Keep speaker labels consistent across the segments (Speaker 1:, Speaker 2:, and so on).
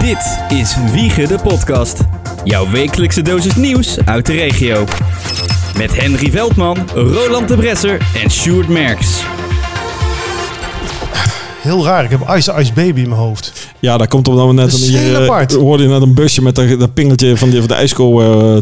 Speaker 1: Dit is Wiegen de Podcast. Jouw wekelijkse dosis nieuws uit de regio. Met Henry Veldman, Roland de Bresser en Sjoerd Merks.
Speaker 2: Heel raar, ik heb Ice Ice Baby in mijn hoofd.
Speaker 3: Ja, dat komt omdat we net
Speaker 2: Dat is
Speaker 3: een, hier,
Speaker 2: heel
Speaker 3: eh,
Speaker 2: apart.
Speaker 3: hoorde je net een busje met dat, dat pingeltje van, die, van de ijsko. eh,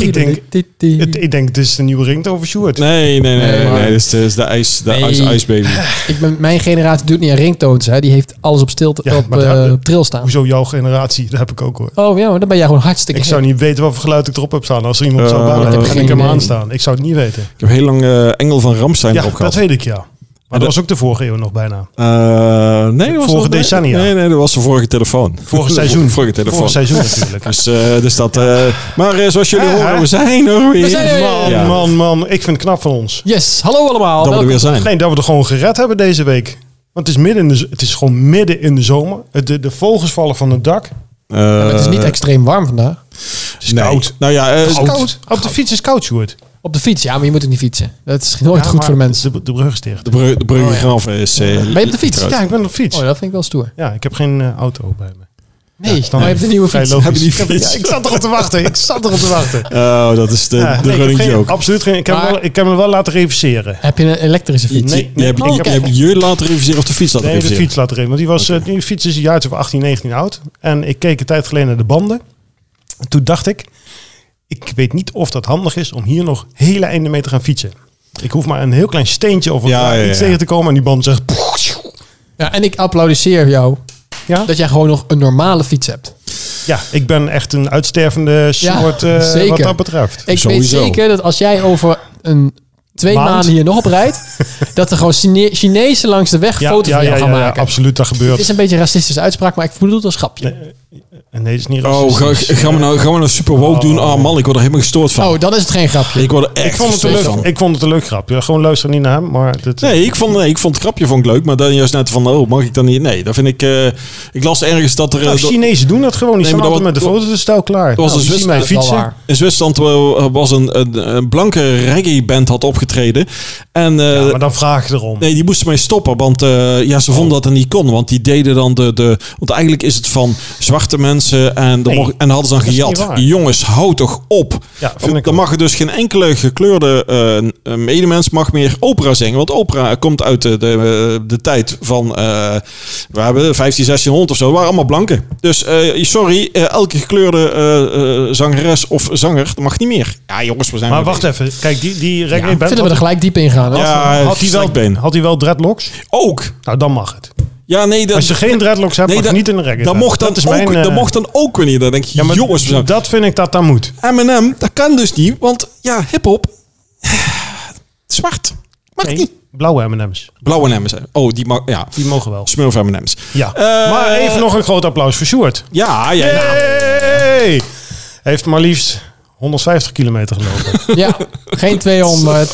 Speaker 2: Ik denk- Het, ik denk, dit is de nieuwe ringtone voor Sjoerd.
Speaker 3: nee, nee, nee,
Speaker 4: Nee,
Speaker 3: nee,
Speaker 4: maar-
Speaker 3: dit is de, is de ijs, de
Speaker 4: Nee.
Speaker 3: ijs, ijsbaby.
Speaker 4: Ik ben, mijn generatie doet niet aan ringtoons. Hè. Die heeft alles op, stilte,
Speaker 2: Ja,
Speaker 4: op
Speaker 2: maar daar-
Speaker 4: eh, op tril staan.
Speaker 2: Hoezo jouw generatie? Dat heb ik ook hoor.
Speaker 4: Oh ja, maar dan ben jij gewoon hartstikke
Speaker 2: Ik zou niet weten wat voor geluid ik erop heb staan. Als er iemand zou
Speaker 3: Eh,
Speaker 2: bellen,
Speaker 3: ik
Speaker 2: dan
Speaker 3: heb
Speaker 2: kan
Speaker 4: geen
Speaker 2: ik hem
Speaker 4: idee.
Speaker 2: aanstaan. Ik zou het niet weten.
Speaker 3: Ik heb heel lang eh, Engel van Ramstein
Speaker 2: Ja,
Speaker 3: erop gehad.
Speaker 2: dat weet ik ja. Maar
Speaker 3: dat-
Speaker 2: dat was ook de vorige eeuw nog bijna.
Speaker 3: Eh, nee, dat was
Speaker 2: Vorige
Speaker 3: wel- nee,
Speaker 2: decennia.
Speaker 3: Nee, nee, dat was de vorige telefoon.
Speaker 2: Vorig seizoen.
Speaker 3: Vorige telefoon.
Speaker 2: Vorig seizoen natuurlijk.
Speaker 3: Dus, eh, dus dat, eh, maar eh, zoals jullie
Speaker 2: Hè,
Speaker 3: horen,
Speaker 2: hè?
Speaker 3: we zijn er weer.
Speaker 4: We zijn er weer.
Speaker 2: Man,
Speaker 3: Ja.
Speaker 2: man, man. Ik vind het knap van ons.
Speaker 4: Yes, hallo allemaal.
Speaker 3: Dat we er
Speaker 4: Welkom.
Speaker 3: weer zijn.
Speaker 2: Nee, dat we er gewoon gered hebben deze week. Want het is, midden in de, z- het is gewoon midden in de zomer. Het- De, de vogels vallen van het dak.
Speaker 3: Eh,
Speaker 4: Maar het is niet extreem warm vandaag.
Speaker 2: Het is
Speaker 3: nee.
Speaker 2: koud.
Speaker 3: Nou ja, eh,
Speaker 2: Het is koud. Op de fiets is koud, Sjoerd.
Speaker 4: Op de fiets, ja, maar je moet ook niet fietsen. Dat Oh, is nooit
Speaker 2: Ja,
Speaker 4: goed
Speaker 2: maar
Speaker 4: voor de mensen.
Speaker 2: De, de brug is dicht.
Speaker 3: De, brug, de
Speaker 4: Oh, ja.
Speaker 3: bruggengraf is... eh,
Speaker 4: Ben je op de fiets?
Speaker 3: trouwens.
Speaker 2: Ja, ik ben op de fiets.
Speaker 4: Oh, dat vind ik wel stoer.
Speaker 2: Ja, ik heb geen eh, auto bij me.
Speaker 4: Nee,
Speaker 2: Dan
Speaker 4: maar Oh, je hebt een nieuwe
Speaker 2: vrij
Speaker 4: fiets.
Speaker 2: logisch.
Speaker 3: Heb je die
Speaker 2: Ik heb-
Speaker 3: fiets?
Speaker 2: ja, ik zat erop te wachten. Ik zat erop te wachten.
Speaker 3: Oh, dat is de,
Speaker 2: Ja,
Speaker 3: de
Speaker 2: nee, ik heb
Speaker 3: running
Speaker 2: geen-
Speaker 3: joke.
Speaker 2: Absoluut geen. Ik heb,
Speaker 4: Maar-
Speaker 2: hem wel, ik heb hem wel laten reviseren.
Speaker 4: Heb je een elektrische fiets?
Speaker 2: Nee,
Speaker 3: Je- je, hebt,
Speaker 2: oh,
Speaker 3: je,
Speaker 2: kijk.
Speaker 3: hebt je laten reviseren of de fiets laten
Speaker 2: Nee, de
Speaker 3: reviseren?
Speaker 2: fiets laten erin. Want die, was, eh, die fiets is een jaartje of 18, 19 oud. En ik keek een tijd geleden naar de banden. En toen dacht ik, ik weet niet of dat handig is om hier nog hele einde mee te gaan fietsen. Ik hoef maar een heel klein steentje of een-
Speaker 3: Ja, ja,
Speaker 2: iets
Speaker 3: ja.
Speaker 2: tegen te komen en die band zegt... "Poeh."
Speaker 4: Ja, en ik applaudisseer jou
Speaker 2: Ja?
Speaker 4: dat jij gewoon nog een normale fiets hebt.
Speaker 2: ja, ik ben echt een uitstervende soort eh,
Speaker 4: zeker.
Speaker 2: wat dat betreft.
Speaker 4: Ik
Speaker 3: Sowieso.
Speaker 4: weet zeker dat als jij over een twee
Speaker 2: Maand?
Speaker 4: maanden hier nog op rijdt, dat er gewoon Chine- Chinezen langs de weg foto's van jou gaan maken.
Speaker 2: absoluut, dat
Speaker 4: Het is
Speaker 2: gebeurt.
Speaker 4: een beetje een racistische uitspraak, maar ik voel het als grapje.
Speaker 2: En nee, het is niet
Speaker 3: Oh,
Speaker 2: racistisch.
Speaker 3: ga- ga- gaan we nou, gaan we nou super woke doen? Oh man, ik word er helemaal gestoord van.
Speaker 4: Oh, dan is het geen grapje.
Speaker 3: ik word er echt
Speaker 2: ik, vond het een
Speaker 3: gestoord
Speaker 2: leuk,
Speaker 3: van.
Speaker 2: ik vond het een leuk grap. Ja, gewoon luister niet naar hem, maar... Dat, Nou,
Speaker 3: Nee, ik vond, nee, ik vond het grapje vond ik leuk, maar dan juist net van, oh, mag ik dan niet? Nee, dat vind ik... eh, ik las ergens dat er... eh,
Speaker 2: Nou,
Speaker 3: dat-
Speaker 2: Chinezen doen dat gewoon. Die
Speaker 3: Nee,
Speaker 2: staan
Speaker 3: maar dat
Speaker 2: altijd met de
Speaker 3: wa-
Speaker 2: fotostel klaar.
Speaker 3: was
Speaker 2: Nou,
Speaker 3: een
Speaker 2: die zien
Speaker 3: Zwitser-
Speaker 2: mij
Speaker 4: dat is wel
Speaker 2: fietsen.
Speaker 4: waar.
Speaker 3: in Zwitserland eh, was een, een, een blanke reggae-band had opgetreden. En eh,
Speaker 2: Ja, maar dan vraag je erom.
Speaker 3: Nee, die moesten mij stoppen, want eh, ja, ze vonden dat het niet kon. Want die deden dan de, de... Want eigenlijk is het van zwarte mensen en, dan
Speaker 2: Nee,
Speaker 3: mocht- en hadden ze dan
Speaker 2: dat is niet
Speaker 3: gejat.
Speaker 2: waar.
Speaker 3: Jongens, hou toch op.
Speaker 2: Ja, vind ik
Speaker 3: dan
Speaker 2: ook.
Speaker 3: mag er dus geen enkele gekleurde eh, eh, medemens mag meer opera zingen. Want opera komt uit de, de, de tijd van... eh we hebben 15, 1600 of zo. Dat waren allemaal blanken. Dus eh, sorry, eh, elke gekleurde eh, eh, zangeres of zanger dat mag niet meer. Ja jongens, we zijn...
Speaker 2: Maar
Speaker 3: weer
Speaker 2: wacht even. Kijk, die, die reggae
Speaker 4: Ja,
Speaker 2: band,
Speaker 4: vinden we er
Speaker 2: had,
Speaker 4: gelijk diep in gaan. hè?
Speaker 3: Ja,
Speaker 2: had hij wel,
Speaker 3: strekbeen.
Speaker 2: had hij wel dreadlocks?
Speaker 3: Ook.
Speaker 2: Nou, dan mag het.
Speaker 3: Ja, nee, dat,
Speaker 2: Als je geen dreadlocks hebt,
Speaker 3: Nee,
Speaker 2: mag
Speaker 3: dat-
Speaker 2: je niet in de reggae
Speaker 3: Dat
Speaker 2: band.
Speaker 3: mocht dan,
Speaker 2: is
Speaker 3: ook,
Speaker 2: mijn, eh,
Speaker 3: dat mocht dan ook weer niet. Dan denk je,
Speaker 2: ja, maar
Speaker 3: jongens, we zijn-
Speaker 2: dat vind ik dat dan moet.
Speaker 3: M&M, dat kan dus niet. Want ja, hip-hop, eh, zwart, mag
Speaker 2: Nee,
Speaker 3: niet.
Speaker 2: blauwe M&M's.
Speaker 3: Blauwe M&M's. Oh, die mag, ja.
Speaker 2: Die mogen wel.
Speaker 3: Smurf M&M's.
Speaker 2: Ja.
Speaker 3: Eh,
Speaker 2: maar even nog een groot applaus voor Sjoerd. Nou,
Speaker 3: Ja, ja, ja.
Speaker 2: Hey! Heeft maar liefst 150 kilometer gelopen.
Speaker 4: Ja, geen 200.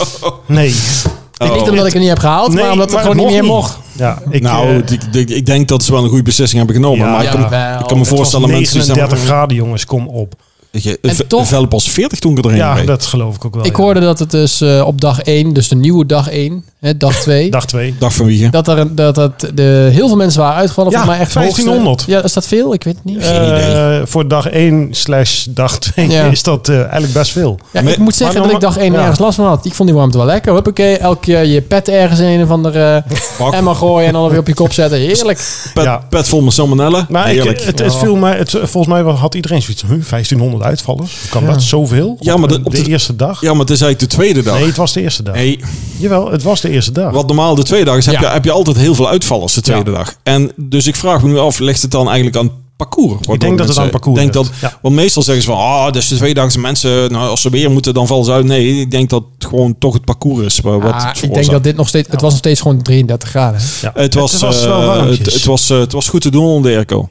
Speaker 2: Nee.
Speaker 3: Oh.
Speaker 4: Niet omdat ik het niet heb gehaald,
Speaker 2: nee
Speaker 4: maar omdat het gewoon niet
Speaker 2: mocht
Speaker 4: meer mocht.
Speaker 2: Ja, ik,
Speaker 3: nou,
Speaker 2: eh,
Speaker 3: ik, ik, ik denk dat ze wel een goede beslissing hebben genomen.
Speaker 2: Ja.
Speaker 3: maar ik kan, ik kan me
Speaker 4: Jawel. Het
Speaker 2: het was
Speaker 3: voorstellen mensen... die
Speaker 2: 39
Speaker 3: zeggen, eh,
Speaker 2: graden, jongens. Kom op.
Speaker 3: je,
Speaker 4: En
Speaker 3: het
Speaker 4: toch-
Speaker 3: vel pas 40 toen ik erheen
Speaker 2: Ja,
Speaker 3: reed.
Speaker 2: dat geloof ik ook wel.
Speaker 4: Ik
Speaker 2: Oh, ja.
Speaker 4: hoorde dat het dus eh, op dag 1, dus de nieuwe dag 1, hè, dag 2,
Speaker 2: Dag 2.
Speaker 3: Dag van Wiegen.
Speaker 4: dat er een- dat, dat de, heel veel mensen waren uitgevallen.
Speaker 2: Ja, Eh,
Speaker 4: volgens mij echt het hoogste-
Speaker 2: 1500.
Speaker 4: Ja, is dat veel? Ik weet het niet.
Speaker 3: Geen idee.
Speaker 2: voor dag 1 slash dag 2
Speaker 4: Ja.
Speaker 2: is dat eh, eigenlijk best veel.
Speaker 4: Ja,
Speaker 3: Maar-
Speaker 4: ik moet zeggen
Speaker 2: maar
Speaker 4: dat
Speaker 2: dan
Speaker 4: ik dag één
Speaker 2: maar- ja.
Speaker 4: ergens last van had. Ik vond die warmte wel lekker. Huppakee, elke keer je pet ergens in een of andere eh,
Speaker 3: Bak,
Speaker 4: emmer gooien en dan weer op je kop zetten. Heerlijk.
Speaker 3: pet,
Speaker 2: ja.
Speaker 3: pet vol met salmonellen.
Speaker 2: Maar ik,
Speaker 3: Heerlijk.
Speaker 2: het, het viel mij, het, volgens mij had iedereen zoiets van, huh, 1500 uitvallers. Hoe kan dat zoveel?
Speaker 3: Ja, maar de- op de-
Speaker 2: eerste dag?
Speaker 3: ja, maar het is eigenlijk de tweede dag.
Speaker 2: Nee, het was de eerste dag.
Speaker 3: nee.
Speaker 2: Jawel, het was de eerste dag.
Speaker 3: Wat normaal de tweede dag is, heb,
Speaker 4: Ja.
Speaker 3: je, heb je altijd heel veel uitvallers de tweede dag. En dus ik vraag me nu af, ligt het dan eigenlijk aan het parcours? Waardoor
Speaker 2: dat het
Speaker 3: mensen-
Speaker 2: aan parcours
Speaker 3: denk dat,
Speaker 2: ligt, ja.
Speaker 3: Want meestal zeggen ze van, ah, dus de tweede dag is mensen, nou, als ze weer moeten, dan vallen ze uit. Nee, ik denk dat het gewoon toch het parcours is. wa- Wat
Speaker 4: Ah,
Speaker 3: het
Speaker 4: ik denk dat dit nog steeds... Het was nog steeds gewoon 33 graden. hè.
Speaker 2: Ja.
Speaker 3: Het was, eh,
Speaker 2: wel warmtjes.
Speaker 3: het, het was, eh, het was goed te doen onder de airco.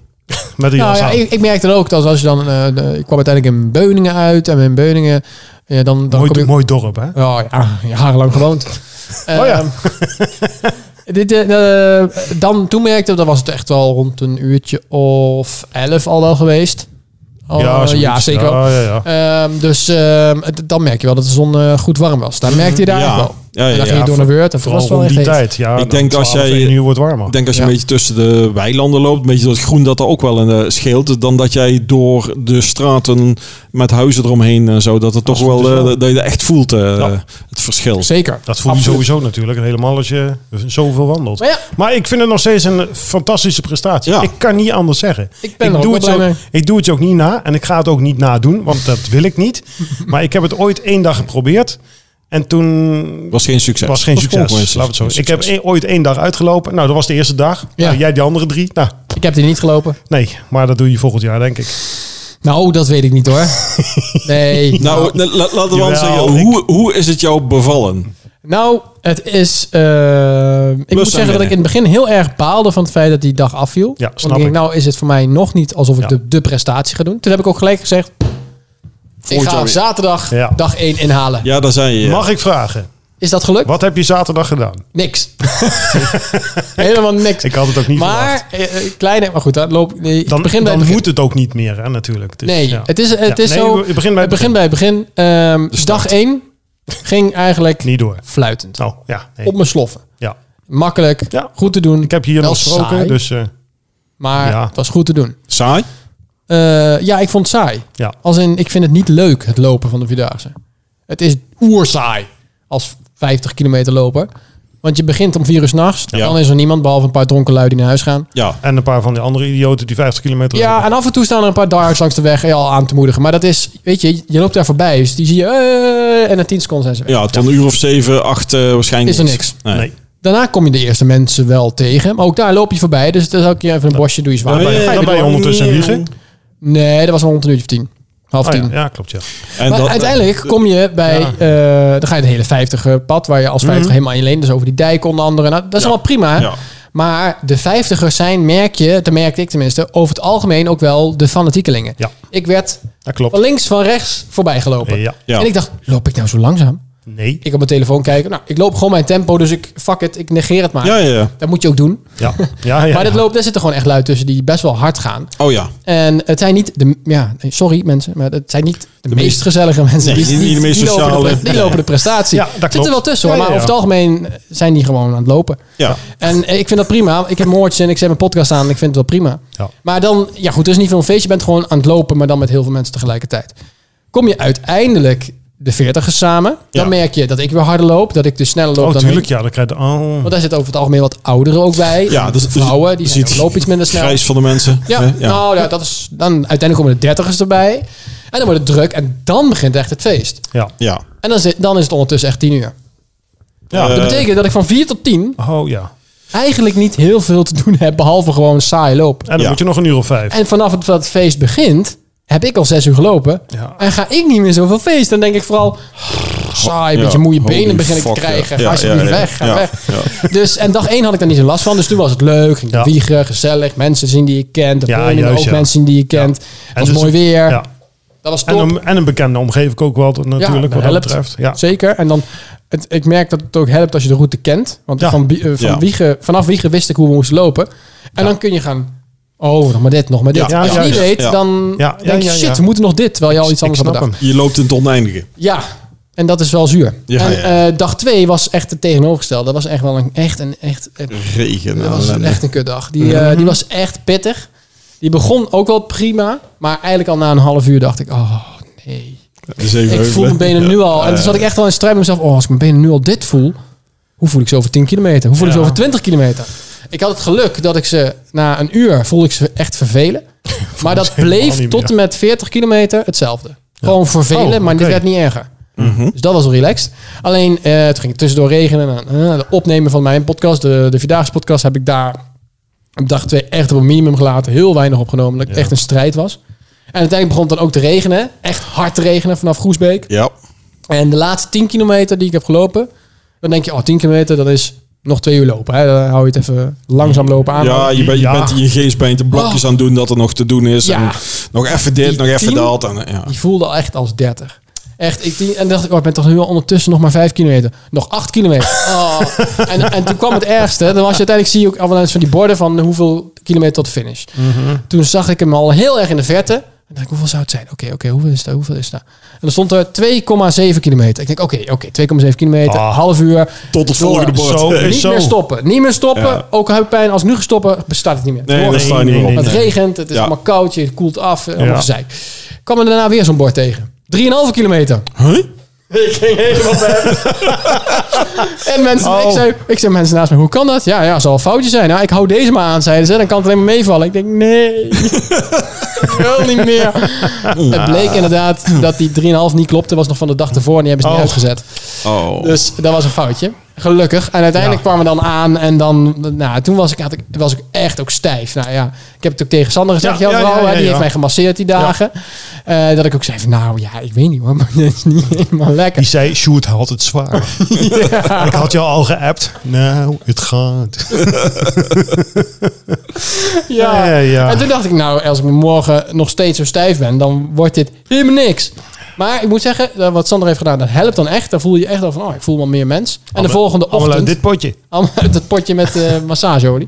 Speaker 2: met de
Speaker 4: Nou
Speaker 2: jas
Speaker 4: ja,
Speaker 2: aan.
Speaker 4: ik, ik merkte ook dat als je dan... eh, de- ik kwam uiteindelijk in Beuningen uit. En in Beuningen... ja, dan, dan
Speaker 2: mooi,
Speaker 4: kom je...
Speaker 2: mooi dorp, hè?
Speaker 4: Oh ja, jarenlang gewoond.
Speaker 2: Oh ja.
Speaker 4: Ehm, dit, eh, eh, dan, toen merkte ik, dat was het echt wel rond een uurtje of elf al wel geweest. Al, eh,
Speaker 2: zoiets.
Speaker 4: ja zeker. wel.
Speaker 2: Ja, ja, ja.
Speaker 4: Ehm, dus ehm, het- dan merk je wel dat de zon eh, goed warm was. Daar merkte je daar
Speaker 3: Ja.
Speaker 4: eigenlijk wel.
Speaker 3: Ja,
Speaker 4: En
Speaker 3: ja,
Speaker 4: dan
Speaker 3: ja.
Speaker 4: ging je door naar Word en
Speaker 2: Vooral
Speaker 4: was wel
Speaker 2: rond
Speaker 4: echt
Speaker 2: die
Speaker 4: heet.
Speaker 2: tijd. Ja,
Speaker 3: Ik denk als jij-
Speaker 2: nu wordt warmer.
Speaker 3: Ik denk als je
Speaker 4: Ja.
Speaker 3: een beetje tussen de weilanden loopt, een beetje dat groen dat er ook wel een eh, scheelt, dan dat jij door de straten met huizen eromheen en zo, dat het toch
Speaker 2: het
Speaker 3: wel,
Speaker 2: goed is
Speaker 3: eh,
Speaker 2: wel.
Speaker 3: dat je dat echt voelt, eh,
Speaker 2: Ja.
Speaker 3: het verschil.
Speaker 4: Zeker.
Speaker 2: dat voel je
Speaker 4: Absoluut.
Speaker 2: sowieso natuurlijk. En helemaal als je zoveel wandelt.
Speaker 4: Maar ja,
Speaker 2: Maar ik vind het nog steeds een fantastische prestatie.
Speaker 3: Ja.
Speaker 2: Ik kan niet anders zeggen.
Speaker 4: ik ben er ook
Speaker 2: doe
Speaker 4: wel
Speaker 2: het
Speaker 4: blij
Speaker 2: ook,
Speaker 4: mee.
Speaker 2: ik doe het je ook niet na en ik ga het ook niet nadoen, want dat wil ik niet. Maar ik heb het ooit één dag geprobeerd en toen
Speaker 3: Was geen succes.
Speaker 2: was geen
Speaker 3: Dat
Speaker 2: succes.
Speaker 3: gewoon geen
Speaker 2: Laat het zo.
Speaker 3: succes.
Speaker 2: Ik heb één- ooit één dag uitgelopen. Nou, dat was de eerste dag.
Speaker 4: Ja.
Speaker 2: Nou, jij die andere drie. Nou,
Speaker 4: Ik heb die niet gelopen.
Speaker 2: nee, maar dat doe je volgend jaar, denk ik.
Speaker 4: Nou, dat weet ik niet hoor. Nee.
Speaker 3: Nou, la- la- laten we wel
Speaker 2: Jawel,
Speaker 3: zeggen,
Speaker 2: ik-
Speaker 3: hoe, hoe is het jou bevallen?
Speaker 4: Nou, het is. eh, ik moet zeggen dat
Speaker 3: winnen.
Speaker 4: ik in het begin heel erg baalde van het feit dat die dag afviel.
Speaker 2: Ja,
Speaker 4: Want
Speaker 2: snap
Speaker 4: ik. denk,
Speaker 2: ik.
Speaker 4: nou is het voor mij nog niet alsof ik
Speaker 2: Ja.
Speaker 4: de, de prestatie ga doen. Toen heb ik ook gelijk gezegd. Ik
Speaker 3: Volgend jaar
Speaker 4: ga
Speaker 3: weer.
Speaker 4: zaterdag
Speaker 2: Ja.
Speaker 4: dag 1 inhalen.
Speaker 3: Ja, daar zei je.
Speaker 2: Mag ik vragen,
Speaker 4: Is dat gelukt?
Speaker 2: wat heb je zaterdag gedaan?
Speaker 4: Niks. Helemaal niks.
Speaker 2: Ik had het ook niet verwacht.
Speaker 4: maar eh, eh, kleine, maar goed, dat loopt. nee, ik
Speaker 2: Dan,
Speaker 4: begin bij
Speaker 2: dan
Speaker 4: het begin.
Speaker 2: moet het ook niet meer, hè, natuurlijk. Dus,
Speaker 4: nee,
Speaker 2: ja.
Speaker 4: het is, het
Speaker 2: Ja,
Speaker 4: is
Speaker 2: nee,
Speaker 4: zo.
Speaker 2: we- begin bij
Speaker 4: het begin bij het begin. Ehm, dag 1 ging eigenlijk
Speaker 2: Niet door.
Speaker 4: fluitend.
Speaker 2: Nou, ja. nee.
Speaker 4: Op mijn sloffen.
Speaker 2: ja.
Speaker 4: Makkelijk,
Speaker 2: Ja.
Speaker 4: goed te doen.
Speaker 2: Ik heb hier
Speaker 4: Wel
Speaker 2: nog gesproken,
Speaker 4: saai.
Speaker 2: dus eh,
Speaker 4: Maar
Speaker 2: Ja.
Speaker 4: het was goed te doen.
Speaker 3: Saai?
Speaker 4: Eh, ja, ik vond het saai.
Speaker 2: ja.
Speaker 4: Als in, ik vind het niet leuk, het lopen van de Vierdaagse. Het is oersaai als 50 kilometer lopen. Want je begint om vier uur s'nachts.
Speaker 3: Ja.
Speaker 4: Dan is er niemand, behalve een paar dronken lui die naar huis gaan.
Speaker 3: Ja.
Speaker 2: En een paar van die andere idioten die 50 kilometer
Speaker 4: Ja,
Speaker 2: lopen.
Speaker 4: en af en toe staan er een paar darts langs de weg eh, al aan te moedigen. Maar dat is, weet je, je loopt daar voorbij. Dus die zie je, eh, en na 10 seconden zijn ze weg.
Speaker 3: Ja, tot een uur of zeven, acht eh, waarschijnlijk.
Speaker 4: Is er niks.
Speaker 3: Nee.
Speaker 2: Nee.
Speaker 4: Daarna kom je de eerste mensen wel tegen. Maar ook daar loop je voorbij. Dus dan ook je even een bosje, doe je zwaar.
Speaker 2: Dan ben je-
Speaker 4: Ga
Speaker 2: dan
Speaker 4: weer
Speaker 2: ben je
Speaker 4: door.
Speaker 2: ondertussen in Wiegen.
Speaker 4: Nee, dat was al rond een uurtje of tien. Half
Speaker 2: Oh,
Speaker 4: tien.
Speaker 2: ja. ja, klopt, ja.
Speaker 3: En
Speaker 4: Maar
Speaker 3: dat-
Speaker 4: uiteindelijk kom je bij, eh, dan ga je het hele 50 pad waar je als 50 helemaal in je leent. Dus over die dijk onder andere. Nou, dat is
Speaker 3: Mhm. Ja.
Speaker 4: allemaal prima.
Speaker 3: Ja.
Speaker 4: Maar de vijftigers zijn, merk je, dat merkte ik tenminste, over het algemeen ook wel de fanatiekelingen.
Speaker 2: Ja.
Speaker 4: Ik werd
Speaker 2: Dat klopt.
Speaker 4: van links, van rechts voorbij gelopen.
Speaker 2: Ja.
Speaker 3: Ja.
Speaker 4: En ik dacht, loop ik nou zo langzaam?
Speaker 2: Nee.
Speaker 4: Ik op mijn telefoon kijken. Nou, ik loop gewoon mijn tempo, dus ik, fuck it, ik negeer het maar.
Speaker 3: Ja, ja, ja.
Speaker 4: Dat moet je ook doen.
Speaker 2: Ja. Ja, ja,
Speaker 4: maar dat
Speaker 2: ja.
Speaker 4: loopt, daar zitten gewoon echt lui tussen die best wel hard gaan.
Speaker 3: Oh ja.
Speaker 4: En het zijn niet de, ja, nee, sorry mensen, maar het zijn niet de, meest,
Speaker 3: meest-
Speaker 4: gezellige mensen.
Speaker 3: Nee,
Speaker 4: die,
Speaker 3: niet- niet de meest
Speaker 4: die lopen
Speaker 3: sociale.
Speaker 4: de pre- die lopen de prestatie.
Speaker 2: Ja, dat
Speaker 4: Zitten
Speaker 2: klopt.
Speaker 4: wel tussen,
Speaker 2: Ja,
Speaker 4: hoor,
Speaker 2: ja,
Speaker 4: maar
Speaker 2: ja.
Speaker 4: over het algemeen eh, zijn die gewoon aan het lopen.
Speaker 3: Ja.
Speaker 4: En eh, ik vind dat prima. Ik heb moordjes en ik zet mijn podcast aan en ik vind het wel prima.
Speaker 2: Ja.
Speaker 4: Maar dan, ja goed, er is niet veel een feestje. Je bent gewoon aan het lopen, maar dan met heel veel mensen tegelijkertijd. Kom je uiteindelijk de veertigers samen. Dan
Speaker 3: Ja.
Speaker 4: merk je dat ik weer harder loop. Dat ik dus sneller loop
Speaker 2: Oh,
Speaker 4: dan
Speaker 2: tuurlijk,
Speaker 4: ik.
Speaker 2: ja. Dan krijg je... Oh.
Speaker 4: Want daar zitten over het algemeen wat ouderen ook bij.
Speaker 3: Ja, dus- dus-
Speaker 4: Vrouwen, die
Speaker 3: dus
Speaker 4: zijn,
Speaker 3: het
Speaker 4: lopen iets minder snel.
Speaker 3: Grijs van de mensen.
Speaker 4: Ja,
Speaker 3: Hè? ja.
Speaker 4: nou ja, dat is, dan uiteindelijk komen de dertigers erbij. En dan wordt het druk en dan begint echt het feest.
Speaker 2: Ja.
Speaker 3: ja.
Speaker 4: En dan, zit, dan is het ondertussen echt tien uur.
Speaker 2: Ja.
Speaker 4: Dat
Speaker 3: Eh,
Speaker 4: betekent dat ik van vier tot tien
Speaker 2: Oh, ja.
Speaker 4: eigenlijk niet heel veel te doen heb, behalve gewoon saai lopen.
Speaker 2: En dan
Speaker 3: Ja.
Speaker 2: moet je nog een uur of vijf.
Speaker 4: En vanaf het, dat het feest begint, heb ik al zes uur gelopen.
Speaker 2: Ja.
Speaker 4: En ga ik niet meer zoveel feest. Dan denk ik vooral, saai, een beetje
Speaker 3: ja.
Speaker 4: moeie benen
Speaker 3: Holy
Speaker 4: begin ik te
Speaker 3: fuck, ja.
Speaker 4: krijgen. Ga
Speaker 3: Ja,
Speaker 4: alsjeblieft
Speaker 3: ja, ja.
Speaker 4: weg, ga
Speaker 3: Ja,
Speaker 4: weg.
Speaker 3: ja.
Speaker 4: Dus, en dag één had ik daar niet zo last van. Dus toen was het leuk. Ging
Speaker 2: Ja.
Speaker 4: wiegen, gezellig. Mensen zien die ik kent. De
Speaker 2: Ja,
Speaker 4: woningen
Speaker 2: juist,
Speaker 4: ook
Speaker 2: ja.
Speaker 4: mensen die je kent. Het was
Speaker 2: dus-
Speaker 4: mooi weer.
Speaker 2: Ja.
Speaker 4: Dat was top.
Speaker 2: En, een, en een bekende omgeving ook wel, natuurlijk,
Speaker 4: dat
Speaker 2: wat dat
Speaker 4: helpt.
Speaker 2: betreft. Ja.
Speaker 4: Zeker. En dan, het, ik merk dat het ook helpt als je de route kent. Want
Speaker 2: Ja.
Speaker 4: van, Bie- eh, van
Speaker 3: Ja.
Speaker 4: Wiegen, vanaf Wiegen wist ik hoe we moesten lopen. En dan kun je gaan, oh, nog maar dit, nog maar dit.
Speaker 3: Ja,
Speaker 4: als je
Speaker 2: ja,
Speaker 4: niet
Speaker 3: ja.
Speaker 4: weet,
Speaker 3: Ja.
Speaker 4: dan
Speaker 2: Ja, ja,
Speaker 4: denk je,
Speaker 2: ja,
Speaker 4: shit,
Speaker 2: ja.
Speaker 4: we moeten nog dit. Terwijl je al iets
Speaker 2: Ik
Speaker 4: anders had
Speaker 2: snap
Speaker 4: bedacht.
Speaker 2: hem.
Speaker 3: Je loopt in het oneindige.
Speaker 4: Ja, en dat is wel zuur.
Speaker 3: Ja,
Speaker 4: en
Speaker 3: ja.
Speaker 4: eh, dag twee was echt het tegenovergestelde. Dat was echt wel een, echt een, echt, eh,
Speaker 3: Regen.
Speaker 4: dat
Speaker 3: nou,
Speaker 4: was
Speaker 3: ellende.
Speaker 4: echt een kutdag.
Speaker 2: Mhm.
Speaker 4: Die, eh, die was echt pittig. Die begon ook wel prima. Maar eigenlijk al na een half uur dacht ik, oh nee.
Speaker 3: Het is even
Speaker 4: Dus Ik
Speaker 3: heuvel,
Speaker 4: voel
Speaker 3: hè?
Speaker 4: mijn benen nu al. En toen zat ik echt wel in strijd met mezelf. Oh, als ik mijn benen nu al dit voel, hoe voel ik ze over 10 kilometer? Hoe voel ik ze
Speaker 2: Ja.
Speaker 4: over 20 kilometer? Ik had het geluk dat ik ze na een uur voelde ik ze echt vervelen. Maar dat
Speaker 2: helemaal niet
Speaker 4: bleef
Speaker 2: meer.
Speaker 4: tot en met 40 kilometer hetzelfde. Gewoon vervelen,
Speaker 2: Oh,
Speaker 4: maar dit
Speaker 2: oké. Mhm.
Speaker 4: werd niet erger. Dus dat was wel relaxed. Alleen, eh, het ging tussendoor regenen. En, eh, de opnemen van mijn podcast, de, de Vierdaagse podcast, heb ik daar op dag twee echt op een minimum gelaten. Heel weinig opgenomen. Dat het echt een strijd was. En uiteindelijk begon het dan ook te regenen. Echt hard te regenen vanaf Groesbeek.
Speaker 3: Ja.
Speaker 4: Ah, En de laatste 10 kilometer die ik heb gelopen, dan denk je, oh, 10 kilometer, dat is nog twee uur lopen. Hè? Dan hou je het even langzaam lopen aan.
Speaker 3: Ja, je, bent- je
Speaker 2: Ja.
Speaker 3: bent in je geest ben je te blokjes aan het doen dat er nog te doen is.
Speaker 4: Oh. Ja.
Speaker 3: En nog even dit,
Speaker 4: Die
Speaker 3: nog even
Speaker 4: tien-
Speaker 3: dat. En, eh, ja.
Speaker 4: Die voelde al echt als 30. Echt, ik, die- en dacht ik, oh, ik ben toch nu al ondertussen nog maar 5 kilometer. Nog 8 kilometer. Oh. en, en toen kwam het ergste. Dan was je uiteindelijk, zie je
Speaker 3: Mhm.
Speaker 4: ook al wel eens van die borden van hoeveel kilometer tot de finish. Toen zag ik hem al heel erg in de verte. En dacht ik, hoeveel zou het zijn? Oké, oké, hoeveel is dat? Hoeveel is dat? En dan stond er 2,7 kilometer. Ik denk, oké, oké, 2,7 kilometer,
Speaker 2: Ah.
Speaker 4: half uur.
Speaker 3: Tot het
Speaker 4: Door.
Speaker 3: volgende bord.
Speaker 2: Zo.
Speaker 3: Nee,
Speaker 4: Niet
Speaker 2: Zo.
Speaker 4: meer stoppen, niet meer stoppen.
Speaker 3: Ja.
Speaker 4: Ook al heb ik pijn, als ik nu gestoppen, bestaat het niet meer.
Speaker 3: nee,
Speaker 4: Door.
Speaker 3: daar sta je niet meer
Speaker 2: Nee, nee,
Speaker 3: op.
Speaker 4: het regent, het is
Speaker 3: Ja.
Speaker 4: allemaal koud, je koelt af, eh, allemaal
Speaker 2: Ja.
Speaker 4: gezeik. Kwam er daarna weer zo'n bord tegen. 3,5 kilometer.
Speaker 3: Huh?
Speaker 4: Ik ging helemaal En mensen,
Speaker 2: Oh.
Speaker 4: ik, zei, ik zei mensen naast me, hoe kan dat? Ja, ja, zal een foutje zijn. Nou, ik hou deze maar aan, zeiden ze. Dan kan het alleen maar meevallen. Ik denk, nee. ik wil niet meer. Het bleek inderdaad dat die 3,5 niet klopte. was nog van de dag ervoor en die hebben ze
Speaker 2: Oh.
Speaker 4: niet uitgezet.
Speaker 3: Oh.
Speaker 4: Dus dat was een foutje. Gelukkig. En uiteindelijk
Speaker 2: Ja.
Speaker 4: kwamen we dan aan. En dan, nou, toen was ik, had ik, was ik echt ook stijf. Nou ja, ik heb het ook tegen Sander gezegd,
Speaker 2: Ja,
Speaker 4: jouw
Speaker 2: ja,
Speaker 4: vrouw.
Speaker 2: ja,
Speaker 4: hè,
Speaker 2: ja,
Speaker 4: die
Speaker 2: ja.
Speaker 4: heeft mij gemasseerd die dagen. Eh, dat ik ook zei van, nou ja, ik weet niet hoor. Maar dit is niet helemaal lekker.
Speaker 2: Die zei, Sjoerd haalt het zwaar. Ik had jou al geappt. Nou, het gaat.
Speaker 4: Ja.
Speaker 2: Ja, ja.
Speaker 4: En toen dacht ik, nou, als ik morgen nog steeds zo stijf ben, dan wordt dit helemaal niks. Maar ik moet zeggen, eh, wat Sander heeft gedaan, dat helpt dan echt. Dan voel je echt al van, oh, ik voel wel meer mens. En de volgende
Speaker 2: Allemaal uit
Speaker 4: ochtend,
Speaker 2: dit potje.
Speaker 4: allemaal uit het potje met eh, massageolie.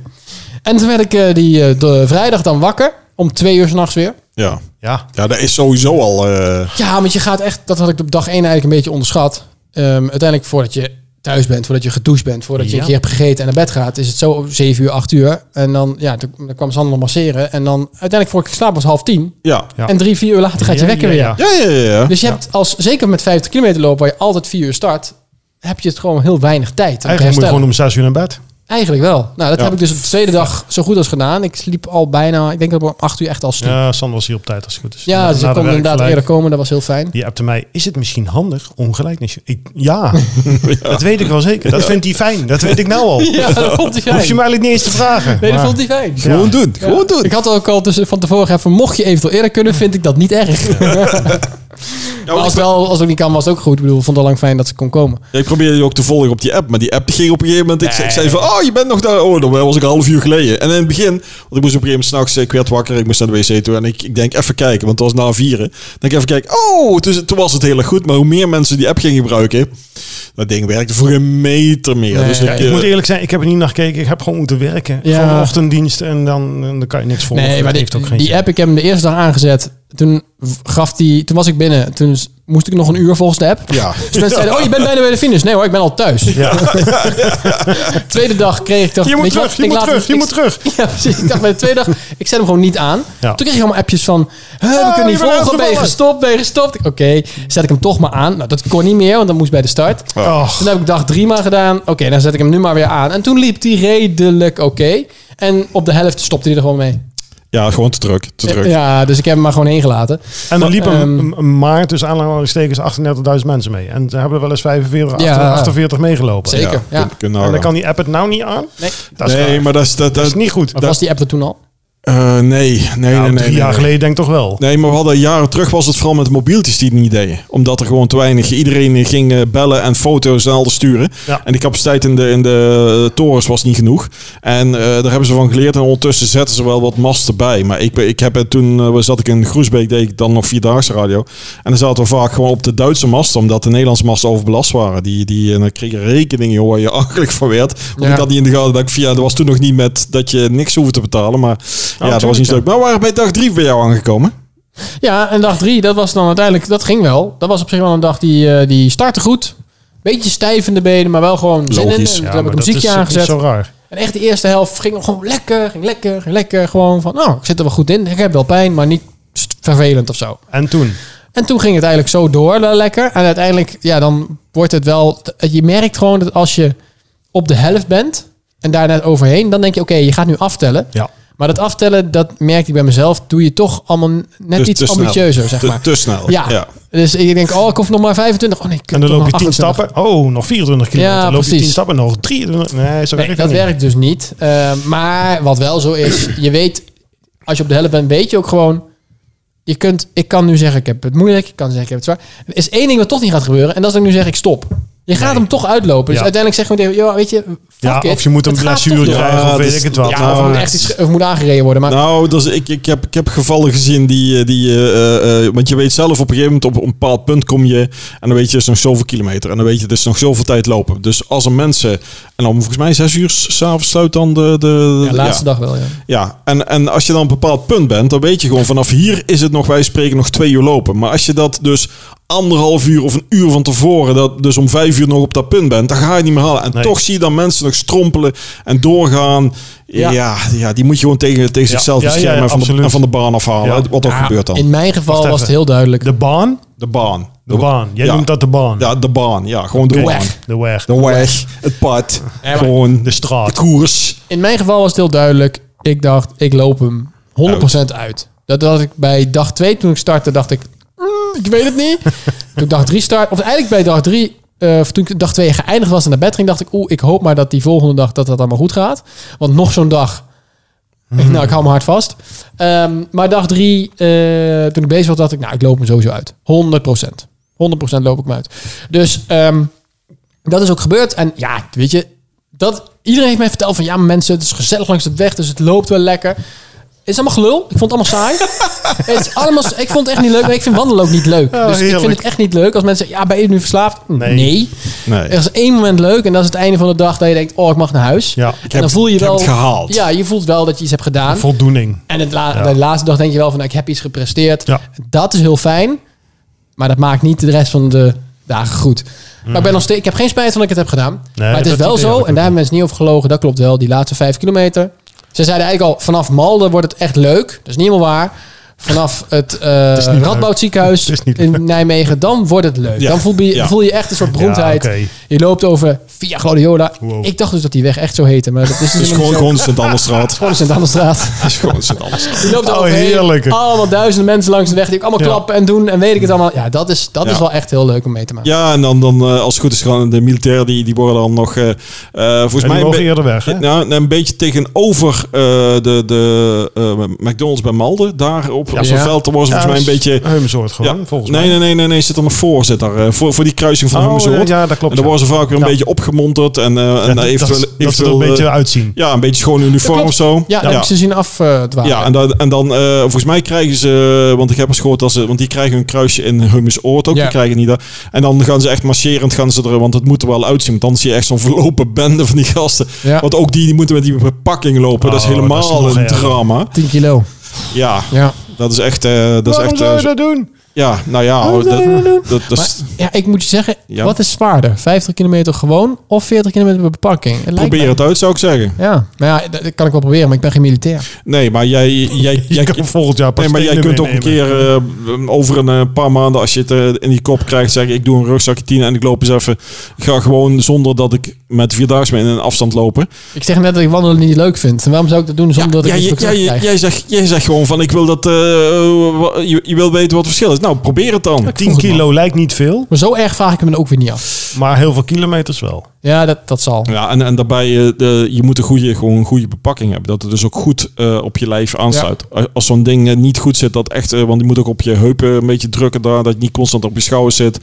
Speaker 4: En toen werd ik eh, die eh, de vrijdag dan wakker, om twee uur s'nachts weer.
Speaker 3: Ja.
Speaker 2: Ja.
Speaker 3: ja, dat is sowieso al... eh,
Speaker 4: Ja, want je gaat echt, dat had ik op dag één eigenlijk een beetje onderschat. Ehm, uiteindelijk voordat je thuis bent, voordat je gedoucht bent, voordat je
Speaker 2: Ja.
Speaker 4: een keer hebt gegeten en naar bed gaat, is het zo op 7 uur, 8 uur. En dan, ja, toen dan kwam Sander nog masseren. En dan uiteindelijk voor ik ging slapen was half tien.
Speaker 3: ja.
Speaker 2: Ja.
Speaker 4: En drie, vier uur later gaat je
Speaker 2: Ja,
Speaker 4: wekker
Speaker 2: ja,
Speaker 4: weer.
Speaker 2: ja.
Speaker 3: Ja, ja, ja. ja.
Speaker 4: Dus je hebt als, zeker met 50 kilometer lopen, waar je altijd vier uur start, heb je het gewoon heel weinig tijd om te
Speaker 2: Eigenlijk moet je
Speaker 4: herstellen.
Speaker 2: gewoon om zes uur naar bed.
Speaker 4: Eigenlijk wel. Nou, dat
Speaker 3: Ja.
Speaker 4: heb ik dus op de tweede dag zo goed als gedaan. Ik sliep al bijna, ik denk dat ik om acht uur echt al sliep. Ja,
Speaker 2: Ja, Sander was hier op tijd als het goed is.
Speaker 4: ja
Speaker 2: Na-
Speaker 4: dus
Speaker 2: na
Speaker 4: ik
Speaker 2: de
Speaker 4: kon inderdaad
Speaker 2: werkverleiding.
Speaker 4: eerder komen, dat was heel fijn.
Speaker 2: Die appte mij, is het misschien handig om gelijk naar Sjoerd- Ik, ja. dat weet ik wel zeker. Dat vindt hij fijn. Dat weet ik nou al.
Speaker 4: Ja, dat vond hij
Speaker 2: Hoef je
Speaker 4: fijn.
Speaker 2: me eigenlijk niet eens te vragen.
Speaker 4: Nee, dat
Speaker 2: Maar-
Speaker 4: vond hij fijn.
Speaker 3: Gewoon doen. Gewoon doen.
Speaker 4: Ik had ook al tussen van tevoren gezegd van mocht je eventueel eerder kunnen, vind ik dat niet erg. maar als, wel, als het ook niet kan, was het ook goed. Ik bedoel, ik vond het al lang fijn dat ze kon komen.
Speaker 2: Oh,
Speaker 3: Ja, ik probeerde je ook te volgen op die app, maar die app die ging op een gegeven moment. Ik, zei- ik zei van, oh, je bent nog daar. Oh, dat was ik een half uur geleden. En in het begin, want ik moest op een gegeven moment s'nachts, eh, ik werd wakker, ik moest naar de wc toe. En ik, ik denk, even kijken, want het was na vieren. Dan denk ik even kijken, oh, toen, toen was het heel erg goed. Maar hoe meer mensen die app gingen gebruiken, dat ding werkte voor een meter meer.
Speaker 4: Nee,
Speaker 3: dus ik,
Speaker 4: kijk,
Speaker 3: eh,
Speaker 2: Ik moet eerlijk zijn, ik heb er niet naar gekeken. Ik heb gewoon moeten werken.
Speaker 4: Ja.
Speaker 2: Gewoon ochtenddienst en dan, en dan kan je niks volgen.
Speaker 4: Nee,
Speaker 2: Dat
Speaker 4: maar die,
Speaker 2: heeft ook geen
Speaker 4: die
Speaker 2: zin.
Speaker 4: app, ik heb hem de eerste dag aangezet. Toen, w- gaf die, toen was ik binnen. Toen s- moest ik nog een uur volgens de app.
Speaker 3: ja.
Speaker 4: Dus mensen zeiden, oh, je bent bijna bij de finish. Nee hoor, ik ben al thuis.
Speaker 2: Ja.
Speaker 4: Tweede dag kreeg ik... Dacht,
Speaker 2: Je moet
Speaker 4: weet
Speaker 2: terug,
Speaker 4: wat,
Speaker 2: je
Speaker 4: ik
Speaker 2: moet
Speaker 4: laat hem-
Speaker 2: terug, je
Speaker 4: ik-
Speaker 2: moet terug.
Speaker 4: Ja, precies. Ik dacht bij de tweede dag, ik zet hem gewoon niet aan.
Speaker 2: Ja.
Speaker 4: Toen kreeg ik allemaal appjes van, "Hè, we
Speaker 2: je
Speaker 4: kunnen niet
Speaker 2: bent
Speaker 4: volgen, ben je
Speaker 2: uitgevallen."
Speaker 4: gestopt, ben je gestopt. Ik, Oké, zet ik hem toch maar aan. Nou, dat kon niet meer, want dat moest bij de start.
Speaker 2: Och.
Speaker 4: Toen heb ik dag drie maar gedaan. Oké, dan zet ik hem nu maar weer aan. En toen liep hij redelijk oké. En op de helft stopte hij er gewoon mee.
Speaker 3: ja, gewoon te druk. Te druk.
Speaker 4: Ja, dus ik heb hem maar gewoon heen gelaten.
Speaker 2: En dan liepen
Speaker 4: Ehm,
Speaker 2: een- een maar tussen aanhalingstekens 38.000 mensen mee. En ze hebben er wel eens 45,
Speaker 4: Ja.
Speaker 2: 48 meegelopen.
Speaker 4: Zeker.
Speaker 3: Ja,
Speaker 4: ja.
Speaker 3: kun- kun
Speaker 2: En
Speaker 3: nagaan.
Speaker 2: dan kan die app het nou niet aan?
Speaker 4: Nee.
Speaker 2: Dat is,
Speaker 3: nee,
Speaker 2: raar.
Speaker 3: maar dat is... Dat,
Speaker 2: dat is
Speaker 3: dat,
Speaker 2: niet goed.
Speaker 4: Maar was die app er toen al?
Speaker 3: eh, nee, nee, nee,
Speaker 2: Nou,
Speaker 3: nee,
Speaker 2: drie
Speaker 3: nee,
Speaker 2: jaar
Speaker 3: nee.
Speaker 2: geleden denk ik toch wel.
Speaker 3: Nee, maar we hadden jaren terug was het vooral met mobieltjes die het niet deden. Omdat er gewoon te weinig. Iedereen ging eh, bellen en foto's en alles sturen.
Speaker 2: Ja.
Speaker 3: En die capaciteit in de, in de eh, torens was niet genoeg. En eh, daar hebben ze van geleerd. En ondertussen zetten ze wel wat masten bij. Maar ik, ben- ik heb het toen eh, zat ik in Groesbeek, deed ik dan nog Vierdaagse radio. En dan zaten we vaak gewoon op de Duitse masten. Omdat de Nederlandse masten overbelast waren. Die, die, en dan kreeg je rekening, joh, waar je eigenlijk van werd. Want
Speaker 4: Ja.
Speaker 3: ik had niet in de gaten dat ik via... Dat was toen nog niet met dat je niks hoefde te betalen. Maar ja, dat
Speaker 2: tuurlijk,
Speaker 3: was niet
Speaker 2: ja.
Speaker 3: zo leuk. Maar we waren bij dag drie bij jou aangekomen.
Speaker 4: Ja, en dag drie, dat was dan uiteindelijk, dat ging wel. Dat was op zich wel een dag die, eh, die startte goed. Beetje stijf in de benen, maar wel gewoon zin in. Dus En
Speaker 3: Logisch,
Speaker 4: toen
Speaker 2: Ja,
Speaker 4: heb ik
Speaker 2: maar
Speaker 4: muziekje
Speaker 2: dat is-
Speaker 4: aangezet.
Speaker 2: is zo raar.
Speaker 4: En echt de eerste helft ging nog gewoon lekker, ging lekker, ging lekker. Gewoon van, nou, ik zit er wel goed in. Ik heb wel pijn, maar niet st- vervelend of zo.
Speaker 2: En toen?
Speaker 4: En toen ging het eigenlijk zo door eh, lekker. En uiteindelijk, ja, dan wordt het wel... Je merkt gewoon dat als je op de helft bent en daar net overheen... dan denk je, oké, je gaat nu aftellen.
Speaker 2: Ja.
Speaker 4: Maar dat aftellen, dat merkte ik bij mezelf... doe je toch allemaal net
Speaker 3: Dus te
Speaker 4: iets
Speaker 3: snel.
Speaker 4: ambitieuzer, zeg
Speaker 3: Te-
Speaker 4: maar.
Speaker 3: Te, snel.
Speaker 4: Ja. Dus ik denk, oh, ik hoef nog maar 25. Oh nee, ik
Speaker 2: En dan
Speaker 4: toch
Speaker 2: loop je
Speaker 4: nog
Speaker 2: 10
Speaker 4: 28.
Speaker 2: stappen. Oh, nog 24 kilometer.
Speaker 4: Ja,
Speaker 2: Dan loop je 10
Speaker 4: precies.
Speaker 2: stappen, nog 23. Nee, zo werkt
Speaker 4: Nee,
Speaker 2: het
Speaker 4: dat
Speaker 2: niet.
Speaker 4: werkt dus niet. Eh, maar wat wel zo is, je weet, als je op de helft bent, weet je ook gewoon. Je kunt, ik kan nu zeggen, ik heb het moeilijk. Ik kan zeggen, ik heb het zwaar. Er is één ding wat toch niet gaat gebeuren. En dat is dat ik nu zeg, ik stop. Je gaat
Speaker 2: Nee.
Speaker 4: hem toch uitlopen. Dus
Speaker 2: Ja.
Speaker 4: uiteindelijk zeg je tegen, joh, weet je, fuck
Speaker 2: Ja,
Speaker 4: it.
Speaker 2: of je moet een
Speaker 4: Het gaat
Speaker 2: blessure
Speaker 4: toch nog.
Speaker 2: krijgen
Speaker 3: Ja,
Speaker 2: of weet
Speaker 3: dat-
Speaker 2: ik het wat.
Speaker 3: ja,
Speaker 4: Ja, of
Speaker 2: Nou,
Speaker 4: er echt iets of moet aangereden worden. Maar
Speaker 3: Nou, dat is, ik, ik, heb, ik heb gevallen gezien die... eh, die eh, eh, want je weet zelf op een gegeven moment... op een bepaald punt kom je... en dan weet je, het is nog zoveel kilometer. En dan weet je, het is nog zoveel tijd lopen. Dus als er mensen... en dan volgens mij zes uur s- s'avonds sluit dan de... de
Speaker 4: ja, laatste dag wel, ja.
Speaker 3: Ja, en, en als je dan op een bepaald punt bent, dan weet je gewoon vanaf hier is het nog, wij spreken nog twee uur lopen. Maar als je dat dus anderhalf uur of een uur van tevoren, dat dus om vijf uur nog op dat punt bent, dan ga je het niet meer halen. En
Speaker 2: Nee.
Speaker 3: toch zie je dan mensen nog strompelen en doorgaan. Ja,
Speaker 2: Ja.
Speaker 3: ja, die moet je gewoon tegen, tegen
Speaker 2: Ja,
Speaker 3: zichzelf
Speaker 2: ja,
Speaker 3: beschermen
Speaker 2: ja,
Speaker 3: en, van de,
Speaker 2: absoluut.
Speaker 3: en van de baan afhalen.
Speaker 2: Ja.
Speaker 3: Wat ook
Speaker 4: Ja,
Speaker 3: gebeurt dan?
Speaker 4: In mijn geval
Speaker 2: Wacht
Speaker 4: was
Speaker 2: even.
Speaker 4: het heel duidelijk.
Speaker 2: De baan?
Speaker 3: De baan.
Speaker 2: De baan. Jij
Speaker 3: ja.
Speaker 2: noemt dat de baan.
Speaker 3: Ja, de baan. Ja, gewoon de
Speaker 2: Oké.
Speaker 3: baan.
Speaker 4: weg.
Speaker 2: De weg.
Speaker 3: De weg, het pad,
Speaker 4: maar-
Speaker 3: gewoon
Speaker 2: De
Speaker 3: de
Speaker 2: straat.
Speaker 3: koers.
Speaker 4: In mijn geval was het heel duidelijk. Ik dacht, ik loop hem 100% uit. Dat dat ik bij dag 2, toen ik startte, dacht ik, "Mm, ik weet het niet. toen ik dag 3 start, of eigenlijk bij dag 3, of toen ik dag 2 geëindigd was en naar bed ging, dacht ik, oeh, ik hoop maar dat die volgende dag dat dat allemaal goed gaat. Want nog zo'n dag. Ik,
Speaker 2: Mhm.
Speaker 4: nou, ik hou me hard vast. Ehm, maar dag 3, toen ik bezig was, dacht ik, nou, ik loop hem sowieso uit. 100%. 100% loop ik hem uit. Dus ehm, dat is ook gebeurd. En ja, weet je, dat, iedereen heeft mij verteld van ja, maar mensen, het is gezellig langs de weg, dus het loopt wel lekker. Het is allemaal gelul. Ik vond het allemaal saai. het is allemaal, ik vond het echt niet leuk. Maar ik vind wandelen ook niet leuk.
Speaker 2: Ja,
Speaker 4: dus ik vind
Speaker 2: Oh, heerlijk.
Speaker 4: het echt niet leuk als mensen zeggen, ja, ben je nu verslaafd?
Speaker 2: Nee.
Speaker 3: Nee.
Speaker 4: Er is één moment leuk en dat is het einde van de dag dat je denkt, oh, ik mag naar huis.
Speaker 2: Ja.
Speaker 4: en dan
Speaker 3: heb-
Speaker 4: voel je
Speaker 3: ik heb
Speaker 4: wel...
Speaker 3: het gehaald.
Speaker 4: Ja, je voelt wel dat je iets hebt gedaan.
Speaker 2: Voldoening.
Speaker 4: En het la-
Speaker 2: Ja.
Speaker 4: bij de laatste dag denk je wel van, nou, ik heb iets gepresteerd.
Speaker 2: Ja.
Speaker 4: Dat is heel fijn. Maar dat maakt niet de rest van de dagen goed. Maar ik, ben nog steeds, ik heb geen spijt van dat ik het heb gedaan. maar het is
Speaker 2: Mm. dat
Speaker 4: wel
Speaker 2: idee
Speaker 4: zo,
Speaker 2: had
Speaker 4: en
Speaker 2: ik
Speaker 4: daar hebben mensen niet over gelogen. Dat klopt wel, die laatste vijf kilometer. Ze zeiden eigenlijk al, vanaf Malden wordt het echt leuk. Dat is niet helemaal waar. Vanaf het, eh
Speaker 2: is niet leuk.
Speaker 4: Radboudziekenhuis
Speaker 2: Het is niet
Speaker 4: in Nijmegen, dan wordt het leuk.
Speaker 3: Ja.
Speaker 4: Dan voel je,
Speaker 3: Ja.
Speaker 4: voel je echt een soort beroemdheid.
Speaker 2: Ja, oké.
Speaker 4: Je loopt over Via Gladiola.
Speaker 2: Wow.
Speaker 4: Ik dacht dus dat die weg echt zo heette, maar dat is dus
Speaker 3: Het is gewoon,
Speaker 4: helemaal
Speaker 3: gewoon Sint-Anderstraat.
Speaker 4: niet zo. Gewoon straat.
Speaker 3: Het is gewoon Sint-Anderstraat.
Speaker 4: Je loopt er
Speaker 2: Oh,
Speaker 4: overheen.
Speaker 2: heerlijk.
Speaker 4: Allemaal duizenden mensen langs de weg die ook allemaal
Speaker 2: Ja.
Speaker 4: klappen en doen en weet ik het allemaal. Ja, dat is, dat
Speaker 3: Mm. Ja.
Speaker 4: is wel echt heel leuk om mee te maken.
Speaker 3: Ja, en dan, dan eh, als het goed is, gaan de militairen die, die worden dan nog eh, eh, volgens
Speaker 2: En die
Speaker 3: mij een,
Speaker 2: mogen
Speaker 3: be-
Speaker 2: eerder weg, hè?
Speaker 3: nou, een beetje tegenover eh, de, de eh, McDonald's bij Malden. Daar op, op zo'n
Speaker 4: Ja.
Speaker 3: veld was
Speaker 2: Ja,
Speaker 3: volgens mij een
Speaker 2: dat is
Speaker 3: beetje.
Speaker 2: Heumensoort gewoon,
Speaker 3: Ja.
Speaker 2: volgens
Speaker 3: nee,
Speaker 2: mij.
Speaker 3: nee, nee, nee, nee, zit er nog voor, zit daar. eh, voor, voor die kruising van
Speaker 2: Oh,
Speaker 3: Heumensoort.
Speaker 2: ja, ja, dat klopt,
Speaker 3: En daar
Speaker 2: ja.
Speaker 3: worden ze vaak weer een
Speaker 2: Ja.
Speaker 3: beetje opgemonterd. En, eh, en
Speaker 2: dat,
Speaker 3: eh,
Speaker 2: dat, dat
Speaker 3: eventueel,
Speaker 2: ze er
Speaker 3: eventueel
Speaker 2: een beetje
Speaker 3: eh,
Speaker 2: uitzien.
Speaker 3: ja, een beetje schoon uniform
Speaker 4: klopt.
Speaker 3: of zo.
Speaker 4: Ja, dan moet je ze zien eh, afdwalen.
Speaker 3: Ja, en dan, en dan eh, volgens mij krijgen ze, want ik heb eens gehoord dat ze, want die krijgen hun kruisje in Hummus Oort ook,
Speaker 4: Ja.
Speaker 3: die krijgen niet dat. En dan gaan ze echt marcherend, gaan ze er, want het moet er wel uitzien, want dan zie je echt zo'n verlopen bende van die gasten.
Speaker 4: Ja.
Speaker 3: Want ook die, die moeten met die verpakking lopen, dat is
Speaker 2: Oh,
Speaker 3: helemaal
Speaker 2: dat is nog
Speaker 3: een
Speaker 2: erger.
Speaker 3: drama.
Speaker 4: 10 kilo.
Speaker 3: Ja,
Speaker 4: Ja.
Speaker 3: dat is echt, eh, dat is
Speaker 2: Waarom
Speaker 3: echt,
Speaker 2: zou je
Speaker 3: eh,
Speaker 2: dat doen?
Speaker 3: ja, nou ja, hoor, dat, dat, dat,
Speaker 4: Maar,
Speaker 3: is-
Speaker 4: ja, ik moet je zeggen,
Speaker 3: Ja.
Speaker 4: wat is zwaarder? 50 kilometer gewoon of 40 kilometer met beparking? Het lijkt
Speaker 3: probeer
Speaker 4: mij-
Speaker 3: het uit zou ik zeggen.
Speaker 4: Ja, maar ja, dat, dat kan ik wel proberen, maar ik ben geen militair.
Speaker 3: Nee, maar jij, jij,
Speaker 2: Je
Speaker 3: jij,
Speaker 2: kan volgend jaar pas
Speaker 3: Nee, maar jij
Speaker 2: stenen
Speaker 3: kunt ook een
Speaker 2: meenemen.
Speaker 3: keer eh, over een eh, paar maanden, als je het eh, in die kop krijgt, zeggen: Ik doe een rugzakje 10 en ik loop eens even. Ik ga gewoon zonder dat ik met vierdaags mee in een afstand lopen.
Speaker 4: Ik zeg net dat ik wandelen niet leuk vind. En waarom zou ik dat doen zonder dat ik
Speaker 3: jij,
Speaker 4: iets
Speaker 3: jij,
Speaker 4: voor terug
Speaker 3: jij,
Speaker 4: krijg?
Speaker 3: jij, zegt, jij zegt gewoon: van Ik wil dat. eh, wa- je, je wil weten wat het verschil is. Nou, probeer het dan.
Speaker 2: 10 kilo lijkt niet veel,
Speaker 4: Maar zo erg vraag ik me dan ook weer niet af.
Speaker 2: maar heel veel kilometers wel.
Speaker 4: Ja, dat, dat zal.
Speaker 3: Ja, en, en daarbij, eh, de- je moet een goede, gewoon een goede bepakking hebben. Dat het dus ook goed eh, op je lijf aansluit. Als zo'n ding eh, niet goed zit, dat echt, eh, want die moet ook op je heupen een beetje drukken daar. Dat je niet constant op je schouder zit.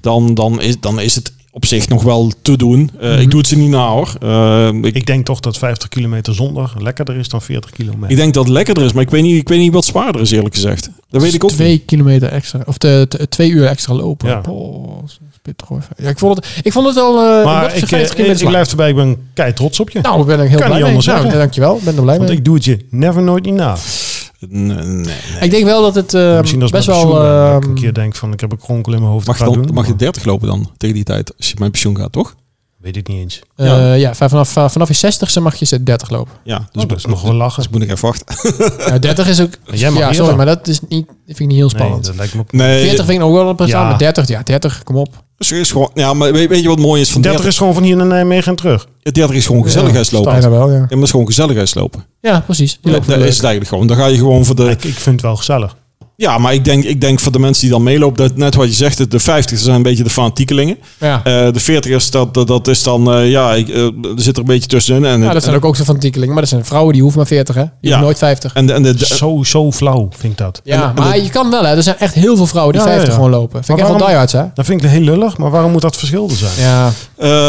Speaker 3: Dan, dan, is, dan is het op zich nog wel te doen. Eh, Ik doe het ze niet na hoor. Eh, ik,
Speaker 2: Ik denk toch dat 50 kilometer zondag lekkerder is dan 40 kilometer.
Speaker 3: ik denk dat het lekkerder is, maar ik weet, niet, ik weet niet wat zwaarder is eerlijk gezegd. Dat weet ik ook
Speaker 4: Dus twee
Speaker 3: niet.
Speaker 4: kilometer extra. Of de, de- twee uur extra lopen.
Speaker 2: Ja.
Speaker 4: Boah, dat is pittig hoor. Ja, ik vond het, ik vond het wel... eh omdat
Speaker 2: maar
Speaker 4: het
Speaker 2: ik, eh,
Speaker 4: 50
Speaker 2: ik,
Speaker 4: kilometer
Speaker 2: ik
Speaker 4: lang.
Speaker 2: blijf erbij, ik ben kei trots op je.
Speaker 4: Nou, daar ben ik heel
Speaker 2: Kan
Speaker 4: blij
Speaker 2: niet
Speaker 4: mee.
Speaker 2: anders
Speaker 4: Nou,
Speaker 2: zeggen.
Speaker 4: dankjewel. Ik ben er blij
Speaker 2: Want
Speaker 4: mee.
Speaker 2: ik
Speaker 4: Ik,
Speaker 2: doe het je never nooit niet na.
Speaker 3: Nee, nee, nee.
Speaker 4: denk wel dat het eh,
Speaker 2: Misschien als ik
Speaker 4: best
Speaker 2: met pensioen
Speaker 4: wel...
Speaker 2: ben, dat ik een
Speaker 4: ehm,
Speaker 2: keer denk van ik heb een kronkel in mijn hoofd.
Speaker 3: Mag, je
Speaker 2: ik ga
Speaker 3: dan,
Speaker 2: doen,
Speaker 3: mag je
Speaker 2: maar
Speaker 3: 30 lopen dan tegen die tijd? Als je mijn pensioen gaat, toch?
Speaker 2: Weet ik niet eens.
Speaker 4: eh,
Speaker 3: Ja.
Speaker 4: ja, vanaf, vanaf je 60ste mag je 30 lopen.
Speaker 3: Ja, dus
Speaker 2: Dus best nog wel
Speaker 3: dus
Speaker 2: lachen.
Speaker 3: moet ik even wachten.
Speaker 4: Ja, 30 is ook...
Speaker 2: Maar jij mag
Speaker 4: ja,
Speaker 2: eerder.
Speaker 4: sorry, maar dat is niet, dat vind ik niet heel
Speaker 2: Nee,
Speaker 4: spannend.
Speaker 2: dat lijkt me ook.
Speaker 3: Nee,
Speaker 4: 40 vind ik nog wel een prestatie,
Speaker 2: Ja.
Speaker 4: maar 30, ja, 30, kom op.
Speaker 3: Dus er is gewoon, ja, maar weet, weet je wat mooi is van
Speaker 2: 30
Speaker 3: 30?
Speaker 2: is gewoon van hier naar Nijmegen en terug.
Speaker 3: Ja, 30 is gewoon gezelligheidslopen.
Speaker 4: Sta je
Speaker 3: Ja,
Speaker 4: daar wel, ja.
Speaker 3: maar dat is gewoon gezelligheidslopen.
Speaker 4: Ja, precies. Die
Speaker 3: Ja,
Speaker 4: lopen
Speaker 3: dat
Speaker 4: leuk.
Speaker 3: is het eigenlijk gewoon. Dan ga je gewoon voor de...
Speaker 2: Ik, ik vind het wel gezellig.
Speaker 3: Ja, maar ik denk, ik denk voor de mensen die dan meelopen, dat net wat je zegt, de- de 50 zijn een beetje de fanatiekelingen.
Speaker 4: Ja.
Speaker 3: Eh, de 40ers, dat, dat, dat is dan, eh, ja, ik, eh, er zit er een beetje tussenin. En,
Speaker 4: Ja, dat zijn ook, ook zo van tiekelingen. Maar dat zijn vrouwen die hoeven maar 40, hè? Die hoeven nooit 50.
Speaker 3: en, en de,
Speaker 4: Dus-
Speaker 3: de-
Speaker 2: Zo, zo flauw vind ik dat.
Speaker 4: ja, maar je kan wel, hè? Er zijn echt heel veel vrouwen die
Speaker 2: Ja, ja,
Speaker 4: 50
Speaker 2: ja.
Speaker 4: gewoon lopen. Vind
Speaker 2: Maar
Speaker 4: ik echt wel
Speaker 2: waarom-
Speaker 4: diehards, hè?
Speaker 2: Dat vind ik heel lullig, maar waarom moet dat verschil er zijn?
Speaker 4: Ja.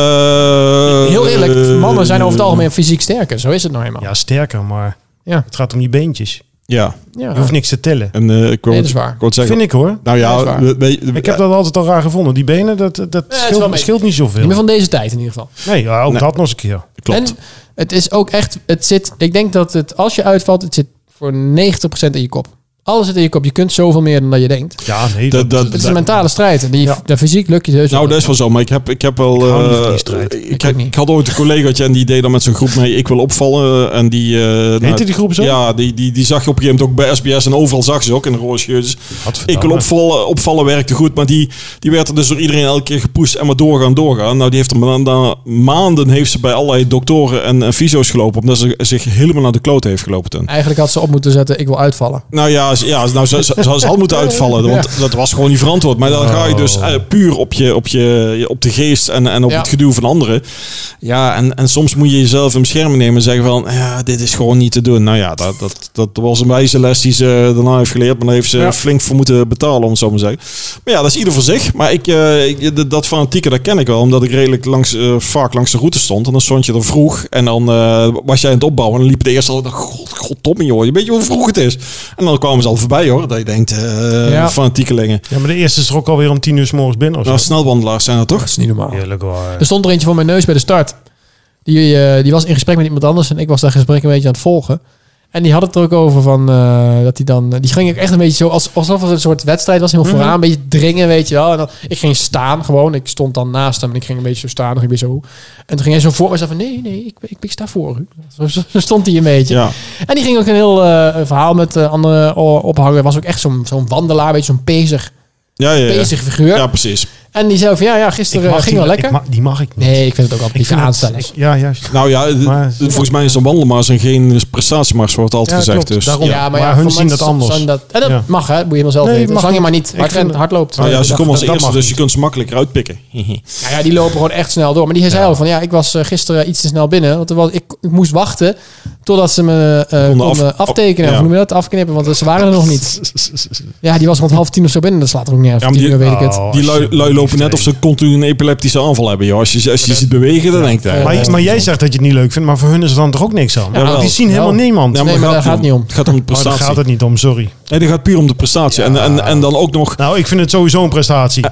Speaker 3: eh,
Speaker 4: Heel eerlijk, mannen zijn over het algemeen fysiek sterker. Zo is het nou eenmaal. Ja.
Speaker 2: Ja, sterker, maar
Speaker 4: Ja.
Speaker 2: het gaat om je beentjes.
Speaker 3: Ja,
Speaker 2: Je hoeft niks te tillen.
Speaker 3: en eh, ik wil
Speaker 4: Nee, dat is waar.
Speaker 3: ik wil het zeggen.
Speaker 2: Vind ik hoor.
Speaker 3: nou
Speaker 4: dat
Speaker 3: ja,
Speaker 4: is waar.
Speaker 3: we- we- eh,
Speaker 2: Ik heb dat altijd al raar gevonden. Die benen, dat, dat
Speaker 4: wel
Speaker 2: scheelt,
Speaker 4: mee.
Speaker 2: scheelt niet
Speaker 4: Niet meer
Speaker 2: zoveel.
Speaker 4: van deze tijd in ieder geval.
Speaker 2: Nee, ja, ook
Speaker 3: Nee.
Speaker 2: dat nog eens een keer.
Speaker 3: klopt.
Speaker 4: En het is ook echt, het zit, ik denk dat het als je uitvalt, het zit voor 90% in je kop. Alles zit in je kop. Je kunt zoveel meer dan dat je denkt.
Speaker 2: Ja, nee.
Speaker 3: Dat-
Speaker 2: Dat,
Speaker 3: dat-
Speaker 4: Het is een mentale strijd. Die,
Speaker 2: Ja.
Speaker 4: De fysiek lukt je dus.
Speaker 3: nou,
Speaker 4: wel.
Speaker 3: dat is wel zo, maar ik heb, ik heb wel.
Speaker 2: Ik hou niet
Speaker 3: eh,
Speaker 2: van die strijd.
Speaker 3: ik,
Speaker 4: Ik
Speaker 3: heb-
Speaker 4: ook niet.
Speaker 3: ik had ooit een collegaatje en die deed dan met zo'n groep mee. Ik wil opvallen. En die. eh, nou,
Speaker 2: die groep zo?
Speaker 3: Ja, die, die, die zag je op een gegeven moment ook bij SBS en overal zag ze ook in de roze shirts. Ik wil opvallen, opvallen werkte goed, maar die, die werd er dus door iedereen elke keer gepoest en maar doorgaan, doorgaan. Nou, die heeft er ma- na maanden heeft ze bij allerlei doktoren en, en fysio's gelopen, omdat ze zich helemaal naar de kloot heeft gelopen toen.
Speaker 4: Eigenlijk had ze op moeten zetten, ik wil uitvallen.
Speaker 3: Nou ja, ze- ja nou, ze, ze, ze had moeten uitvallen, want dat was gewoon niet verantwoord. Maar dan ga je dus eh, puur op, je, op, je, op de geest en, en op
Speaker 4: Ja.
Speaker 3: het geduw van anderen. Ja, en, en soms moet je jezelf in bescherming nemen en zeggen van, ja, dit is gewoon niet te doen. Nou ja, dat, dat, dat was een wijze les die ze daarna heeft geleerd, maar daar heeft ze
Speaker 4: Ja.
Speaker 3: flink voor moeten betalen, om het zo maar te zeggen. Maar ja, dat is ieder voor zich. Maar ik, eh, ik- d- dat fanatieke, dat ken ik wel, omdat ik redelijk langs, eh, vaak langs de route stond. En dan stond je er vroeg en dan eh, was jij aan het opbouwen en dan liep de eerste al, god, god Tommy hoor, je weet je hoe vroeg het is. En dan kwamen ze al voorbij hoor, dat je denkt, eh
Speaker 4: Ja.
Speaker 3: fanatiekelingen.
Speaker 2: Ja, maar de eerste is er ook alweer om tien uur s morgens binnen of zo.
Speaker 3: Nou, snelwandelaars zijn dat toch?
Speaker 4: Dat is niet normaal.
Speaker 2: Heerlijk hoor.
Speaker 4: Er stond er eentje voor mijn neus bij de start. Die, eh, die was in gesprek met iemand anders en ik was dat gesprek een beetje aan het volgen. En die had het er ook over van eh, dat hij dan. Die ging ook echt een beetje zo. als- Alsof het een soort wedstrijd was.
Speaker 3: Mhm.
Speaker 4: Helemaal vooraan. Een beetje dringen, weet je wel. En dan, ik ging staan gewoon. Ik stond dan naast hem. En ik ging een beetje zo staan. En ging weer zo. En toen ging hij zo voor me. zei van nee, nee, ik, ik, ik sta voor u. Zo, zo- zo stond hij een beetje.
Speaker 3: Ja.
Speaker 4: En die ging ook een heel eh, verhaal met eh, andere o- ophangen. Was ook echt zo'n zo'n wandelaar. Weet je, zo'n pezig,
Speaker 3: Ja, ja, ja.
Speaker 4: pezig figuur.
Speaker 3: ja, precies.
Speaker 4: En die zei ook van ja, ja gisteren eh, ging
Speaker 2: die,
Speaker 4: wel
Speaker 2: ik
Speaker 4: lekker.
Speaker 2: ma- die mag ik niet.
Speaker 4: Nee, ik vind het ook altijd
Speaker 2: ik
Speaker 4: niet
Speaker 2: vind
Speaker 4: aanstelling.
Speaker 2: het- ik- Ja, juist.
Speaker 3: Nou ja, d-
Speaker 2: Maar-
Speaker 3: d- volgens mij is een wandelmars en geen prestatiemars, wordt altijd
Speaker 2: Ja,
Speaker 3: gezegd.
Speaker 2: klopt.
Speaker 3: Dus.
Speaker 2: Daarom.
Speaker 4: Ja, maar,
Speaker 2: Maar
Speaker 4: ja,
Speaker 2: hun
Speaker 4: voor
Speaker 2: zien
Speaker 4: mensen
Speaker 2: dat anders.
Speaker 4: zijn Dat, en dat
Speaker 2: Ja.
Speaker 4: mag, hè? Moet je helemaal zelf
Speaker 2: Nee,
Speaker 4: weten.
Speaker 2: mag
Speaker 4: Zolang je maar
Speaker 2: niet.
Speaker 4: niet
Speaker 2: Ik
Speaker 4: hard,
Speaker 2: vind-
Speaker 4: rent, hard loopt.
Speaker 3: Nou ja, ze
Speaker 2: dat-
Speaker 3: komen als
Speaker 2: dat
Speaker 3: eerste,
Speaker 2: mag
Speaker 3: dus
Speaker 2: niet.
Speaker 3: je kunt ze makkelijker uitpikken.
Speaker 4: Ja, ja, die lopen gewoon echt snel door. Maar die zei al van, ja, ik was eh, gisteren iets te snel binnen. Want er was, ik, ik moest wachten totdat ze me eh
Speaker 3: Konden
Speaker 4: konden
Speaker 3: af-
Speaker 4: aftekenen.
Speaker 3: ja.
Speaker 4: Of hoe noem je dat? Afknippen, want ze waren er nog niet. Ja, die was rond half tien of zo binnen. Dat slaat er ook niet uit.
Speaker 3: Ja,
Speaker 4: Ja,
Speaker 3: maar
Speaker 4: tien
Speaker 3: die-
Speaker 4: uur weet ik het.
Speaker 2: Oh,
Speaker 3: Die lui, lui lopen net of
Speaker 2: alsjeblieft,
Speaker 3: ze continu een epileptische aanval hebben. Joh. Als je, als je ziet bewegen, dan denk je...
Speaker 4: Maar-
Speaker 3: eh,
Speaker 2: nee. Maar, maar jij zegt dat je het niet leuk vindt, maar voor hun is er dan toch ook niks aan? Ah,
Speaker 3: Jawel.
Speaker 2: die zien helemaal
Speaker 4: Wel.
Speaker 2: niemand.
Speaker 3: Ja,
Speaker 4: Nee, maar daar gaat het niet om.
Speaker 3: Het gaat om de
Speaker 2: maar daar
Speaker 3: prestatie.
Speaker 2: gaat het niet om, sorry.
Speaker 3: Nee, dat gaat puur om de prestatie. En, en, en dan ook nog...
Speaker 2: Nou, ik vind het sowieso een prestatie.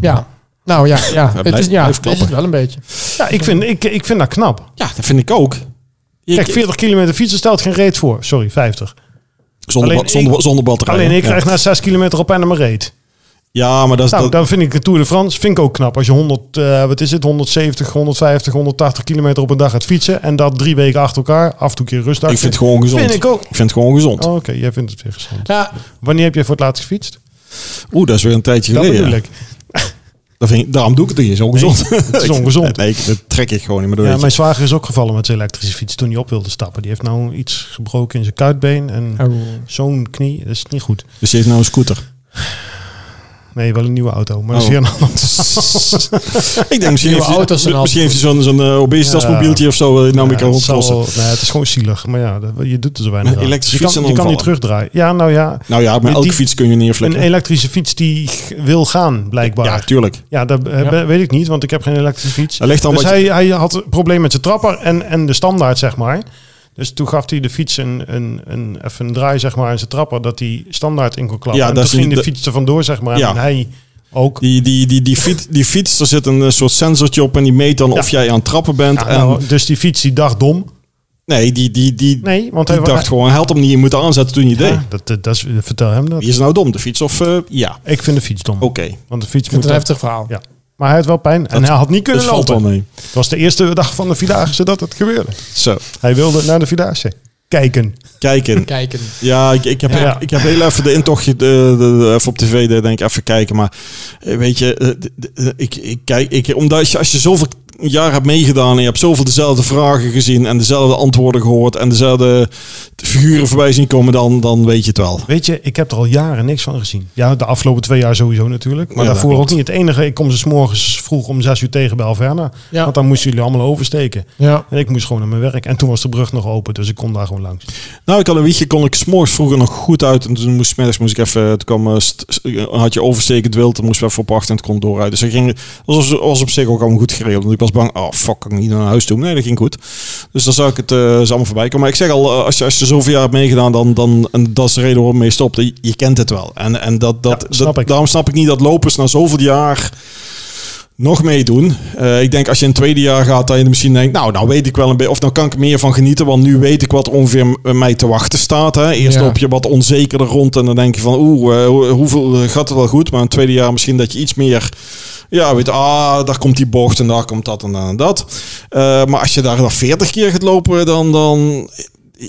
Speaker 4: Ja. Nou ja, ja. het is,
Speaker 3: blijft- blijft
Speaker 4: ja, het is het
Speaker 3: klappen.
Speaker 4: wel een beetje.
Speaker 2: Ja, ik vind, ik, ik vind dat knap.
Speaker 3: Ja, dat vind ik ook. Je-
Speaker 2: Kijk, 40 kilometer fietsen stelt geen reet voor. Sorry, 50.
Speaker 3: zonder,
Speaker 2: alleen
Speaker 3: ba- zonder,
Speaker 2: ik-
Speaker 3: zonder batterij.
Speaker 2: Alleen ik
Speaker 3: ja.
Speaker 2: krijg na 6 kilometer op en mijn reet.
Speaker 3: Ja, maar dat is...
Speaker 2: Nou,
Speaker 3: dat-
Speaker 2: dan vind ik de Tour de France vind ik ook knap. Als je 100, eh, wat is het, 170, 150, 180 kilometer op een dag gaat fietsen. En dat drie weken achter elkaar. Af en toe een keer rustdag.
Speaker 3: ik vind het gewoon gezond.
Speaker 2: Vind ik ook.
Speaker 3: vind het gewoon gezond.
Speaker 2: Oh, Oké, jij vindt het weer gezond.
Speaker 4: Ja,
Speaker 2: Wanneer heb jij voor het laatst gefietst?
Speaker 3: Oeh, dat is weer een tijdje
Speaker 2: Dat
Speaker 3: geleden.
Speaker 2: bedoel
Speaker 3: ja.
Speaker 2: ik.
Speaker 3: Dat vind ik- daarom doe ik het niet. Het is ongezond.
Speaker 2: het is ongezond.
Speaker 3: nee, ik- dat trek ik gewoon niet meer door.
Speaker 2: Ja,
Speaker 3: weet je.
Speaker 2: mijn zwager is ook gevallen met zijn elektrische fiets toen hij op wilde stappen. Die heeft nou iets gebroken in zijn kuitbeen en zo'n knie. Dat is niet goed.
Speaker 3: Dus je heeft nou een scooter.
Speaker 2: Nee, wel een nieuwe auto. Maar dat is
Speaker 3: Oh.
Speaker 2: weer een ander.
Speaker 3: ik denk misschien
Speaker 4: Nieuwe
Speaker 3: heeft hij-
Speaker 4: auto's zijn al-
Speaker 3: misschien heeft hij zo'n zo'n eh, obesitasmobieltje of zo. eh, Nou, ik
Speaker 2: Ja,
Speaker 3: kan
Speaker 2: het zal
Speaker 3: rondlossen.
Speaker 2: wel- nee, het is gewoon zielig. Maar ja, dat- je doet er zo weinig
Speaker 3: Een
Speaker 2: aan.
Speaker 3: elektrische
Speaker 2: je kan,
Speaker 3: fiets en
Speaker 2: je kan niet
Speaker 3: omvallen.
Speaker 2: terugdraaien. Ja, nou ja.
Speaker 3: Nou ja, met
Speaker 2: Die-
Speaker 3: elke
Speaker 2: die-
Speaker 3: fiets kun je
Speaker 2: Een
Speaker 3: neerflikken.
Speaker 2: elektrische fiets die g- wil gaan, blijkbaar.
Speaker 3: Ja,
Speaker 2: Ja,
Speaker 3: tuurlijk.
Speaker 2: dat eh,
Speaker 4: Ja.
Speaker 2: be- weet ik niet, want ik heb geen elektrische fiets.
Speaker 3: Dat ligt aan
Speaker 2: Dus
Speaker 3: wat je-
Speaker 2: hij, hij had een probleem met zijn trapper en, en de standaard, zeg maar. Dus toen gaf hij de fiets een, een, een, even een draai, zeg maar, aan zijn trapper, dat hij standaard in kon klappen.
Speaker 3: Ja,
Speaker 2: en
Speaker 3: dat
Speaker 2: toen
Speaker 3: is
Speaker 2: ging
Speaker 3: niet-
Speaker 2: de fiets er vandoor, zeg maar.
Speaker 3: Ja.
Speaker 2: En hij ook.
Speaker 3: Die, die, die, die, fiets, die fiets, daar zit een eh, soort sensortje op en die meet dan of jij aan het trappen bent.
Speaker 2: Ja,
Speaker 3: en,
Speaker 2: nou, dus die fiets die dacht dom.
Speaker 3: nee, die, die, die,
Speaker 2: Nee, want
Speaker 3: die
Speaker 2: hij
Speaker 3: dacht gewoon, hij had hem niet moeten aanzetten toen je
Speaker 2: Ja,
Speaker 3: deed.
Speaker 2: dat, dat, dat is- vertel hem dat.
Speaker 3: Wie is nou dom, de fiets of... eh, ja,
Speaker 2: Ik vind de fiets dom.
Speaker 3: oké.
Speaker 2: Want de fiets
Speaker 4: ik vind het
Speaker 2: moet
Speaker 4: een heftig verhaal.
Speaker 2: Ja. Maar hij had wel pijn en hij had niet
Speaker 3: Dat
Speaker 2: kunnen
Speaker 3: valt wel
Speaker 2: lopen.
Speaker 3: mee.
Speaker 2: Het was de eerste dag van de Vierdaagse dat het gebeurde.
Speaker 3: Zo.
Speaker 2: Hij wilde naar de Vierdaagse. kijken.
Speaker 3: Kijken.
Speaker 4: Kijken.
Speaker 3: Ja, ik, ik, heb,
Speaker 2: Ja.
Speaker 3: Ik, heb heel even de intochtje de, de- de- even op tv, de, denk ik, even kijken. Maar eh, weet je, eh, de- de- ik, ik kijk, ik, omdat je, als je zoveel jaar hebt meegedaan en je hebt zoveel dezelfde vragen gezien en dezelfde antwoorden gehoord en dezelfde figuren voorbij zien komen, dan, dan weet je het wel.
Speaker 2: Weet je, ik heb er al jaren niks van gezien. Ja, de afgelopen twee jaar sowieso natuurlijk. Maar
Speaker 3: Ja,
Speaker 2: daarvoor
Speaker 3: dat
Speaker 2: ook niet het enige. Ik kom ze 's morgens vroeg om zes uur tegen bij Alverna.
Speaker 4: Ja.
Speaker 2: Want dan moesten jullie allemaal oversteken.
Speaker 4: Ja.
Speaker 2: En ik moest gewoon naar mijn werk. En toen was de brug nog open, dus ik kon daar gewoon langs.
Speaker 3: Nou, ik had een wiegje, kon ik s'morgens vroeger nog goed uit. En toen moest, 's middags moest ik even, toen kwam, eh, st- st- had je overstekend wild, dan moesten we even op wachten en het kon dooruit. Dus dat ging, was, op- was op zich ook allemaal goed geregeld. Want ik was bang, oh fuck, kan ik niet naar huis toe? Nee, dat ging goed. Dus dan zou ik het eh, is allemaal voorbij komen. Maar ik zeg al, eh, als je, als je zoveel jaar hebt meegedaan, dan, dan en dat is de reden waarom je mee stopt. Je, je kent het wel. En, en dat, dat,
Speaker 2: Ja, snap
Speaker 3: dat-
Speaker 2: ik.
Speaker 3: daarom snap ik niet dat lopers na zoveel jaar nog meedoen. Eh, ik denk als je in het tweede jaar gaat, dat je misschien denkt, nou, nou weet ik wel een beetje, of nou kan ik er meer van genieten, want nu weet ik wat ongeveer m- eh, mij te wachten staat. Hè. Eerst
Speaker 4: Ja.
Speaker 3: loop je wat onzekerder rond en dan denk je van, oeh, eh, hoe- hoeveel eh, gaat het wel goed? Maar in het tweede jaar misschien dat je iets meer, ja, weet, ah, daar komt die bocht en daar komt dat en daar en dat. Eh, maar als je daar dan 40 keer gaat lopen, dan, dan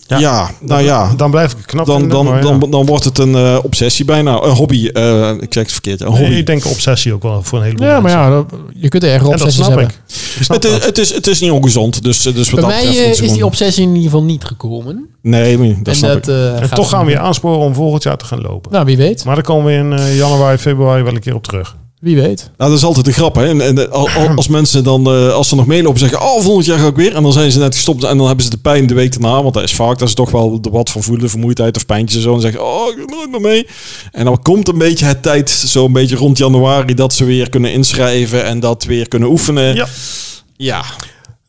Speaker 3: ja, nou ja.
Speaker 2: Dan blijf ik het knap
Speaker 3: Dan,
Speaker 2: vinden,
Speaker 3: dan,
Speaker 2: maar ja.
Speaker 3: dan, dan wordt het een eh, obsessie bijna. Een hobby. eh, ik zeg het verkeerd. Een hobby.
Speaker 2: Nee, ik denk obsessie ook wel voor een heleboel
Speaker 4: Ja, maar
Speaker 2: mensen.
Speaker 4: ja, dat- je kunt er
Speaker 2: En
Speaker 4: erg
Speaker 2: dat
Speaker 4: obsessies
Speaker 2: snap
Speaker 4: hebben.
Speaker 2: ik. Ik snap
Speaker 3: Het eh, is,
Speaker 2: dat.
Speaker 3: het, is, het is niet ongezond, dus, dus wat
Speaker 4: Bij
Speaker 3: dat
Speaker 4: mij
Speaker 3: betreft
Speaker 4: eh,
Speaker 3: moet je
Speaker 4: is die
Speaker 3: gewoon-
Speaker 4: obsessie in ieder geval niet gekomen.
Speaker 3: Nee, nee, dat
Speaker 4: en
Speaker 3: snap
Speaker 4: dat,
Speaker 3: ik.
Speaker 4: eh,
Speaker 2: En toch
Speaker 4: gaat
Speaker 2: gaan we je
Speaker 4: gebeuren.
Speaker 2: aansporen om volgend jaar te gaan lopen.
Speaker 4: Nou, wie weet.
Speaker 2: Maar daar komen we in eh, januari, februari wel een keer op terug.
Speaker 4: Wie weet.
Speaker 3: Nou, dat is altijd de grap, hè. En, en eh, al- al- als mensen dan, eh, als ze nog meelopen, zeggen, oh, volgend jaar ga ik weer. En dan zijn ze net gestopt en dan hebben ze de pijn de week daarna, want dat is vaak, dat ze toch wel wat van voelen, vermoeidheid of pijntjes en zo. En zeggen, oh, ik doe nooit meer mee. En dan komt een beetje het tijd, zo een beetje rond januari, dat ze weer kunnen inschrijven en dat weer kunnen oefenen.
Speaker 2: Ja.
Speaker 3: Ja.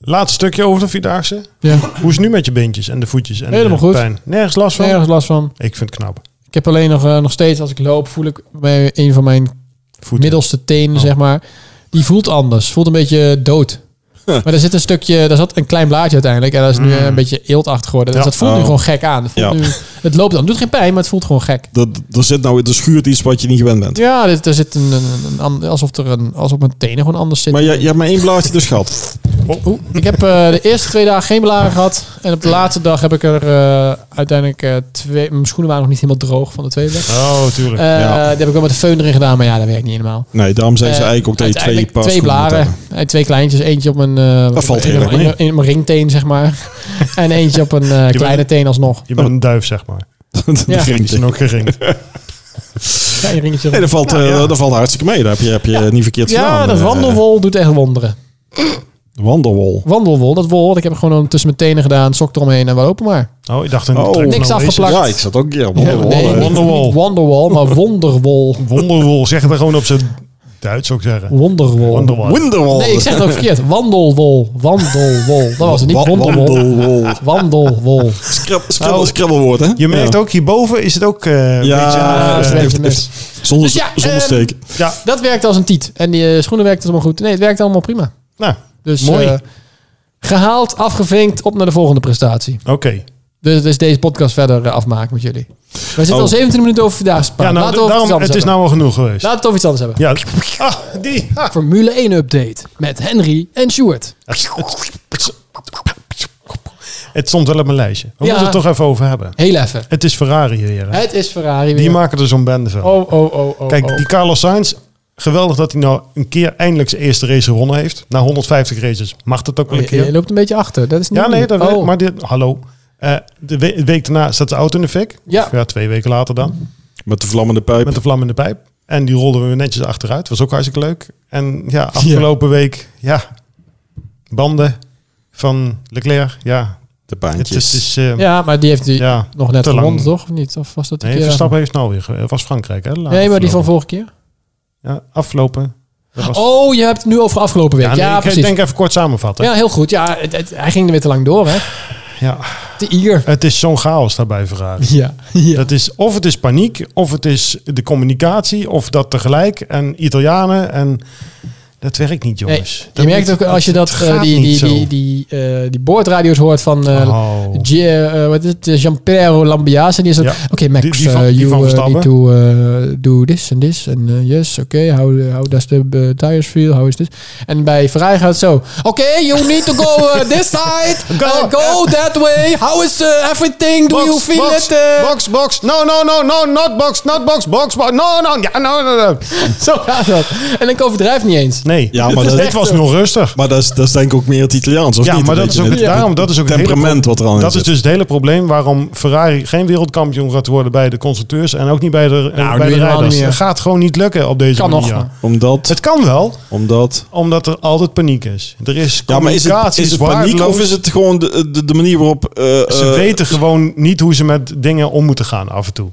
Speaker 2: Laatste stukje over de Vierdaagse.
Speaker 4: Ja,
Speaker 2: Hoe is het nu met je beentjes en de voetjes en
Speaker 4: Helemaal
Speaker 2: de
Speaker 4: goed.
Speaker 2: pijn? Nergens last van?
Speaker 4: nergens last van.
Speaker 2: Ik vind het knap.
Speaker 4: Ik heb alleen nog, eh, nog steeds, als ik loop, voel ik bij een van mijn
Speaker 2: Voeten. Oh.
Speaker 4: middelste tenen, zeg maar. Die voelt anders. Voelt een beetje dood. Maar er zit een stukje, daar zat een klein blaadje uiteindelijk. En dat is nu eh, een beetje eeltachtig geworden. Dus
Speaker 2: Mm. Ja.
Speaker 4: dat voelt nu
Speaker 3: Oh.
Speaker 4: gewoon gek aan. Dat voelt
Speaker 3: Ja.
Speaker 4: nu, het loopt dan. Het doet geen pijn, maar het voelt gewoon gek.
Speaker 3: Dat, er zit nou, er schuurt iets wat je niet gewend bent.
Speaker 4: Ja, dit, er zit een, een, een an- alsof er een, alsof mijn tenen gewoon anders zitten.
Speaker 3: Maar je, je hebt maar één blaadje dus gehad.
Speaker 4: Oeh, ik heb eh, de eerste twee dagen geen blaren gehad. En op de laatste dag heb ik er eh, uiteindelijk eh, twee. Mijn schoenen waren nog niet helemaal droog van de tweede dag.
Speaker 2: Oh, tuurlijk.
Speaker 4: Eh,
Speaker 3: Ja.
Speaker 4: Die heb ik wel met de föhn erin gedaan, maar ja, dat werkt niet helemaal.
Speaker 3: Nee, daarom zijn ze
Speaker 4: Eh,
Speaker 3: eigenlijk ook dat je twee
Speaker 4: uiteindelijk
Speaker 3: pas
Speaker 4: twee blaren. En twee kleintjes. Eentje op mijn, eh,
Speaker 3: Dat valt
Speaker 4: in,
Speaker 3: redelijk
Speaker 4: in, in mijn ringteen, zeg maar. en eentje op een eh, kleine
Speaker 2: bent-
Speaker 4: teen alsnog.
Speaker 2: je bent een duif, zeg maar.
Speaker 3: De
Speaker 4: Ja.
Speaker 2: Die
Speaker 3: grinten.
Speaker 2: zijn ook geringd.
Speaker 4: Klein ringetje.
Speaker 3: Nee, dat valt, eh,
Speaker 2: Nou, ja.
Speaker 3: dat valt hartstikke mee. Daar heb je, heb je niet verkeerd gedaan.
Speaker 4: ja, dat
Speaker 3: Eh,
Speaker 4: wandelwol doet echt wonderen.
Speaker 3: Wandelwol.
Speaker 4: Wandelwol, dat wol, dat ik heb ik gewoon tussen mijn tenen gedaan, sok eromheen en we lopen maar.
Speaker 2: Oh, ik dacht een
Speaker 3: Oh.
Speaker 2: trek van
Speaker 4: Niks
Speaker 2: Oasis.
Speaker 4: afgeplakt.
Speaker 3: Ja, ik zat ook een keer op
Speaker 4: Ja,
Speaker 3: wandelwol.
Speaker 4: nee,
Speaker 3: eh.
Speaker 4: niet-
Speaker 2: Wonderwol.
Speaker 4: niet Wonderwol, maar wonderwol.
Speaker 2: Wonderwol, zeg het dan gewoon op zijn Duits ook zeggen.
Speaker 4: Wonderwol.
Speaker 3: eh,
Speaker 2: Wonderwol.
Speaker 3: Winderwol.
Speaker 2: Oh.
Speaker 4: Nee, ik zeg het ook verkeerd. Wandelwol. Wandelwol. Dat was het niet.
Speaker 3: Wa-
Speaker 4: Wonderwol.
Speaker 3: Wandelwol.
Speaker 4: Wandelwol.
Speaker 3: Scrib- scribbel- Scribbelwoord, hè?
Speaker 2: Nou, Je merkt
Speaker 3: ja.
Speaker 2: ook, hierboven is het ook eh, een
Speaker 3: Ja,
Speaker 4: dat is een
Speaker 2: beetje...
Speaker 4: beetje mis.
Speaker 3: Zonder,
Speaker 4: Dus ja,
Speaker 3: zonder
Speaker 4: ehm,
Speaker 3: steek.
Speaker 2: eh, ja,
Speaker 4: Dat werkt als een tiet. En die eh, schoenen werkte allemaal goed. Nee, het werkt allemaal prima.
Speaker 2: nou,
Speaker 4: Dus
Speaker 2: Mooi.
Speaker 4: eh, gehaald, afgevinkt, op naar de volgende prestatie.
Speaker 2: oké.
Speaker 4: Dus het is deze podcast verder eh, afmaken met jullie. We zitten
Speaker 3: Oh.
Speaker 4: al 17 minuten over vandaag.
Speaker 2: Ja,
Speaker 4: Laten we
Speaker 2: nou,
Speaker 4: over iets
Speaker 2: daarom,
Speaker 4: anders
Speaker 2: het is
Speaker 4: hebben.
Speaker 2: nou al genoeg geweest.
Speaker 4: Laten we het over iets anders hebben.
Speaker 2: Ja, ah, die. ah.
Speaker 4: Formule 1 update met Henry en Stuart.
Speaker 2: Het stond wel op mijn lijstje. We
Speaker 4: Ja.
Speaker 2: moeten het toch even over hebben.
Speaker 4: Heel even.
Speaker 2: Het is Ferrari hier. hè.
Speaker 4: Het is Ferrari weer.
Speaker 2: Die maken er zo'n bende van.
Speaker 4: oh, oh, oh, oh.
Speaker 2: Kijk,
Speaker 4: oh.
Speaker 2: die Carlos Sainz, geweldig dat hij nou een keer eindelijk zijn eerste race gewonnen heeft. Na 150 races mag dat ook wel een
Speaker 4: Je, je
Speaker 2: keer.
Speaker 4: loopt een beetje achter. Dat is niet
Speaker 2: Ja, nee, dat weet ik.
Speaker 4: Oh.
Speaker 2: Maar dit, hallo. Eh, de we- week daarna staat zijn auto in de fik.
Speaker 4: Ja.
Speaker 2: Of Ja, twee weken later dan.
Speaker 3: Met de vlammende pijp.
Speaker 2: Met de vlam in de pijp. En die rolden we netjes achteruit. Was ook hartstikke leuk. En ja, afgelopen week, ja, banden van Leclerc. Ja,
Speaker 3: de
Speaker 2: het
Speaker 3: baantjes.
Speaker 2: is... het is, eh,
Speaker 4: Ja, maar die heeft die
Speaker 2: ja.
Speaker 4: nog net
Speaker 2: te lang.
Speaker 4: gewonnen, toch? Of niet? Of was dat de
Speaker 2: Nee,
Speaker 4: keer?
Speaker 2: Verstappen heeft nou weer... ge- Het was Frankrijk, hè? de laatste
Speaker 4: Nee, maar die van
Speaker 2: afgelopen.
Speaker 4: vorige keer.
Speaker 2: Ja, afgelopen. Dat was-
Speaker 4: Oh, je hebt het nu over afgelopen week.
Speaker 2: Ja,
Speaker 4: Ja,
Speaker 2: nee, ik
Speaker 4: precies.
Speaker 2: denk even kort samenvatten.
Speaker 4: ja, heel goed. Ja, het- het- hij ging er weer te lang door, hè?
Speaker 2: ja.
Speaker 4: Te ier.
Speaker 2: Het is zo'n chaos daarbij Ferrari.
Speaker 4: Ja. ja.
Speaker 2: Dat is, of het is paniek, of het is de communicatie, of dat tegelijk. En Italianen en Dat werkt niet,
Speaker 4: Nee,
Speaker 2: jongens.
Speaker 4: je
Speaker 2: Dat
Speaker 4: merkt
Speaker 2: moet-
Speaker 4: ook als je dat,
Speaker 2: het
Speaker 4: eh,
Speaker 2: gaat
Speaker 4: die,
Speaker 2: niet
Speaker 4: die,
Speaker 2: zo.
Speaker 4: die, die, eh, die boordradio's hoort van eh,
Speaker 2: Oh.
Speaker 4: G- eh, wat is het? Eh, Jean-Pierre Lambiase. Die is ook,
Speaker 2: Ja.
Speaker 4: oké Max,
Speaker 2: Die- die van-
Speaker 4: eh,
Speaker 2: die van
Speaker 4: you eh,
Speaker 2: Verstappen.
Speaker 4: need to eh, do this and this. En eh, yes, oké, how, how does the eh, tires feel? How is this? En bij Ferrari gaat het zo. Oké, you need to go eh, this side.
Speaker 2: Go.
Speaker 4: Eh, go that way. How is eh, everything? Do you
Speaker 2: Box,
Speaker 4: feel
Speaker 2: box,
Speaker 4: it? eh?
Speaker 2: box, box. No, no, no, no, not box, not box, box, box. No, no, ja, no, no, no.
Speaker 4: Zo gaat dat. En ik overdrijf niet eens.
Speaker 2: Nee,
Speaker 3: Ja, maar
Speaker 2: maar
Speaker 3: dat-
Speaker 2: dit was nog rustig.
Speaker 3: Maar dat is, dat is denk ik ook meer het Italiaans, of
Speaker 2: Ja,
Speaker 3: niet?
Speaker 2: maar
Speaker 3: Een
Speaker 2: dat is
Speaker 3: beetje
Speaker 2: ook,
Speaker 3: het-
Speaker 2: daarom, dat is ook het hele
Speaker 3: temperament wat er aan
Speaker 2: Dat is dus het hele probleem waarom Ferrari geen wereldkampioen gaat worden bij de constructeurs en ook niet bij de, eh,
Speaker 4: Nou,
Speaker 2: bij
Speaker 4: nu
Speaker 2: de
Speaker 4: helemaal
Speaker 2: rijders.
Speaker 4: niet meer.
Speaker 2: Dat gaat gewoon niet lukken op deze
Speaker 4: Kan nog,
Speaker 2: manier.
Speaker 4: maar.
Speaker 3: Omdat,
Speaker 2: Het kan wel,
Speaker 3: omdat...
Speaker 2: omdat er altijd paniek is. Er is
Speaker 3: Ja, maar is
Speaker 2: communicatie,
Speaker 3: het, is het paniek
Speaker 2: waardeloos.
Speaker 3: of is het gewoon de, de, de manier waarop... eh,
Speaker 2: Ze
Speaker 3: eh,
Speaker 2: weten gewoon niet hoe ze met dingen om moeten gaan af en toe.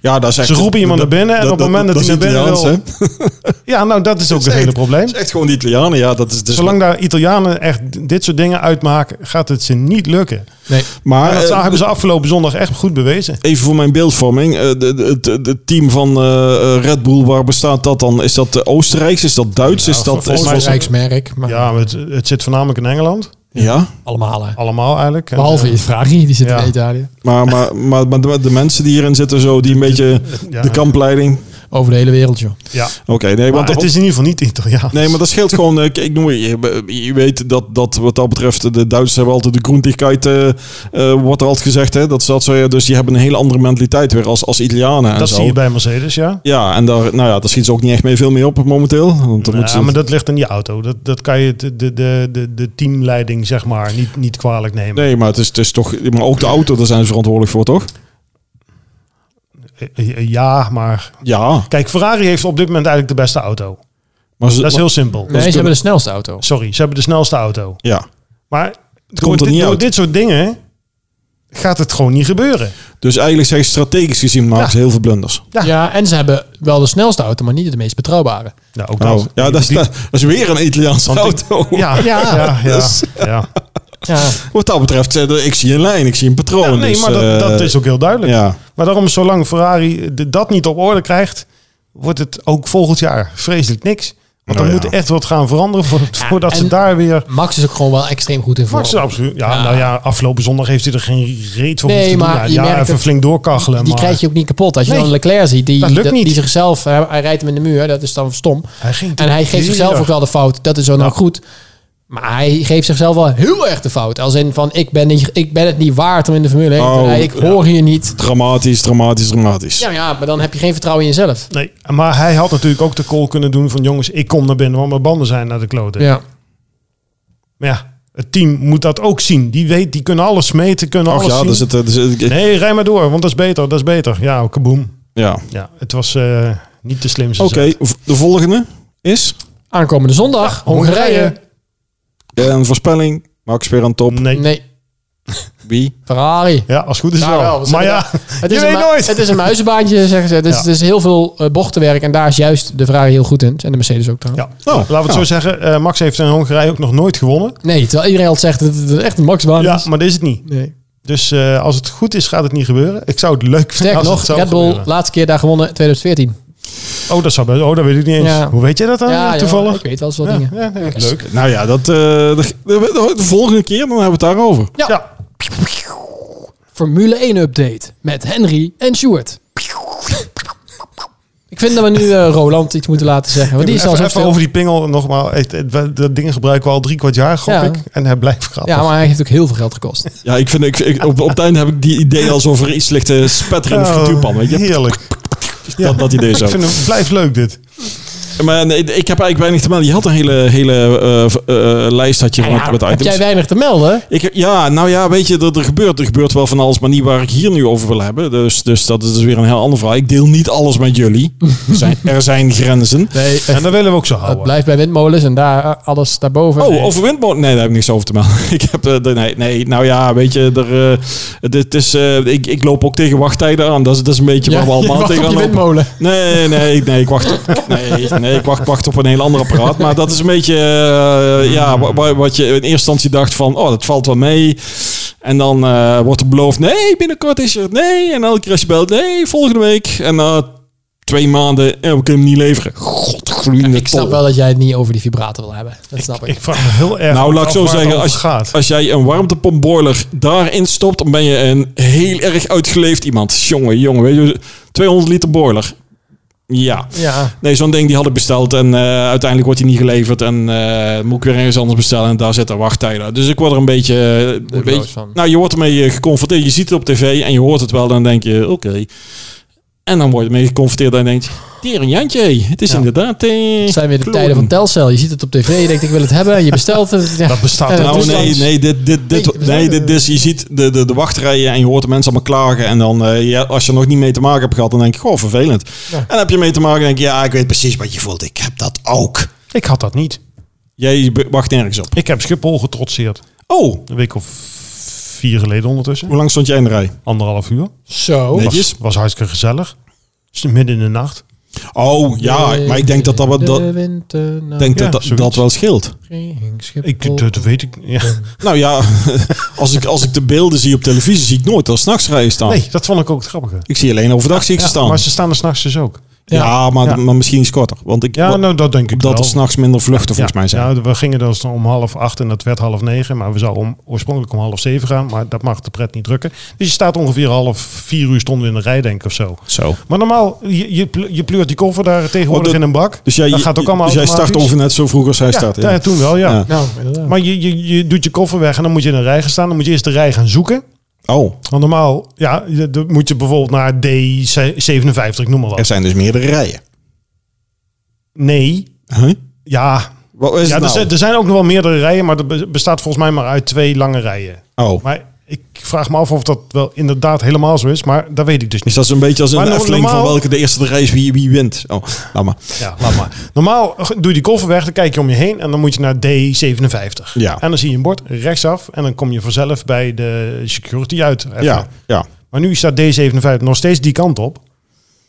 Speaker 3: Ja, dat is echt,
Speaker 2: Ze roepen iemand
Speaker 3: dat-
Speaker 2: naar binnen en op het moment dat
Speaker 3: is
Speaker 2: hij naar binnen
Speaker 3: Italiaans,
Speaker 2: wil-
Speaker 3: hè?
Speaker 2: Ja, nou dat is ook het
Speaker 3: echt-
Speaker 2: hele probleem.
Speaker 3: Dat is echt gewoon de Italianen, ja. Dat is dus
Speaker 2: Zolang daar Italianen echt dit soort dingen uitmaken, gaat het ze niet lukken.
Speaker 4: Nee.
Speaker 3: Maar
Speaker 2: En dat
Speaker 3: eh,
Speaker 2: hebben ze afgelopen zondag echt goed bewezen.
Speaker 3: even voor mijn beeldvorming. eh, de- de- Het het team van eh, Red Bull, waar bestaat dat dan? Is dat eh, Oostenrijks? Is dat Duits? is dat... Is dat
Speaker 2: volgens mij-
Speaker 4: Rijksmerk. Maar
Speaker 2: Dus Ja, maar het, het zit voornamelijk in Engeland.
Speaker 3: ja,
Speaker 4: allemaal. hè.
Speaker 2: Allemaal eigenlijk. En,
Speaker 4: Behalve
Speaker 2: eh,
Speaker 4: Ferrari, die zit
Speaker 2: ja.
Speaker 4: in Italië.
Speaker 3: maar, maar, maar, maar de, de mensen die hierin zitten zo, die een beetje
Speaker 2: ja.
Speaker 3: de kampleiding...
Speaker 4: Over de hele wereld, joh.
Speaker 2: Ja,
Speaker 3: Oké, nee,
Speaker 2: maar
Speaker 3: want
Speaker 2: het
Speaker 3: op-
Speaker 2: is in ieder geval niet Italiaans.
Speaker 3: Nee, maar dat scheelt gewoon. eh, Kijk, noem maar, je, eh, je weet dat, dat wat dat betreft, eh, de Duitsers hebben altijd de groentigheid, eh eh, wordt er altijd gezegd. Hè? Dat, dat zo, ja, dus die hebben een hele andere mentaliteit weer als, als Italianen en
Speaker 2: dat
Speaker 3: zo.
Speaker 2: zie je bij Mercedes, ja.
Speaker 3: Ja, en daar, nou ja, daar schiet ze ook niet echt mee veel mee op momenteel. Want dan
Speaker 2: Ja,
Speaker 3: moeten ze-
Speaker 2: maar dat ligt in die auto. Dat, dat kan je de, de, de, de, de teamleiding, zeg maar, niet, niet kwalijk nemen.
Speaker 3: Nee, maar het is, het is toch. Maar ook de auto, daar zijn ze verantwoordelijk voor, toch?
Speaker 2: Eh, eh, Ja, maar...
Speaker 3: Ja.
Speaker 2: Kijk, Ferrari heeft op dit moment eigenlijk de beste auto.
Speaker 3: Maar ze,
Speaker 2: Dat is heel simpel.
Speaker 4: Nee, ze
Speaker 3: kunnen-
Speaker 4: hebben de snelste auto.
Speaker 2: Sorry, ze hebben de snelste auto.
Speaker 3: ja.
Speaker 2: Maar door,
Speaker 3: komt er
Speaker 2: dit,
Speaker 3: niet
Speaker 2: door
Speaker 3: uit.
Speaker 2: dit soort dingen gaat het gewoon niet gebeuren.
Speaker 3: Dus eigenlijk zeggen ze strategisch gezien maken
Speaker 2: Ja. Oh.
Speaker 3: ze heel veel blunders.
Speaker 2: Ja.
Speaker 4: Ja, en ze hebben wel de snelste auto, maar niet de meest betrouwbare.
Speaker 2: Nou, ook
Speaker 3: Nou, ja, dat is,
Speaker 2: Die-
Speaker 3: dat is weer een Italiaanse auto.
Speaker 2: Ja, ja, ja. ja,
Speaker 3: Dus-
Speaker 2: ja.
Speaker 4: Ja,
Speaker 3: Wat dat betreft, eh, ik zie een lijn, ik zie een patroon.
Speaker 2: Ja, nee,
Speaker 3: dus,
Speaker 2: maar dat,
Speaker 3: eh,
Speaker 2: dat is ook heel duidelijk.
Speaker 3: Ja.
Speaker 2: Maar daarom, zolang Ferrari de- dat niet op orde krijgt, wordt het ook volgend jaar vreselijk niks. Want
Speaker 3: Nou
Speaker 2: dan
Speaker 3: ja.
Speaker 2: moet echt wat gaan veranderen voor, voordat ze
Speaker 4: en-
Speaker 2: daar weer.
Speaker 4: Max is ook gewoon wel extreem goed in vorm.
Speaker 2: Max, absoluut. Ja,
Speaker 4: Ja.
Speaker 2: nou ja, afgelopen zondag heeft hij er geen reet voor
Speaker 4: Nee,
Speaker 2: hoeven te
Speaker 4: maar
Speaker 2: doen.
Speaker 4: je
Speaker 2: Ja, Ja,
Speaker 4: merkt
Speaker 2: even
Speaker 4: het-
Speaker 2: flink doorkachelen.
Speaker 4: Die
Speaker 2: maar
Speaker 4: krijg je ook niet kapot. Als je
Speaker 2: Nee,
Speaker 4: dan Leclerc ziet, die,
Speaker 2: dat lukt
Speaker 4: dat- die
Speaker 2: niet.
Speaker 4: zichzelf, hij, hij rijdt hem in de muur, dat is dan stom.
Speaker 2: Hij ging
Speaker 4: En hij
Speaker 2: heel
Speaker 4: geeft zichzelf
Speaker 2: erg-
Speaker 4: ook wel de fout, dat is dan
Speaker 2: Ja.
Speaker 4: ook goed. Maar hij geeft zichzelf wel heel erg de fout. Als in van, ik ben, niet- ik ben het niet waard om in de Formule 1 te
Speaker 3: Oh,
Speaker 4: rijden. Ik hoor hier niet.
Speaker 3: Dramatisch, dramatisch, dramatisch.
Speaker 4: Ja, ja, maar dan heb je geen vertrouwen in jezelf.
Speaker 2: Nee, maar hij had natuurlijk ook de call kunnen doen van jongens, ik kom naar binnen, want mijn banden zijn naar de kloten.
Speaker 4: Ja.
Speaker 2: Maar ja, het team moet dat ook zien. Die weet, die kunnen alles meten, kunnen
Speaker 3: Ach
Speaker 2: alles
Speaker 3: ja,
Speaker 2: zien.
Speaker 3: dus het, dus het- ik-
Speaker 2: Nee, rij maar door, want dat is beter, dat is beter. Ja, kaboom.
Speaker 3: ja.
Speaker 2: Ja, het was eh, niet de slimste.
Speaker 3: Oké,
Speaker 2: zet.
Speaker 3: v- de volgende is
Speaker 4: Aankomende zondag, Hongarije.
Speaker 2: Hongarije.
Speaker 3: een voorspelling. Max weer aan top.
Speaker 2: Nee.
Speaker 4: Nee,
Speaker 3: Wie?
Speaker 4: Ferrari.
Speaker 2: Ja, als het goed is
Speaker 4: Nou, wel,
Speaker 2: wel.
Speaker 4: we
Speaker 2: Maar
Speaker 4: zeggen
Speaker 2: ja,
Speaker 4: Het
Speaker 2: je
Speaker 4: is, een
Speaker 2: weet
Speaker 4: mu-
Speaker 2: nooit.
Speaker 4: het is een muizenbaantje, zeggen ze. Dus
Speaker 2: Ja.
Speaker 4: het is heel veel eh, bochtenwerk. En daar is juist de Ferrari heel goed in. En de Mercedes ook trouwens.
Speaker 2: Ja. Laten we het
Speaker 4: nou.
Speaker 2: zo zeggen. eh, Max heeft in Hongarije ook nog nooit gewonnen.
Speaker 4: Nee, terwijl iedereen altijd zegt dat het echt een maxbaan
Speaker 2: Ja,
Speaker 4: is.
Speaker 2: maar dat is het niet.
Speaker 4: Nee.
Speaker 2: Dus eh, als het goed is, gaat het niet gebeuren. Ik zou het leuk vinden
Speaker 4: Sterker
Speaker 2: als
Speaker 4: nog,
Speaker 2: het zou
Speaker 4: Red Bull,
Speaker 2: gebeuren.
Speaker 4: laatste keer daar gewonnen, 2014.
Speaker 2: Oh, dat zou best- Oh, dat weet ik niet eens.
Speaker 4: Ja.
Speaker 2: Hoe weet je dat dan eh,
Speaker 4: ja,
Speaker 2: Ah, toevallig?
Speaker 4: joh, ik weet wel eens wat
Speaker 2: Ja,
Speaker 4: dingen.
Speaker 2: ja, nee, leuk.
Speaker 3: Nou ja, dat, eh, de, de- de volgende keer dan hebben we het daarover.
Speaker 4: Ja.
Speaker 2: Ja.
Speaker 4: Formule 1 update met Henry en Stuart. Ik vind dat we nu eh, Roland iets moeten laten zeggen. Want die is al
Speaker 2: even,
Speaker 4: zo
Speaker 2: even
Speaker 4: veel.
Speaker 2: over die pingel nogmaals. Het- het- we- Dat ding gebruiken we al drie kwart jaar, gok
Speaker 4: Ja.
Speaker 2: ik. En hij blijft grappig.
Speaker 4: Ja, maar hij heeft ook heel veel geld gekost.
Speaker 3: Ja, ik vind, ik, ik- op, op het einde heb ik die idee alsof er iets ligt te spetteren in de
Speaker 2: Oh,
Speaker 3: frituurpan. Weet je?
Speaker 2: Heerlijk.
Speaker 3: Dat, dat idee zo.
Speaker 2: Ik vind hem, blijft leuk dit.
Speaker 3: Maar nee, ik heb eigenlijk weinig te melden. Je had een hele, hele eh, v- eh, lijst had je gemaakt
Speaker 4: Ja,
Speaker 3: met
Speaker 4: heb
Speaker 3: items.
Speaker 4: jij weinig te melden?
Speaker 3: Ik, heb- ja, nou ja, weet je, er, er gebeurt, er gebeurt wel van alles, maar niet waar ik hier nu over wil hebben. Dus, dus dat is dus weer een heel ander verhaal. Ik deel niet alles met jullie. Er zijn, er zijn grenzen.
Speaker 4: Nee,
Speaker 2: En
Speaker 4: het,
Speaker 2: dat willen we ook zo houden.
Speaker 4: het blijft bij windmolens en daar eh, alles daarboven.
Speaker 3: Oh, over windmolen. Nee, daar heb ik niks over te melden. Ik heb, eh, de- nee, nee, nou ja, weet je, er, eh, het, het is, eh, ik, ik loop ook tegen wachttijden aan. Dat is, dat is een beetje
Speaker 4: Ja,
Speaker 3: waar we
Speaker 4: je
Speaker 3: allemaal
Speaker 4: wacht op
Speaker 3: tegenaan
Speaker 4: je
Speaker 3: lopen.
Speaker 4: windmolen.
Speaker 3: Nee, nee, nee, ik wacht op, nee, nee, ik wacht, wacht op een heel ander apparaat. Maar dat is een beetje, eh, ja, wa- wa- wat je in eerste instantie dacht van, oh, dat valt wel mee. En dan eh, wordt er beloofd, nee, binnenkort is er, nee. En elke keer als je belt, nee, volgende week. En na twee maanden. Ja, we kunnen hem niet leveren. Godgloeiende
Speaker 4: Ik snap
Speaker 3: tol.
Speaker 4: wel dat jij het niet over die vibrator wil hebben. Dat snap ik.
Speaker 2: Ik vraag me heel erg
Speaker 3: Nou,
Speaker 2: af
Speaker 3: laat ik zo
Speaker 2: waar het
Speaker 3: zeggen,
Speaker 2: over
Speaker 3: als,
Speaker 2: gaat.
Speaker 3: als jij een warmtepomp boiler daarin stopt, dan ben je een heel erg uitgeleefd iemand. Jongen, jongen, weet je, 200 liter boiler. Ja.
Speaker 4: ja.
Speaker 3: Nee, zo'n ding die had ik besteld en eh, uiteindelijk wordt die niet geleverd en eh, moet ik weer ergens anders bestellen en daar zitten wachttijden. Dus ik word er een beetje, eh, een beetje
Speaker 4: van.
Speaker 3: nou je wordt ermee eh, geconfronteerd, je ziet het op tv en je hoort het wel, dan denk je oké. En dan word je ermee geconfronteerd en denk je, tering Jantje, het is
Speaker 4: Ja.
Speaker 3: inderdaad... eh,
Speaker 4: Het zijn weer de
Speaker 3: kloten."
Speaker 4: tijden van Telcel. Je ziet het op tv, je denkt ik wil het hebben, en je bestelt het. Ja.
Speaker 2: Dat bestaat
Speaker 4: Eh,
Speaker 2: toch
Speaker 3: Nou,
Speaker 4: dus
Speaker 3: nee,
Speaker 4: dan-
Speaker 3: nee, dit, dit, dit,
Speaker 4: Nee, we
Speaker 3: nee,
Speaker 4: zijn-
Speaker 3: dit is, je ziet de, de, de wachtrijen en je hoort de mensen allemaal klagen. En dan, eh, ja, als je er nog niet mee te maken hebt gehad, dan denk je, goh, vervelend.
Speaker 4: Ja.
Speaker 3: En dan heb je mee te maken, denk je, ja, ik weet precies wat je voelt. Ik heb dat ook.
Speaker 2: Ik had dat niet.
Speaker 3: Jij be- wacht nergens op.
Speaker 2: Ik heb Schiphol getrotseerd.
Speaker 3: Oh,
Speaker 2: Een week of vier geleden ondertussen.
Speaker 3: hoe lang stond jij in de rij?
Speaker 2: Anderhalf uur.
Speaker 4: Zo.
Speaker 3: Nee. Netjes.
Speaker 2: Was, was hartstikke gezellig. Is midden in de nacht.
Speaker 3: Oh, ja, maar ik denk dat dat, wat- dat,
Speaker 4: De winter nou
Speaker 3: denk
Speaker 2: Ja,
Speaker 3: dat, dat,
Speaker 2: zoiets.
Speaker 3: dat wel scheelt.
Speaker 4: ging Schiphol.
Speaker 2: Ik, dat weet ik. Ja.
Speaker 3: Nou ja, als ik, als ik de beelden zie op televisie, zie ik nooit dat er 's nachts rijen staan.
Speaker 2: Nee, dat vond ik ook het grappige.
Speaker 3: Ik zie alleen overdag zie ik ze
Speaker 2: Ja,
Speaker 3: staan.
Speaker 2: maar ze staan er s'nachts dus ook.
Speaker 3: ja, maar,
Speaker 2: Ja.
Speaker 3: maar misschien iets korter. Want ik,
Speaker 2: Ja, nou, dat denk ik
Speaker 3: omdat
Speaker 2: wel.
Speaker 3: er s'nachts minder vluchten
Speaker 2: ja,
Speaker 3: volgens mij zijn.
Speaker 2: Ja, we gingen dus om half acht en dat werd half negen. Maar we zouden om, oorspronkelijk om half zeven gaan. Maar dat mag de pret niet drukken. Dus je staat ongeveer half vier uur stonden we in de rij, denk ik, of zo.
Speaker 3: Zo.
Speaker 2: Maar normaal, je, je, pl- je pleurt die koffer daar tegenwoordig
Speaker 3: Oh, dat-
Speaker 2: in een bak.
Speaker 3: Dus jij,
Speaker 2: dat gaat ook allemaal
Speaker 3: dus jij start
Speaker 2: automatisch.
Speaker 3: ongeveer net zo vroeg als hij
Speaker 2: ja,
Speaker 3: start.
Speaker 2: ja, toen wel, ja.
Speaker 3: Ja.
Speaker 4: Nou, inderdaad.
Speaker 2: Maar je, je, je doet je koffer weg en dan moet je in een rij gaan staan. Dan moet je eerst de rij gaan zoeken.
Speaker 3: Oh,
Speaker 2: Want normaal, ja, je- dan moet je bijvoorbeeld naar D57, ik noem maar
Speaker 3: er
Speaker 2: wat.
Speaker 3: zijn dus meerdere rijen.
Speaker 2: Nee,
Speaker 3: Huh?
Speaker 2: ja.
Speaker 3: Wat is
Speaker 2: ja
Speaker 3: het
Speaker 2: er,
Speaker 3: nou?
Speaker 2: zijn, er zijn ook nog wel meerdere rijen, maar dat be- bestaat volgens mij maar uit twee lange rijen.
Speaker 3: Oh,
Speaker 2: Maar ik vraag me af of dat wel inderdaad helemaal zo is. Maar dat weet ik dus niet.
Speaker 3: is dat zo'n beetje als een
Speaker 2: Maar no-
Speaker 3: Efteling van
Speaker 2: normaal-
Speaker 3: welke de eerste rij is wie, wie wint? Oh, nou maar.
Speaker 2: Ja, laat maar. Normaal doe je die koffer weg, dan kijk je om je heen en dan moet je naar D57.
Speaker 3: Ja.
Speaker 2: En dan zie je een bord rechtsaf en dan kom je vanzelf bij de security uit. even.
Speaker 3: Ja, ja.
Speaker 2: Maar nu staat D57 nog steeds die kant op.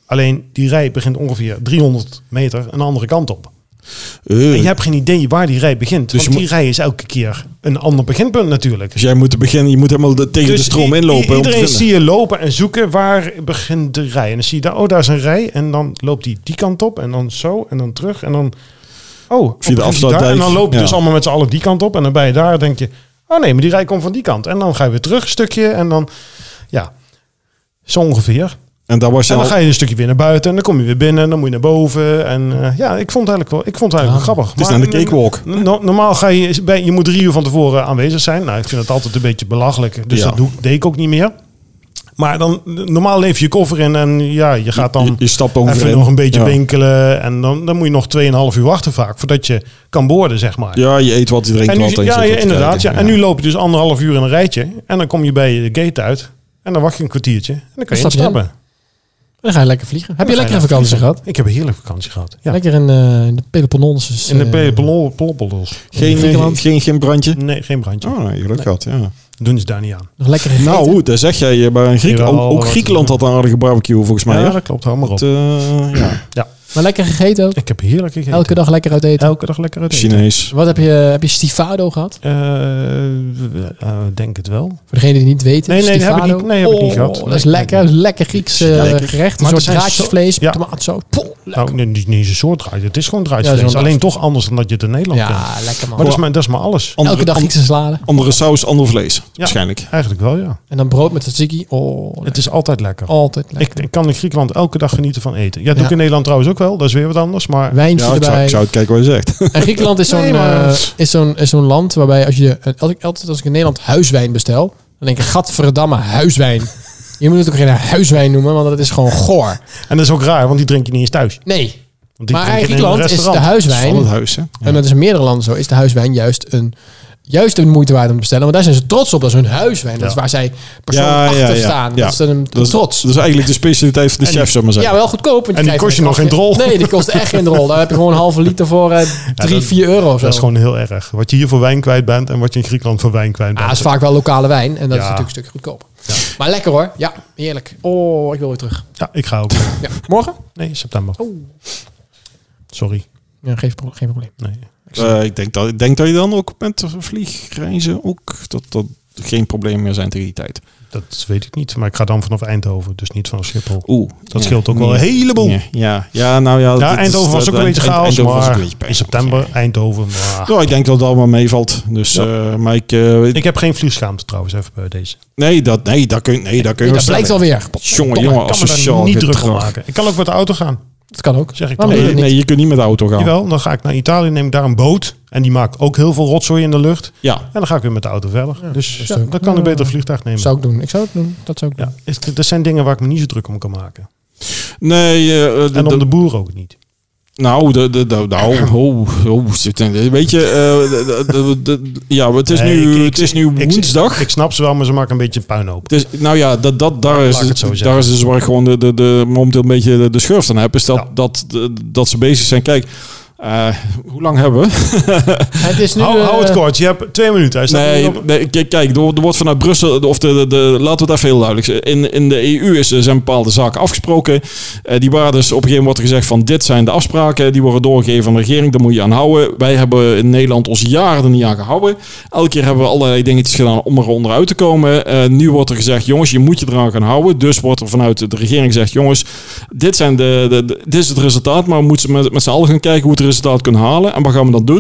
Speaker 2: Alleen die rij begint ongeveer 300 meter een andere kant op.
Speaker 3: Eh,
Speaker 2: En je hebt geen idee waar die rij begint.
Speaker 3: Dus je
Speaker 2: want die
Speaker 3: moet-
Speaker 2: rij is elke keer een ander beginpunt natuurlijk.
Speaker 3: Dus jij moet beginnen, je moet helemaal de, tegen de stroom
Speaker 2: Dus i- i-
Speaker 3: inlopen. om te
Speaker 2: Iedereen
Speaker 3: vinden.
Speaker 2: zie je lopen en zoeken waar begint de rij. En dan zie je daar, oh daar is een rij. En dan loopt die die kant op en dan zo en dan terug. En dan, oh, op begint die
Speaker 3: afsluitdijk,
Speaker 2: daar. En dan loop je
Speaker 3: ja.
Speaker 2: dus allemaal met z'n allen die kant op. En dan ben je daar denk je, oh nee, maar die rij komt van die kant. En dan ga je weer terug een stukje en dan, ja, zo ongeveer.
Speaker 3: En daar was je
Speaker 2: En dan
Speaker 3: al-
Speaker 2: ga je een stukje weer naar buiten en dan kom je weer binnen en dan moet je naar boven. En eh, ja, ik vond het eigenlijk wel, ik vond het eigenlijk wel grappig.
Speaker 3: Ah. Het is naar de cakewalk.
Speaker 2: No- normaal ga je, bij, je moet drie uur van tevoren aanwezig zijn. Nou, ik vind het altijd een beetje belachelijk, dus
Speaker 3: Ja.
Speaker 2: dat doe, deed ik ook niet meer. Maar dan, normaal leef je je koffer in en ja, je gaat dan
Speaker 3: Je, je stapt ongeveer
Speaker 2: even
Speaker 3: in.
Speaker 2: nog een beetje
Speaker 3: ja.
Speaker 2: winkelen. En dan, dan moet je nog 2,5 uur wachten vaak voordat je kan boorden, zeg maar.
Speaker 3: Ja, je eet wat, je drinkt
Speaker 2: En nu,
Speaker 3: wat. en je
Speaker 2: ja,
Speaker 3: zit
Speaker 2: ja,
Speaker 3: wat te
Speaker 2: inderdaad. Ja.
Speaker 3: kijken.
Speaker 2: En nu loop je dus anderhalf uur in een rijtje. En dan kom je bij de gate uit. En dan wacht je een kwartiertje. En dan kan je
Speaker 4: stap je in.
Speaker 2: instappen.
Speaker 4: Dan ga je lekker vliegen. Heb je
Speaker 2: Dan
Speaker 4: lekker een
Speaker 2: ga
Speaker 4: vakantie
Speaker 2: naar
Speaker 4: gehad?
Speaker 2: Ik heb een heerlijke vakantie gehad. Ja.
Speaker 4: Lekker in, eh, in de Peloponnesus.
Speaker 2: In de
Speaker 4: eh,
Speaker 2: Pelopolopolopoldos.
Speaker 3: Geen, eh,
Speaker 4: Griekenland.
Speaker 3: geen, geen brandje?
Speaker 2: Nee, geen brandje.
Speaker 3: Oh, nee, geluk gehad, ja.
Speaker 2: Doen ze daar niet aan.
Speaker 4: Nog lekker gegeten.
Speaker 3: Nou, daar zeg jij, maar in Grieken-
Speaker 2: Jawel,
Speaker 3: ook, ook
Speaker 2: wat-
Speaker 3: Griekenland had een aardige barbecue volgens mij.
Speaker 2: Maar ja,
Speaker 3: hè?
Speaker 2: dat klopt helemaal op.
Speaker 3: Het, eh, ja.
Speaker 2: Ja,
Speaker 4: Maar lekker gegeten ook.
Speaker 2: ik heb heerlijk gegeten.
Speaker 4: Elke dag lekker uit eten.
Speaker 2: Elke dag lekker uit eten.
Speaker 3: Chinees.
Speaker 4: Wat heb je? Heb je stifado gehad?
Speaker 2: Eh, eh, denk het wel.
Speaker 4: Voor degenen die het niet weten.
Speaker 2: Nee, nee, die heb
Speaker 4: stifado.
Speaker 2: ik niet- nee, heb ik niet
Speaker 4: Oh,
Speaker 2: gehad.
Speaker 4: Dat is lekker. Dat is lekker Grieks eh,
Speaker 3: Lekker.
Speaker 4: gerecht. Een
Speaker 2: Maar
Speaker 4: soort
Speaker 2: het zijn zo-
Speaker 4: draadjesvlees,
Speaker 2: Ja.
Speaker 4: tomaatsaus. Poh, lekker.
Speaker 2: Nou, nee, niet, niet eens een soort draadje. Het is gewoon
Speaker 4: Ja,
Speaker 2: draadjesvlees.
Speaker 4: zo'n draadje.
Speaker 2: Alleen toch anders dan dat je het in Nederland kent.
Speaker 4: Ja, lekker
Speaker 2: Maar
Speaker 4: man.
Speaker 2: dat is maar, dat is maar alles.
Speaker 3: Andere-
Speaker 4: Elke dag
Speaker 3: an-
Speaker 4: Griekse salade.
Speaker 3: Andere saus, ander vlees. Waarschijnlijk.
Speaker 2: Eigenlijk wel, ja.
Speaker 4: En dan brood met tzatziki. Oh,
Speaker 2: Het
Speaker 4: lekker.
Speaker 2: is altijd lekker.
Speaker 4: altijd lekker.
Speaker 2: Ik, ik kan in Griekenland elke dag genieten van eten. Ja, dat doe
Speaker 4: Ja.
Speaker 2: ik in Nederland trouwens ook wel. Dat is weer wat anders. Maar
Speaker 4: Wijntje
Speaker 3: Ja, ik zou,
Speaker 4: erbij.
Speaker 3: ik zou het kijken wat je zegt.
Speaker 4: En Griekenland is zo'n
Speaker 2: Nee, maar-
Speaker 4: eh, is zo'n is zo'n land waarbij als je eh, elk- altijd als ik in Nederland huiswijn bestel, dan denk ik gadverdamme huiswijn. Je moet het ook geen huiswijn noemen, want dat is gewoon goor.
Speaker 2: En dat is ook raar, want die drink je niet eens thuis.
Speaker 4: Nee.
Speaker 2: Want die
Speaker 4: maar
Speaker 2: drink
Speaker 4: in
Speaker 2: je in een
Speaker 4: Griekenland is de
Speaker 2: restaurant.
Speaker 3: Van
Speaker 4: huiswijn,
Speaker 3: het huis, hè?
Speaker 4: en dat is in meerdere landen zo, is de huiswijn juist een, juist een moeite waard om te bestellen. Want daar zijn ze trots op, dat is hun huiswijn. Dat is
Speaker 2: Ja.
Speaker 4: waar zij persoonlijk
Speaker 3: Ja, ja,
Speaker 4: achter
Speaker 3: ja.
Speaker 4: staan.
Speaker 3: Ja.
Speaker 4: Dat is een
Speaker 3: Dat is,
Speaker 4: trots.
Speaker 3: Dat is eigenlijk de specialiteit van de
Speaker 2: En die-
Speaker 3: chef, zou maar
Speaker 4: ja,
Speaker 3: zeggen.
Speaker 4: wel goedkoop. want
Speaker 2: En die
Speaker 4: krijg
Speaker 2: kost je
Speaker 4: een
Speaker 2: nog geen
Speaker 4: kastje.
Speaker 2: drol.
Speaker 4: Nee, die kost echt geen drol. Daar heb je gewoon een halve liter voor eh, drie,
Speaker 2: dat-
Speaker 4: vier euro of zo.
Speaker 2: Dat is gewoon heel erg. Wat je hier voor wijn kwijt bent en wat je in Griekenland voor wijn kwijt
Speaker 4: Ah,
Speaker 2: bent.
Speaker 4: dat is vaak wel lokale wijn. En dat is
Speaker 2: Ja.
Speaker 4: natuurlijk een stuk goedkoper. Maar lekker hoor. Ja, heerlijk. Oh, ik wil weer terug.
Speaker 2: Ja, ik ga ook.
Speaker 4: Ja. Morgen?
Speaker 2: Nee, september.
Speaker 4: Oh.
Speaker 2: Sorry.
Speaker 4: Ja, geen, pro- geen probleem.
Speaker 2: Nee.
Speaker 3: Eh, ik, denk dat, ik denk dat je dan ook met de vliegreizen ook... Dat, dat, geen probleem meer zijn tegen die tijd.
Speaker 2: Dat weet ik niet. Maar ik ga dan vanaf Eindhoven, dus niet vanaf Schiphol.
Speaker 3: Oeh.
Speaker 2: Dat scheelt ook wel een heleboel.
Speaker 3: Ja, ja, ja, nou ja. Oh, dat
Speaker 2: Ja,
Speaker 3: is-
Speaker 2: Eindhoven was ook
Speaker 3: dat-
Speaker 2: een beetje
Speaker 3: Eind-
Speaker 2: chaos,
Speaker 3: Eindhoven was
Speaker 2: maar
Speaker 3: een beetje
Speaker 2: in
Speaker 3: pijn.
Speaker 2: september Eindhoven. Maar...
Speaker 3: Nou, ik denk dat het allemaal meevalt. Dus, eh, maar ik, eh,
Speaker 2: Ik heb geen vliegschaamte trouwens, even bij deze.
Speaker 3: nee, dat, nee, daar kun, nee, daar kun je
Speaker 4: dat
Speaker 3: wel
Speaker 4: blijkt
Speaker 3: stellen.
Speaker 4: alweer.
Speaker 3: Jongen,
Speaker 4: Kom maar,
Speaker 3: jongen,
Speaker 2: Ik kan me
Speaker 3: asociaal
Speaker 2: daar niet druk om
Speaker 3: gedrag.
Speaker 2: maken. Ik kan ook met de auto
Speaker 3: Oh.
Speaker 2: gaan.
Speaker 4: Dat kan ook.
Speaker 2: Zeg ik
Speaker 4: Waarom
Speaker 2: dan.
Speaker 4: doe
Speaker 3: Nee,
Speaker 4: je dat
Speaker 3: nee,
Speaker 4: niet?
Speaker 3: je kunt niet met de auto gaan.
Speaker 2: Jawel, dan ga ik naar Italië, neem ik daar een boot. En die maakt ook heel veel rotzooi in de lucht.
Speaker 3: Ja,
Speaker 2: En dan ga ik weer met de auto verder. dus ja,
Speaker 4: ook-
Speaker 2: dan kan ik beter een vliegtuig nemen.
Speaker 4: eh, Zou ik doen. Ik zou het doen. Dat zou ik doen.
Speaker 2: Ja, is- dat zijn dingen waar ik me niet zo druk om kan maken.
Speaker 3: nee, eh, eh,
Speaker 2: En om
Speaker 3: dat-
Speaker 2: de boer ook niet.
Speaker 3: nou, de, de, de, nou, oh, oh, zit een- weet je, eh, de- de- de- de- ja, het is
Speaker 2: Nee, ik-
Speaker 3: nu,
Speaker 2: ik-
Speaker 3: het is nu
Speaker 2: ik-
Speaker 3: woensdag.
Speaker 2: Ik snap ze wel, maar ze maken een beetje puin open.
Speaker 3: Dus, nou ja, dat, dat, daar, is,
Speaker 2: ik het zo zeggen.
Speaker 3: daar is dus waar ik gewoon de, de, de, momenteel een beetje de, de schurft aan heb. Is dat,
Speaker 2: Ja.
Speaker 3: dat, dat ze bezig zijn. Kijk, eh, hoe lang hebben we?
Speaker 4: Het is nu...
Speaker 2: Hou, hou het
Speaker 4: eh,
Speaker 2: kort, je hebt twee minuten. Hij staat
Speaker 3: Nee,
Speaker 2: nu op-
Speaker 3: nee, kijk, kijk, er wordt er wordt vanuit Brussel, of de, de, de- laten we het even heel duidelijk zijn. In, in de EU is, eh, zijn bepaalde zaken afgesproken. Eh, die waren dus op een gegeven moment wordt er gezegd van dit zijn de afspraken. Die worden doorgegeven aan de regering, daar moet je aan houden. Wij hebben in Nederland ons jaren er niet aan gehouden. Elke keer hebben we allerlei dingetjes gedaan om er onderuit te komen. Eh, nu wordt er gezegd, jongens, je moet je eraan gaan houden. Dus wordt er vanuit de regering gezegd, jongens, dit, zijn de, de, de- dit is het resultaat. Maar we moeten met, met z'n allen gaan kijken hoe we het resultaat kunnen halen. En wat gaan we dan doen?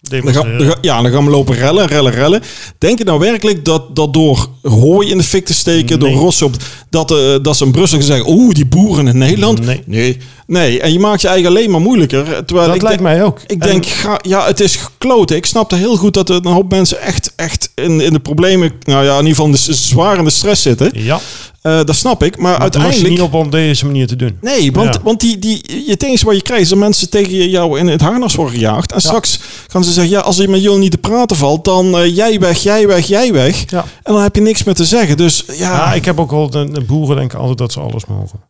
Speaker 3: Dan gaan, dan
Speaker 2: demonstreren.
Speaker 3: ga- ja, dan gaan we lopen rellen, rellen, rellen. Denk je nou werkelijk dat, dat door hooi in de fik te steken,
Speaker 2: Nee.
Speaker 3: door rots op... Dat, eh, dat ze in Brussel gaan zeggen, oeh, die boeren in Nederland?
Speaker 2: Nee.
Speaker 3: nee. Nee, en je maakt je eigen alleen maar moeilijker. eh, Terwijl
Speaker 2: Dat
Speaker 3: ik
Speaker 2: lijkt
Speaker 3: denk-
Speaker 2: mij ook.
Speaker 3: ik
Speaker 2: En-
Speaker 3: denk, ga, ja, het is kloten. Ik snapte heel goed dat er een hoop mensen echt, echt in, in de problemen... Nou ja, in ieder geval in de, s- zwaar in de stress zitten.
Speaker 2: Ja, maar
Speaker 3: Eh, dat snap ik. Maar,
Speaker 2: uiteindelijk...
Speaker 3: uiteindelijk...
Speaker 2: niet op om deze manier te doen.
Speaker 3: Nee, want,
Speaker 2: Ja.
Speaker 3: want die, die, het enige wat je krijgt is dat mensen tegen jou in het harnas worden gejaagd. En straks gaan ze zeggen, ja, als je met jullie niet te praten valt, dan eh, jij weg, jij weg, jij weg.
Speaker 2: Ja.
Speaker 3: En dan heb je niks meer te zeggen. Dus ja,
Speaker 2: Ja, ik heb ook al de, de boeren denken altijd dat ze alles mogen.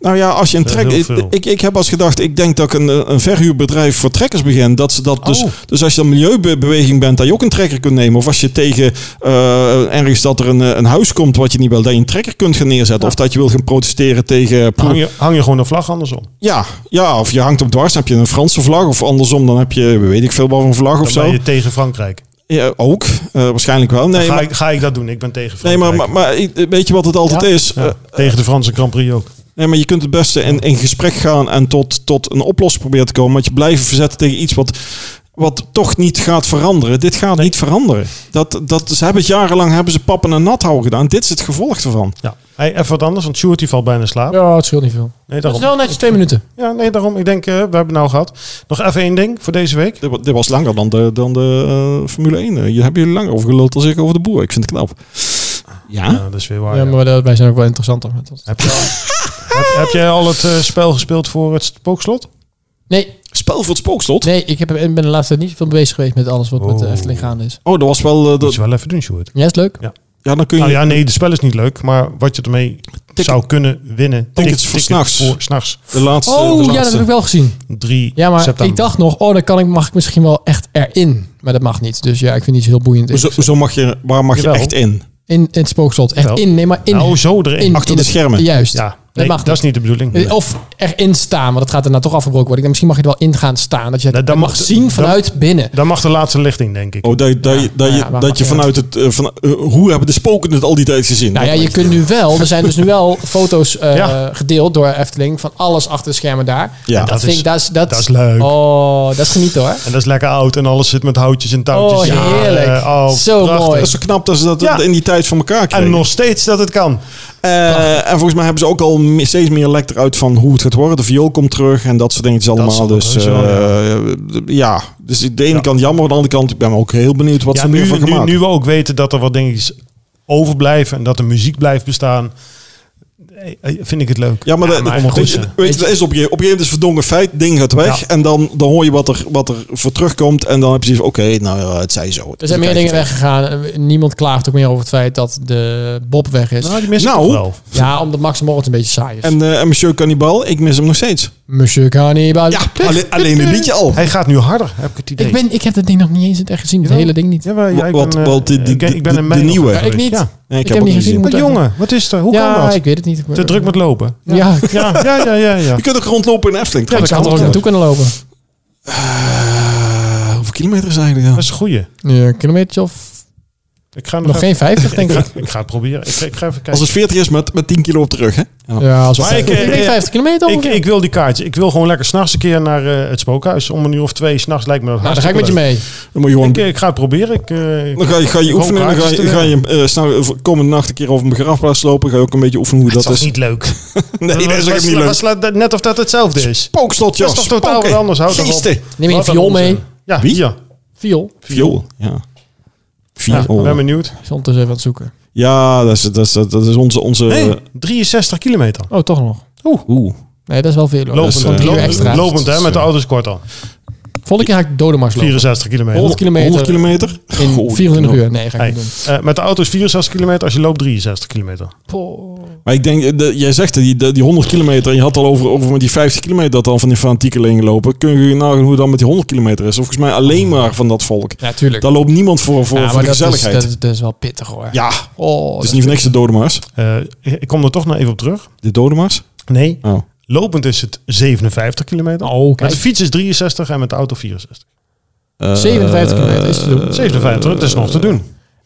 Speaker 3: nou ja, als je een
Speaker 2: Ja,
Speaker 3: trek...
Speaker 2: heel
Speaker 3: Ik,
Speaker 2: veel.
Speaker 3: ik, ik heb als gedacht, ik denk dat ik een, eh, een verhuurbedrijf voor trekkers begin. Dat ze dat dus,
Speaker 2: Oh.
Speaker 3: dus als je een milieubeweging bent, dat je ook een trekker kunt nemen. Of als je tegen eh, ergens dat er een, eh, een huis komt wat je niet wil, dat je een trekker kunt gaan neerzetten. Of dat je wil gaan protesteren tegen...
Speaker 2: Dan hang je, hang je gewoon de vlag andersom.
Speaker 3: Ja, ja, of je hangt op dwars, dan heb je een Franse vlag. Of andersom, dan heb je, weet ik veel, wat voor een vlag
Speaker 2: Dan
Speaker 3: of zo.
Speaker 2: ben je tegen Frankrijk.
Speaker 3: Ja, ook, eh, waarschijnlijk wel.
Speaker 2: Dan
Speaker 3: Nee,
Speaker 2: ga,
Speaker 3: maar,
Speaker 2: ik, ga ik dat doen? Ik ben tegen
Speaker 3: nee
Speaker 2: Frankrijk.
Speaker 3: maar, maar, maar ik- weet je wat het altijd
Speaker 4: Ja?
Speaker 3: is?
Speaker 2: Ja,
Speaker 3: Eh,
Speaker 2: tegen de Franse Grand Prix ook.
Speaker 3: nee, maar je kunt het beste in, in gesprek gaan en tot, tot een oplossing proberen te komen. Want je blijft verzetten tegen iets wat, wat toch niet gaat veranderen. Dit gaat niet veranderen. Dat, dat, ze hebben het jarenlang hebben ze pappen en nat houden gedaan. Dit is het gevolg ervan.
Speaker 2: Ja. Hey, even wat anders, want Sjoerd die valt bijna in slaap.
Speaker 4: Ja, het scheelt niet veel.
Speaker 2: Nee,
Speaker 4: Dat is
Speaker 2: daarom.
Speaker 4: wel netjes twee minuten.
Speaker 2: Ja, nee, daarom. Ik denk, eh, we hebben het nou gehad. Nog even één ding voor deze week.
Speaker 3: Dit, wa- dit was langer dan de, dan de eh, Formule 1. Hier hebben jullie langer over geluld dan ik over de boer. Ik vind het knap. Ja.
Speaker 2: Ja, Nou, dat is weer waar.
Speaker 4: Ja,
Speaker 2: Oh, ja.
Speaker 4: maar dat- wij zijn ook wel interessanter. Maar dat-
Speaker 2: Heb, je al, heb, heb jij al het eh, spel gespeeld voor het spookslot?
Speaker 4: Nee,
Speaker 3: Spel voor het spookslot?
Speaker 4: nee ik heb, ik ben de laatste tijd niet veel bezig geweest met alles wat met de
Speaker 2: Oh.
Speaker 4: Efteling gaande is.
Speaker 3: Oh, dat was wel... eh,
Speaker 2: Dat moet
Speaker 3: dat,
Speaker 2: je wel even doen, Sjoerd.
Speaker 4: Ja, is leuk.
Speaker 3: ja, dan kun je...
Speaker 2: Nou ja, nee, het spel is niet leuk. Maar wat je ermee zou kunnen winnen. tik-
Speaker 3: Tickets voor s'nachts.
Speaker 2: Voor s'nachts.
Speaker 3: De laatste... de
Speaker 4: Oh, ja, dat
Speaker 3: laatste.
Speaker 4: heb ik wel gezien.
Speaker 2: 3
Speaker 4: Ja, maar
Speaker 2: september.
Speaker 4: ik dacht nog, oh, dan kan ik, mag ik misschien wel echt erin. Maar dat mag niet. Dus ja, ik vind iets heel boeiend. In,
Speaker 3: Hoezo, hoezo mag je... Waar mag je
Speaker 2: Jawel.
Speaker 3: echt in?
Speaker 4: in, in het spookslot. Echt
Speaker 2: Wel.
Speaker 4: in, nee, maar in.
Speaker 2: Nou, zo erin.
Speaker 4: in,
Speaker 3: achter
Speaker 4: in
Speaker 3: de
Speaker 4: het-
Speaker 3: schermen.
Speaker 4: Juist.
Speaker 2: ja,
Speaker 4: dat
Speaker 2: nee,
Speaker 4: mag
Speaker 2: dat is niet de bedoeling.
Speaker 4: Eh, Of erin staan, want dat gaat daarna toch afgebroken worden. Ik denk, misschien mag je er wel in gaan staan. Dat je het
Speaker 2: Nou, dan
Speaker 4: mag
Speaker 2: mag-
Speaker 4: zien
Speaker 2: dan-
Speaker 4: vanuit binnen.
Speaker 2: Dan mag de laatste lichting, denk ik.
Speaker 3: Oh, dat, dat, je- dat,
Speaker 4: ja,
Speaker 3: je,
Speaker 4: maar
Speaker 3: dat je
Speaker 4: maakt
Speaker 3: vanuit het... eh, van, eh, hoe hebben de spoken het al die tijd gezien?
Speaker 4: Nou ja, je kunt nu wel, er zijn dus nu wel foto's eh,
Speaker 2: Ja.
Speaker 4: gedeeld door Efteling van alles achter de schermen daar.
Speaker 3: Ja.
Speaker 4: dat,
Speaker 2: Dat
Speaker 4: vind
Speaker 2: is-
Speaker 4: ik, dat is, dat,
Speaker 2: dat is leuk.
Speaker 4: Oh, dat is genieten hoor.
Speaker 2: En dat is lekker oud en alles zit met houtjes en touwtjes.
Speaker 4: Oh,
Speaker 2: Ja,
Speaker 4: heerlijk.
Speaker 2: eh, oh,
Speaker 4: Zo
Speaker 2: prachtig.
Speaker 4: mooi.
Speaker 3: Dat is zo knap dat ze dat
Speaker 2: Ja.
Speaker 3: in die tijd voor elkaar kregen.
Speaker 2: En nog steeds dat het kan.
Speaker 3: Eh, en volgens mij hebben ze ook al me- steeds meer lek eruit van hoe het gaat worden. De viool komt terug en dat soort dingetjes allemaal.
Speaker 2: zal wel
Speaker 3: Dus
Speaker 2: heus wel,
Speaker 3: eh, d- ja, dus de ene
Speaker 2: Ja.
Speaker 3: kant jammer, aan de andere kant ik ben ook heel benieuwd wat
Speaker 2: Ja,
Speaker 3: ze nu
Speaker 2: nu,
Speaker 3: van
Speaker 2: nu,
Speaker 3: gemaakt.
Speaker 2: nu we ook weten dat er wat dingetjes overblijven en dat de muziek blijft bestaan, eh, eh, vind ik het leuk.
Speaker 3: Ja, maar, dus- dat-
Speaker 2: om
Speaker 3: dat,
Speaker 2: goed eh,
Speaker 3: weet,
Speaker 2: te
Speaker 3: je,
Speaker 2: zijn.
Speaker 3: weet je, dat is op je, op een gegeven moment is verdongen feit, ding gaat weg.
Speaker 2: Ja.
Speaker 3: En dan, dan hoor je wat er, wat er voor terugkomt. En dan heb je zoiets van, oké, nou ja, het zij zo.
Speaker 4: Er zijn meer dingen weggegaan. Eh, Niemand klaagt ook meer over het feit dat de Bob weg is.
Speaker 2: nou, die mis ik
Speaker 3: Nou.
Speaker 2: toch wel.
Speaker 4: Ja, omdat Max Morris een beetje saai is.
Speaker 3: En, eh, en Monsieur Cannibal, ik mis hem nog steeds.
Speaker 4: Monsieur Cannibal.
Speaker 3: Ja, alleen, alleen het liedje
Speaker 4: eh,
Speaker 3: al.
Speaker 2: Hij gaat nu harder, heb ik het idee.
Speaker 4: Ik, ben, ik heb dat ding nog niet eens in het echt gezien. Het
Speaker 2: Jawel.
Speaker 4: hele ding niet.
Speaker 2: ja, maar, ja, ik
Speaker 3: Wat-
Speaker 2: ben, eh,
Speaker 3: wat die- die-
Speaker 2: ik, ik ben
Speaker 3: de-
Speaker 2: een
Speaker 3: de
Speaker 2: mijl
Speaker 3: nieuwe.
Speaker 2: geweest.
Speaker 4: ik niet.
Speaker 2: Ja.
Speaker 3: Nee,
Speaker 4: Ik heb niet gezien.
Speaker 2: Wat
Speaker 4: Moet even-
Speaker 2: jongen, wat is er? Hoe
Speaker 4: ja,
Speaker 2: kan dat?
Speaker 4: ik weet het niet. Ik-
Speaker 2: Te druk met lopen.
Speaker 4: Ja, ik- ja,
Speaker 2: Ja, ja, ja, ja. ja.
Speaker 3: Je kunt ook rondlopen in Efteling.
Speaker 4: ik
Speaker 3: trouwens.
Speaker 4: zou er ook
Speaker 2: ja.
Speaker 4: naartoe kunnen lopen.
Speaker 3: Eh, hoeveel kilometer is het eigenlijk?
Speaker 2: Dat
Speaker 3: Ja?
Speaker 2: is een goeie.
Speaker 4: Ja, een kilometer of
Speaker 2: Ik ga
Speaker 4: Nog
Speaker 2: even-
Speaker 4: geen 50, denk
Speaker 2: ik.
Speaker 4: ik.
Speaker 2: Ga, ik ga het proberen. Ik, ik ga even kijken.
Speaker 3: Als het 40 is, met, met 10 kilo op terug, hè? Ja.
Speaker 4: Ja, als we
Speaker 2: Maar ik,
Speaker 4: ik,
Speaker 2: eh,
Speaker 4: denk 50 kilometer
Speaker 2: ik,
Speaker 4: ongeveer.
Speaker 2: ik wil die kaartje. Ik wil gewoon lekker s'nachts een keer naar eh, het spookhuis. Om een uur of twee s'nachts lijkt me dat
Speaker 4: nou, dan ga ik met je
Speaker 2: hartstikke
Speaker 4: mee.
Speaker 3: Dan moet je gewoon...
Speaker 2: leuk. Ik, eh, ik ga het proberen. Ik, eh, ik-
Speaker 3: dan ga je, ga
Speaker 2: ik
Speaker 3: je
Speaker 2: hoop
Speaker 3: oefenen, dan ga
Speaker 2: kaartjes
Speaker 3: je,
Speaker 2: te
Speaker 3: ga
Speaker 2: winnen.
Speaker 3: je eh, snel, eh, komende nacht een keer over mijn begraafplaats lopen. Ga je ook een beetje oefenen hoe
Speaker 2: Dat
Speaker 3: dat
Speaker 2: is
Speaker 3: is.
Speaker 2: niet leuk.
Speaker 3: Nee, dat is ook
Speaker 2: Was-
Speaker 3: niet leuk.
Speaker 2: was- was- Net of dat hetzelfde is.
Speaker 3: Spookslot, joh.
Speaker 2: Dat is toch totaal
Speaker 3: Spoken.
Speaker 2: wat anders, houd toch op.
Speaker 3: Geesten.
Speaker 4: Neem je een
Speaker 2: Wat
Speaker 4: viool
Speaker 2: onzin.
Speaker 4: mee.
Speaker 2: Ja,
Speaker 3: Wie?
Speaker 2: Ja.
Speaker 4: Viool.
Speaker 3: Viool, ja.
Speaker 2: Ja,
Speaker 3: Viool. Ja, Oh.
Speaker 2: ben benieuwd.
Speaker 4: Ik zal ondertussen even aan het zoeken.
Speaker 3: dat, is, dat, is, dat is onze... onze
Speaker 2: Hey, 63 kilometer.
Speaker 4: Oh, toch nog.
Speaker 3: Oeh.
Speaker 4: Nee, dat is wel veel. hoor.
Speaker 3: Lopen,
Speaker 4: Dat is gewoon
Speaker 3: eh,
Speaker 4: drie uur
Speaker 3: lopen,
Speaker 4: extra.
Speaker 3: lopen.
Speaker 2: Lopend, hè, met de auto's kort al.
Speaker 4: Volgende keer ga ik Dodemars lopen.
Speaker 2: 64 kilometer.
Speaker 4: 100 kilometer.
Speaker 3: 100 kilometer?
Speaker 4: In
Speaker 3: Goh,
Speaker 4: 24
Speaker 3: knap.
Speaker 4: uur. Nee, ga ik
Speaker 2: Hey,
Speaker 4: niet doen.
Speaker 2: eh, met de auto's 64 kilometer, als je loopt 63 kilometer.
Speaker 3: Maar ik denk, eh, dat- jij zegt dat die, dat die 100 kilometer, en je had al over, over met die 50 kilometer dat dan van die fanatiekelingen lopen. Kun je nagaan hoe het dan met die 100 kilometer is? Volgens mij alleen maar van dat volk.
Speaker 4: Ja, tuurlijk.
Speaker 3: Daar loopt niemand voor, voor,
Speaker 4: ja,
Speaker 3: voor
Speaker 4: maar
Speaker 3: de
Speaker 4: dat is,
Speaker 3: gezelligheid.
Speaker 4: dat, is- dat is wel pittig hoor.
Speaker 3: ja, het
Speaker 4: Oh,
Speaker 3: is
Speaker 4: dat-
Speaker 3: niet voor niks de Dodemars.
Speaker 2: Eh, ik kom er toch nog even op terug.
Speaker 3: De Dodemars?
Speaker 2: Nee,
Speaker 3: Oh.
Speaker 2: lopend is het 57 kilometer.
Speaker 4: Oh,
Speaker 2: Met
Speaker 4: kijk.
Speaker 2: de fiets is 63 en met de auto 64.
Speaker 3: Eh,
Speaker 4: 57 kilometer is te doen.
Speaker 2: 57, dat is nog te doen.
Speaker 4: Eh,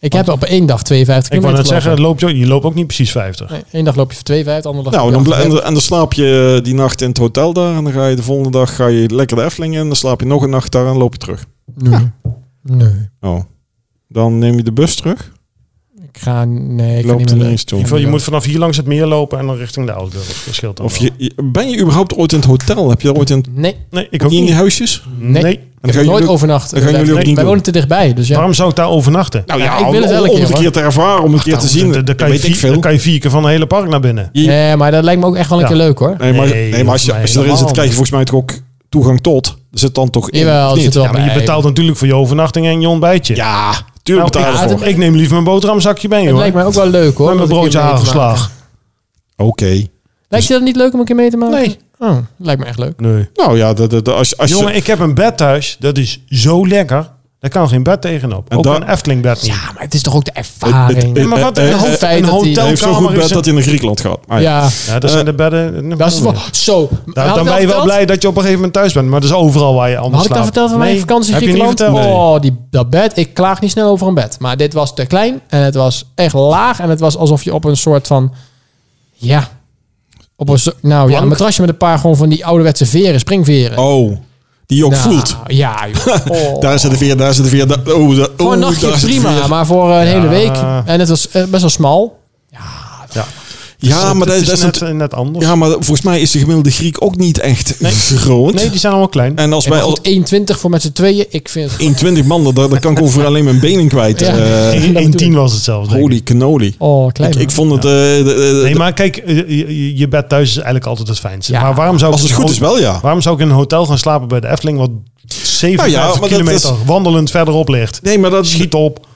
Speaker 4: Ik heb op één dag 52
Speaker 2: Ik wou net
Speaker 4: kilometer
Speaker 2: zeggen,
Speaker 4: gelopen.
Speaker 2: loop je, je loopt ook niet precies 50.
Speaker 4: Nee, één dag loop je voor 52, andere dag
Speaker 3: Nou, en dan,
Speaker 4: loop je
Speaker 3: bla- en,
Speaker 4: voor
Speaker 3: dan- en dan slaap je eh, die nacht in het hotel daar. En dan ga je de volgende dag ga je lekker de Efteling in. Dan slaap je nog een nacht daar en loop je terug.
Speaker 4: 58. Nee. Nee.
Speaker 3: Oh. Dan neem je de bus terug.
Speaker 4: Ik ga... Nee, ik ga
Speaker 3: Loopt
Speaker 4: niet meer
Speaker 3: ineens toe.
Speaker 4: Ik
Speaker 2: Je,
Speaker 4: ga
Speaker 2: je
Speaker 4: niet meer
Speaker 2: moet vanaf hier langs het meer lopen en dan richting de Ouddorp. Dat scheelt dan
Speaker 3: Oh, Of
Speaker 2: wel.
Speaker 3: je, je- ben je überhaupt ooit in het hotel? Heb je er ooit in,
Speaker 4: lopen. Nee,
Speaker 2: Nee, ik ook
Speaker 3: in die
Speaker 2: niet.
Speaker 3: huisjes?
Speaker 2: Nee.
Speaker 4: Nee.
Speaker 3: En
Speaker 4: ik heb nooit overnacht.
Speaker 3: dan gaan jullie ook
Speaker 4: Wij-
Speaker 3: niet
Speaker 4: Wij
Speaker 3: doen.
Speaker 4: wonen te dichtbij, dus ja.
Speaker 2: Waarom zou ik daar overnachten?
Speaker 3: Nou ja,
Speaker 4: Ja, ik
Speaker 3: om,
Speaker 4: wil het
Speaker 3: om-
Speaker 4: elke
Speaker 3: om
Speaker 4: keer,
Speaker 3: het een keer
Speaker 4: hoor.
Speaker 3: te ervaren, om een keer te zien.
Speaker 2: Dan, kan je
Speaker 3: weet ik
Speaker 2: vier, dan
Speaker 3: veel.
Speaker 2: kan je vier keer van het hele park naar binnen.
Speaker 3: Je-
Speaker 4: Nee, maar dat lijkt me ook echt wel een
Speaker 2: Ja.
Speaker 4: keer leuk hoor.
Speaker 3: Nee, maar, als je-
Speaker 2: Nee,
Speaker 3: nee, maar als je,
Speaker 2: dat is
Speaker 3: als je
Speaker 2: mij
Speaker 3: erin zit,
Speaker 2: helemaal
Speaker 3: krijg je volgens mij toch ook toegang tot. Er zit dan toch in.
Speaker 4: Jawel,
Speaker 3: of
Speaker 4: er
Speaker 3: niet?
Speaker 4: zit wel
Speaker 2: Ja, maar je
Speaker 4: bij.
Speaker 2: betaalt natuurlijk voor je overnachting en je ontbijtje.
Speaker 3: Ja, tuurlijk
Speaker 2: Nou,
Speaker 3: betaal je
Speaker 2: ik,
Speaker 3: ervoor.
Speaker 2: ik neem liever mijn boterhamzakje mee,
Speaker 4: Het
Speaker 2: hoor.
Speaker 4: lijkt mij ook wel leuk
Speaker 2: Met
Speaker 4: hoor. om
Speaker 2: mijn
Speaker 4: dat een
Speaker 2: broodje
Speaker 4: keer mee te maken.
Speaker 2: hagelslaag.
Speaker 3: Oké.
Speaker 4: Lijkt je dat niet leuk om een keer mee te maken?
Speaker 2: Nee.
Speaker 4: Oh, lijkt me echt leuk.
Speaker 2: Nee.
Speaker 3: Nou ja, dat, dat, als, je- als je...
Speaker 2: Jongen, ik heb een bed thuis. Dat is zo lekker. Daar kan geen bed tegenop.
Speaker 3: En
Speaker 2: Ook
Speaker 3: daar-
Speaker 2: een Efteling bed niet.
Speaker 4: Ja, maar het is toch ook de ervaring.
Speaker 3: Het-
Speaker 2: Ja, maar wat een,
Speaker 3: eh, eh,
Speaker 2: ho-
Speaker 4: het feit
Speaker 2: een
Speaker 4: dat die-
Speaker 2: hotelkamer
Speaker 3: hij heeft zo'n goed
Speaker 2: is
Speaker 3: bed
Speaker 2: een-
Speaker 3: dat hij naar Griekenland gaat. Maar ja.
Speaker 4: ja,
Speaker 2: Ja, dat zijn de bedden...
Speaker 4: dat is wel... Zo,
Speaker 2: Nou,
Speaker 4: had ik
Speaker 2: dan ben
Speaker 4: dat
Speaker 2: je wel
Speaker 4: verteld?
Speaker 2: blij dat je op een gegeven moment thuis bent. Maar dat is overal waar je anders
Speaker 4: Had ik dat
Speaker 2: slaapt.
Speaker 4: verteld van mijn
Speaker 2: Nee,
Speaker 4: vakantie in
Speaker 2: heb je niet
Speaker 4: Griekenland?
Speaker 2: verteld?
Speaker 4: Oh, die, dat bed. Ik klaag niet snel over een bed. Maar dit was te klein en het was echt laag. En het was alsof je op een soort van... Ja. Op een, zo- nou ja,
Speaker 2: Plank?
Speaker 4: een matrasje met een paar gewoon van die ouderwetse veren, springveren.
Speaker 3: Oh, die je ook
Speaker 4: Nou,
Speaker 3: voelt.
Speaker 4: Ja, joh. Oh.
Speaker 3: Daar zit de veer, daar zit de veer. Daar, oh, daar,
Speaker 4: Voor een
Speaker 3: oh,
Speaker 4: nachtje
Speaker 3: daar zit de
Speaker 4: prima,
Speaker 3: veer.
Speaker 4: maar voor eh, een hele week.
Speaker 2: Ja.
Speaker 4: En het was eh, best wel smal.
Speaker 3: Ja, maar
Speaker 2: Dus Het
Speaker 3: dat,
Speaker 2: is
Speaker 3: dat is
Speaker 2: net,
Speaker 3: natu-
Speaker 2: net anders.
Speaker 3: ja, maar volgens mij is de gemiddelde Griek ook niet echt groot.
Speaker 2: Nee, die zijn allemaal klein.
Speaker 3: En als
Speaker 4: En
Speaker 3: wij
Speaker 4: goed,
Speaker 3: al
Speaker 4: 1,20 voor met z'n tweeën. Ik vind het...
Speaker 3: 21 man, daar, daar kan ik over alleen mijn benen kwijt.
Speaker 4: Ja.
Speaker 3: Eh,
Speaker 2: In
Speaker 4: dat
Speaker 2: in
Speaker 4: doe
Speaker 2: tien was het zelfs. denk ik.
Speaker 3: holy cannoli.
Speaker 4: Oh, klein.
Speaker 3: Ik,
Speaker 4: man.
Speaker 3: ik vond het... eh, de- de-
Speaker 2: Nee, maar kijk, eh, je, je bed thuis is eigenlijk altijd het fijnste.
Speaker 4: Ja.
Speaker 2: Maar waarom zou ik
Speaker 3: Als het
Speaker 2: in een
Speaker 3: goed is
Speaker 2: ho-
Speaker 3: wel, ja.
Speaker 2: Waarom zou ik in een hotel gaan slapen bij de Efteling, wat 57
Speaker 3: Nou ja, maar dat
Speaker 2: kilometer
Speaker 3: is-
Speaker 2: wandelend verderop ligt?
Speaker 3: Nee, maar dat,
Speaker 2: Schiet op.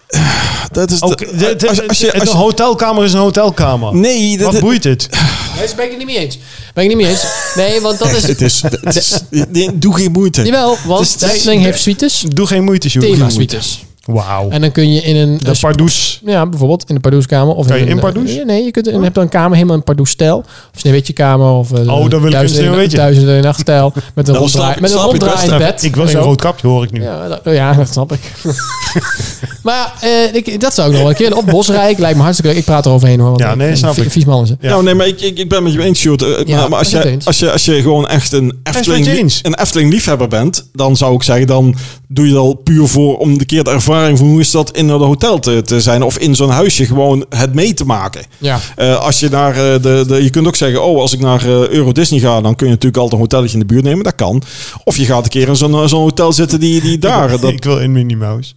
Speaker 3: dat is...
Speaker 2: Ook,
Speaker 3: de-
Speaker 2: de, de-
Speaker 3: als, als je,
Speaker 2: de-
Speaker 3: als
Speaker 2: een
Speaker 3: je-
Speaker 2: hotelkamer is een hotelkamer.
Speaker 3: nee, dat,
Speaker 2: wat boeit het?
Speaker 4: Nee, dus ben ik het niet mee eens. Ben ik het niet mee eens. Nee, want dat is...
Speaker 3: het is, het is- nee, doe geen moeite.
Speaker 4: Jawel,
Speaker 3: Het is-
Speaker 4: want
Speaker 3: het is-
Speaker 4: Efteling heeft suites.
Speaker 2: Doe geen moeite,
Speaker 4: Thema
Speaker 2: Sjoerd.
Speaker 4: suites.
Speaker 2: Wauw.
Speaker 4: En dus- dan kun je in een...
Speaker 2: De Pardoes.
Speaker 4: ja, bijvoorbeeld in de Pardoeskamer. Of
Speaker 2: Kan je
Speaker 4: een,
Speaker 2: in Pardoes?
Speaker 4: eh, Nee, je kunt,
Speaker 3: Oh.
Speaker 4: en heb dan een kamer helemaal in Pardoes-stijl. Of Sneeuwwitje-kamer. Of eh,
Speaker 2: dan wil ik een
Speaker 4: Duizend en een-
Speaker 2: Sneeuwwitje.
Speaker 4: Duizend en een nacht-stijl. Met
Speaker 3: dan
Speaker 4: een
Speaker 3: slaap
Speaker 4: ronddraai-
Speaker 3: ik-
Speaker 4: met een
Speaker 3: slaap ik best
Speaker 4: ronddraaiend
Speaker 2: Even,
Speaker 4: bed.
Speaker 2: Nou, ik wil
Speaker 4: en
Speaker 2: een
Speaker 4: zo.
Speaker 2: rood kapje, hoor ik nu.
Speaker 4: Ja, dat, oh ja, dat snap ik. maar eh, ik, dat zou ik nog wel een keer. Of Bosrijk lijkt me hartstikke leuk. Ik praat eroverheen hoor. want
Speaker 2: Ja, nee,
Speaker 4: vind
Speaker 2: snap
Speaker 4: vie-
Speaker 2: ik.
Speaker 4: Vies man is het.
Speaker 2: Ja.
Speaker 3: Nou, nee, maar ik, ik, ik ben met je eens, Sjoerd. Eh, maar- maar als,
Speaker 4: ik ben het
Speaker 3: je,
Speaker 4: eens.
Speaker 3: als, je, als je gewoon echt een Efteling,
Speaker 2: met je eens.
Speaker 3: een Efteling liefhebber bent, dan zou ik zeggen, dan doe je dat al puur voor om de keer de ervaring van hoe is dat in een hotel te, te zijn. Of in zo'n huisje gewoon het mee te maken.
Speaker 4: Ja.
Speaker 3: Eh, als je naar eh, de, de, je kunt ook zeggen, oh, als ik naar eh, Euro Disney ga, dan kun je natuurlijk altijd een hotelletje in de buurt nemen. Dat kan. Of je gaat een keer in zo'n eh, zo'n hotel zitten die, die daar.
Speaker 2: ik,
Speaker 3: dat,
Speaker 2: ik wil in Minnie Mouse.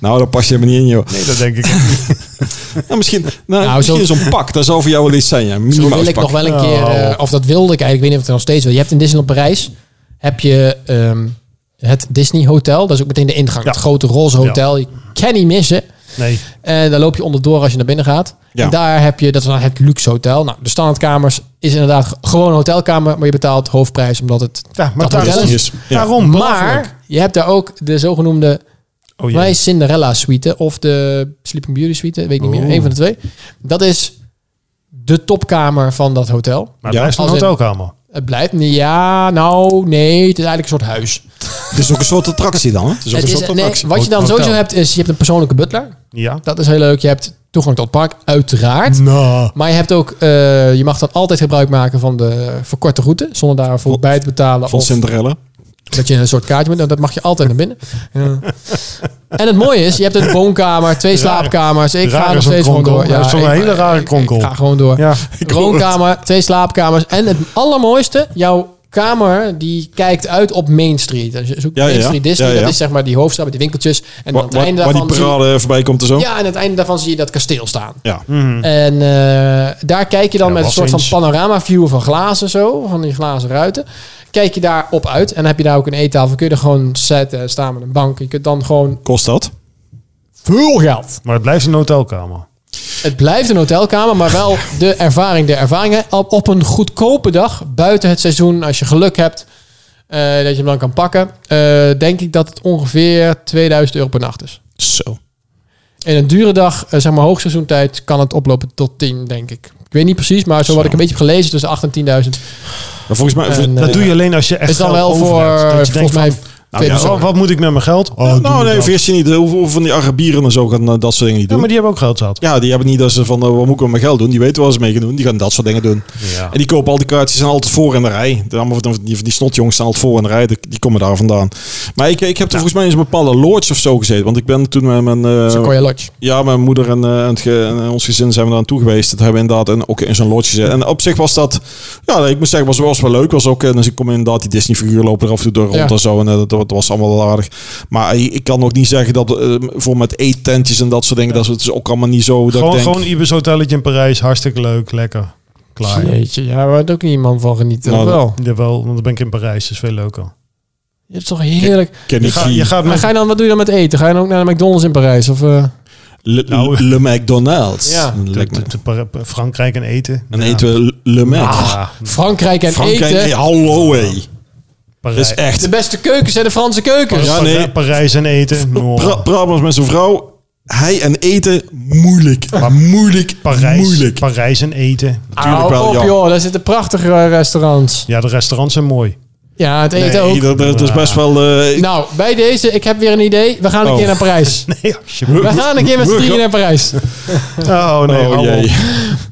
Speaker 3: nou, dat pas je helemaal niet in, joh.
Speaker 2: Nee, dat denk ik. niet.
Speaker 3: Nou, misschien nou,
Speaker 4: Nou, zo-
Speaker 3: misschien zo'n pak. Dat zou voor jou wel iets zijn. Ja. Een Minnie
Speaker 4: Zo wil
Speaker 3: Mouse
Speaker 4: ik
Speaker 3: pak.
Speaker 4: nog wel een keer. eh,
Speaker 2: Oh.
Speaker 4: of dat wilde ik eigenlijk. Ik weet niet of ik het nog steeds wil. Je hebt in Disneyland Parijs. Heb je ehm, het Disney Hotel. Dat is ook meteen de ingang.
Speaker 2: Ja.
Speaker 4: Het grote roze hotel. Je kan niet missen.
Speaker 2: Nee.
Speaker 4: En daar loop je onderdoor als je naar binnen gaat.
Speaker 3: Ja.
Speaker 4: En daar heb je, dat is dan het luxe hotel. Nou, de standaardkamers is inderdaad g- gewoon een hotelkamer. Maar je betaalt hoofdprijs omdat het...
Speaker 2: Ja, maar
Speaker 4: Dat
Speaker 2: daar
Speaker 4: hotel
Speaker 3: is- ja.
Speaker 2: Daarom. belachelijk.
Speaker 4: Maar je hebt daar ook de zogenoemde
Speaker 2: Oh, jee.
Speaker 4: Wij Cinderella suite of de Sleeping Beauty suite, weet ik niet meer.
Speaker 2: Oeh.
Speaker 4: Een van de twee. Dat is de topkamer van dat hotel.
Speaker 2: Maar
Speaker 3: Ja.
Speaker 2: daar is een
Speaker 4: Als in-
Speaker 2: hotelkamer.
Speaker 4: Het blijft niet. Ja, nou, nee. Het is eigenlijk een soort huis.
Speaker 3: Het is ook een soort attractie dan. Hè? Het is ook
Speaker 4: Het
Speaker 3: een
Speaker 4: is,
Speaker 3: soort
Speaker 4: nee,
Speaker 3: attractie.
Speaker 4: wat je dan
Speaker 2: Hotel.
Speaker 4: sowieso hebt, is je hebt een persoonlijke butler.
Speaker 2: Ja.
Speaker 4: Dat is heel leuk. Je hebt toegang tot het park, uiteraard.
Speaker 3: Mm.
Speaker 2: Nou.
Speaker 4: Maar je hebt ook, eh, je mag dan altijd gebruik maken van de verkorte route, zonder daarvoor
Speaker 3: Van-
Speaker 4: bij te betalen.
Speaker 3: Van
Speaker 4: of
Speaker 3: Cinderella.
Speaker 4: dat je een soort kaartje moet, nou, dat mag je altijd naar binnen. Ja. En het mooie is, je hebt een woonkamer, twee
Speaker 2: Rare-
Speaker 4: slaapkamers. Ik ga
Speaker 2: Raar
Speaker 4: nog
Speaker 2: is een
Speaker 4: steeds gewoon
Speaker 2: kronkel.
Speaker 4: door.
Speaker 2: Ja, dat is wel een
Speaker 4: ik-
Speaker 2: hele rare kronkel.
Speaker 4: Ik ga gewoon door.
Speaker 2: Ja.
Speaker 4: Woonkamer, twee slaapkamers. En het allermooiste, jouw kamer die kijkt uit op Main Street. Dus je zoekt
Speaker 3: Ja,
Speaker 4: Main
Speaker 3: ja.
Speaker 4: Street Disney,
Speaker 3: Ja, ja.
Speaker 4: dat is zeg maar die hoofdstraat met die winkeltjes. En
Speaker 3: Waar,
Speaker 4: aan het
Speaker 3: waar-
Speaker 4: einde
Speaker 3: waar die
Speaker 4: daarvan zie je,
Speaker 3: parade voorbij komt en zo.
Speaker 4: ja, en aan het einde daarvan zie je dat kasteel staan.
Speaker 3: Ja.
Speaker 4: En eh, daar kijk je dan
Speaker 2: Ja,
Speaker 4: met een
Speaker 2: was
Speaker 4: soort van
Speaker 2: eens.
Speaker 4: panorama view van glazen zo, van die glazen ruiten. Kijk je daar op uit en dan heb je daar ook een eettafel. Kun je er gewoon zetten en staan met een bank. Je kunt dan gewoon
Speaker 3: Kost dat?
Speaker 4: veel geld.
Speaker 2: Maar het blijft een hotelkamer.
Speaker 4: Het blijft een hotelkamer, maar wel de ervaring der ervaringen. Op, op een goedkope dag, buiten het seizoen, als je geluk hebt eh, dat je hem dan kan pakken, eh, denk ik dat het ongeveer 2000 euro per nacht is.
Speaker 3: Zo.
Speaker 4: En een dure dag, eh, zeg maar hoogseizoentijd, kan het oplopen tot 10, denk ik. Ik weet niet precies, maar zo wat
Speaker 3: Zo.
Speaker 4: ik een beetje heb gelezen, tussen 8 en 10.000.
Speaker 3: Maar volgens mij...
Speaker 4: En,
Speaker 2: Dat
Speaker 4: eh,
Speaker 2: doe je alleen als je echt
Speaker 4: is dan
Speaker 2: geld
Speaker 4: wel
Speaker 2: over
Speaker 4: voor,
Speaker 2: hebt. Dat je
Speaker 4: volgens
Speaker 2: denkt
Speaker 4: mij,
Speaker 2: van,
Speaker 4: twee
Speaker 3: ja,
Speaker 2: oh,
Speaker 4: personen.
Speaker 2: wat moet ik met mijn geld? Oh, doe
Speaker 3: nou,
Speaker 2: ik
Speaker 3: nee,
Speaker 2: dat.
Speaker 3: vergis je niet. Heel veel van die Arabieren en zo gaan eh, dat soort dingen niet
Speaker 2: Ja,
Speaker 3: doen.
Speaker 2: maar die hebben ook geld zat.
Speaker 3: Ja, die hebben niet dat ze van, eh, wat moet ik met mijn geld doen? Die weten wat ze mee gaan doen. Die gaan dat soort dingen doen.
Speaker 2: Ja.
Speaker 3: En die kopen al die kaartjes en altijd voor in de rij. De, allemaal van die, van die snotjongens staan altijd voor in de rij. Die, die komen daar vandaan. Maar ik, ik heb er volgens mij eens een bepaalde lodge of zo gezeten. Want ik ben toen met mijn... eh,
Speaker 4: Sequoia Lodge.
Speaker 3: ja, mijn moeder en, eh, en het ge- en ons gezin zijn we daar aan toe geweest. Dat hebben we inderdaad in, ook in zo'n lodge gezeten. En op zich was dat... Ja, ik moet zeggen, was, was wel leuk. Was ook, eh, dus ik kom inderdaad die Disney-figuur lopen er af en toe door rond
Speaker 4: Ja.
Speaker 3: en zo. En eh, dat, dat was allemaal wel aardig. Maar eh, ik, ik kan ook niet zeggen dat... eh, voor met eettentjes en dat soort dingen... Dat is, het is ook allemaal niet zo dat ik
Speaker 2: Gewoon,
Speaker 3: denk...
Speaker 2: gewoon een Ibis hotelletje in Parijs. Hartstikke leuk. Lekker. Klaar.
Speaker 4: Ah, Jeetje, ja, waar het ook niet man van genieten.
Speaker 3: Nou,
Speaker 4: of wel.
Speaker 2: Jawel, want dan ben ik in Parijs. dus veel leuker.
Speaker 4: Het is toch heerlijk.
Speaker 3: ken
Speaker 2: Je,
Speaker 3: ik
Speaker 2: gaat
Speaker 3: geen-
Speaker 2: je gaat
Speaker 4: Maar
Speaker 2: met...
Speaker 4: ga je dan, wat doe je dan met eten? Ga je dan ook naar de McDonald's in Parijs? Of, eh?
Speaker 3: Le,
Speaker 2: Nou.
Speaker 3: Le McDonald's.
Speaker 4: Ja.
Speaker 3: Dat lijkt me.
Speaker 2: te- te Par- Frankrijk en eten.
Speaker 3: Dan
Speaker 2: Ja,
Speaker 3: eten we Le Mac.
Speaker 2: Ah,
Speaker 4: Frankrijk en
Speaker 3: Frankrijk,
Speaker 4: eten.
Speaker 3: hey, hallo hé. Dat
Speaker 2: Parijs.
Speaker 3: is echt.
Speaker 4: De beste keukens zijn de Franse keukens.
Speaker 3: Ja, nee.
Speaker 2: Parijs en eten. No.
Speaker 3: Pra- Brabants met zijn vrouw. Hij en eten, moeilijk. Maar moeilijk,
Speaker 2: Parijs,
Speaker 3: moeilijk.
Speaker 2: Parijs en eten.
Speaker 3: natuurlijk wel,
Speaker 4: Hou op
Speaker 3: ja.
Speaker 4: joh, daar zitten prachtige eh, restaurants.
Speaker 2: Ja, de restaurants zijn mooi.
Speaker 4: Ja, het
Speaker 3: Nee,
Speaker 4: eten ook.
Speaker 3: dat, dat is best wel... eh,
Speaker 4: Nou, bij deze, ik heb weer een idee. We gaan een
Speaker 3: Oh.
Speaker 4: keer naar Parijs.
Speaker 2: Nee, alsjeblieft.
Speaker 4: We gaan een keer met z'n
Speaker 3: We
Speaker 4: drieën
Speaker 3: gaan-
Speaker 4: naar Parijs.
Speaker 2: Oh nee,
Speaker 3: oh
Speaker 2: hou op.
Speaker 3: jee.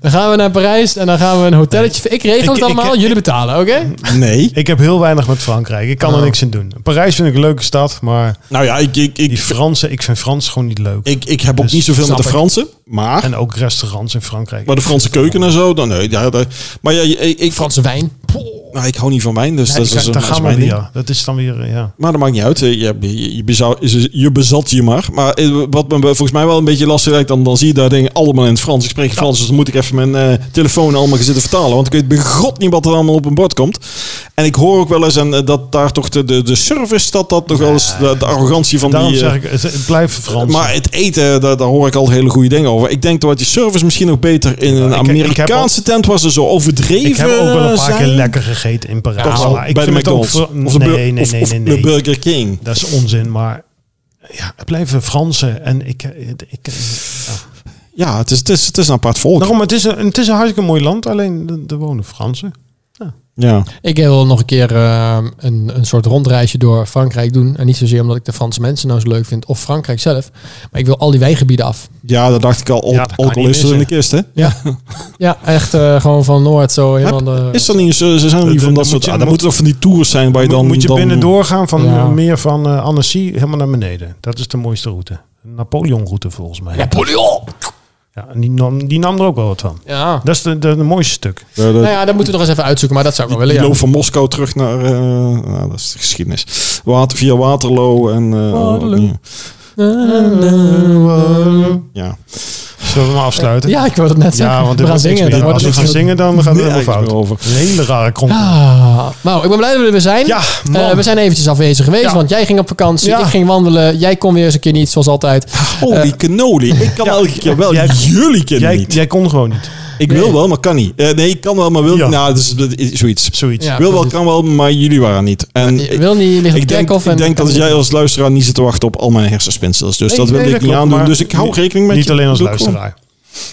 Speaker 4: Dan gaan we naar Parijs en dan gaan we een hotelletje... Ik regel
Speaker 2: Ik-
Speaker 4: het
Speaker 2: ik-
Speaker 4: allemaal,
Speaker 2: ik-
Speaker 4: jullie betalen, oké?
Speaker 3: Nee.
Speaker 2: Ik heb heel weinig met Frankrijk. Ik kan
Speaker 4: Oh.
Speaker 2: er niks in doen. Parijs vind ik een leuke stad, maar
Speaker 3: Nou ja, ik, ik,
Speaker 2: die
Speaker 3: ik,
Speaker 2: Fransen, ik vind Frans gewoon niet leuk.
Speaker 3: ik, ik heb ook
Speaker 2: Dus
Speaker 3: niet zoveel met de
Speaker 4: snap ik.
Speaker 3: Fransen. Maar,
Speaker 2: En ook restaurants in Frankrijk.
Speaker 3: maar de Franse keuken en zo, dan nee. Ja, daar- maar ja, ik, ik,
Speaker 4: Franse wijn.
Speaker 3: nou, ik hou niet van wijn, dus
Speaker 2: Ja,
Speaker 3: dat,
Speaker 2: die
Speaker 3: is,
Speaker 2: ga-
Speaker 3: een-
Speaker 2: daar
Speaker 3: dat is
Speaker 2: gaan we
Speaker 3: mijn ding.
Speaker 2: weer. Dat is dan weer, eh, ja.
Speaker 3: Maar dat maakt niet uit. Eh, Je, je, je, bezou- je- je bezat je maar. Maar eh, wat me volgens mij wel een beetje lastig lijkt, dan, dan zie je daar dingen allemaal in het Frans. Ik spreek geen Frans, dus dan moet ik even mijn eh, telefoon allemaal gaan zitten vertalen. Want ik weet bij god niet wat er allemaal op een bord komt. En ik hoor ook wel eens en, eh, dat daar toch de, de, de service, dat dat nog wel eens de, de arrogantie van
Speaker 2: Daarom
Speaker 3: die... eh,
Speaker 2: zeg ik, het, het blijft Frans.
Speaker 3: maar het eten, eh, daar, daar hoor ik al hele goede dingen over. Ik denk dat die service misschien nog beter in een
Speaker 2: ik- ik heb
Speaker 3: Amerikaanse tent was. Er zo overdreven
Speaker 2: ik heb ook wel een paar
Speaker 3: zijn.
Speaker 2: keer lekker gegeten in Parijs.
Speaker 3: Toch wel,
Speaker 2: maar ik
Speaker 3: bij de
Speaker 2: vind het ook
Speaker 3: McDonald's.
Speaker 2: Fra-
Speaker 3: of de, bur-
Speaker 2: nee, nee,
Speaker 3: of-
Speaker 2: nee,
Speaker 3: of
Speaker 2: nee,
Speaker 3: de
Speaker 2: nee.
Speaker 3: Burger King.
Speaker 2: Dat is onzin, maar ja, het blijven Fransen. En ik, eh, ik, ja.
Speaker 3: Ja, het is, het, is, het is een apart volk.
Speaker 2: Daarom, het is, een, het is een hartstikke mooi land, alleen er- er wonen Fransen.
Speaker 3: Ja.
Speaker 4: Ik wil nog een keer ehm, een, een soort rondreisje door Frankrijk doen. En niet zozeer omdat ik de Franse mensen nou zo leuk vind of Frankrijk zelf. Maar ik wil al die wijngebieden af.
Speaker 3: Ja, dat dacht ik al. Al-
Speaker 2: Ja, dat kan
Speaker 3: alcohol
Speaker 2: niet
Speaker 3: is er in de
Speaker 2: missen.
Speaker 3: kist, hè?
Speaker 4: Ja, echt eh, gewoon van Noord zo helemaal... de-
Speaker 3: Is er niet, ze ze zijn er niet
Speaker 2: Eh,
Speaker 3: van
Speaker 2: dan moet
Speaker 3: dat soort...
Speaker 2: je-
Speaker 3: Ah, dan
Speaker 2: moet-
Speaker 3: moeten toch van die tours zijn waar je dan...
Speaker 2: Moet- moet je
Speaker 3: dan-
Speaker 2: binnendoor gaan van
Speaker 4: Ja.
Speaker 2: meer van eh Annecy helemaal naar beneden. Dat is de mooiste route. Napoleon-route volgens mij.
Speaker 4: Napoleon!
Speaker 2: Ja, en die, nam, die nam er ook wel wat van.
Speaker 4: Ja.
Speaker 2: Dat is de, de, de mooiste stuk.
Speaker 3: Ja, dat-
Speaker 4: Nou ja, dat moeten we nog eens even uitzoeken, maar dat zou ik
Speaker 2: Nou,
Speaker 3: die
Speaker 4: wel
Speaker 3: die
Speaker 4: willen.
Speaker 3: loopt van Moskou terug naar... eh, nou, dat is de geschiedenis. Water, via Waterloo en... eh,
Speaker 4: Waterloo.
Speaker 3: ja.
Speaker 4: Ja.
Speaker 3: Ja.
Speaker 2: Zullen we maar afsluiten?
Speaker 4: ja, ik wilde het net zeggen.
Speaker 2: Ja, want dit
Speaker 4: we gaan
Speaker 2: wordt niks
Speaker 4: zingen.
Speaker 2: meer.
Speaker 4: Dan wordt
Speaker 2: Als
Speaker 4: het
Speaker 2: we
Speaker 4: niks
Speaker 2: gaan zingen,
Speaker 4: meer.
Speaker 2: dan gaat het
Speaker 3: Nee,
Speaker 2: helemaal
Speaker 3: eigenlijk
Speaker 2: fout.
Speaker 3: meer
Speaker 2: Een
Speaker 3: over.
Speaker 2: hele rare kronkel.
Speaker 4: Ah, nou, ik ben blij dat we er weer zijn.
Speaker 2: Ja, man.
Speaker 4: Eh, we zijn eventjes afwezig geweest,
Speaker 2: Ja.
Speaker 4: want jij ging op vakantie,
Speaker 2: Ja.
Speaker 4: ik ging wandelen, jij kon weer eens een keer niet, zoals altijd.
Speaker 3: Holy
Speaker 2: Eh,
Speaker 3: cannoli. Ik kan elke keer wel. Jullie kunnen
Speaker 2: jij,
Speaker 3: niet.
Speaker 2: jij kon gewoon niet.
Speaker 3: ik wil wel, maar kan niet. Eh, nee, ik kan wel, maar wil
Speaker 2: Ja.
Speaker 3: niet. Nou, dat is, dat is zoiets.
Speaker 2: Zoiets.
Speaker 4: Ja,
Speaker 3: wil wel,
Speaker 4: precies.
Speaker 3: kan wel, maar jullie waren niet. En
Speaker 4: Je
Speaker 3: ik-
Speaker 4: wil niet liggen
Speaker 3: ik denk,
Speaker 4: kerkhof
Speaker 3: ik
Speaker 4: en-
Speaker 3: denk dat
Speaker 4: en-
Speaker 3: jij als luisteraar niet zit te wachten op al mijn hersenspinsels. Dus
Speaker 2: Nee,
Speaker 3: dat wil
Speaker 2: nee,
Speaker 3: ik niet
Speaker 2: klopt,
Speaker 3: aandoen.
Speaker 2: maar
Speaker 3: Dus ik hou
Speaker 2: niet-
Speaker 3: rekening met
Speaker 2: Niet
Speaker 3: je.
Speaker 2: alleen als
Speaker 3: Doe ik gewoon.
Speaker 2: luisteraar.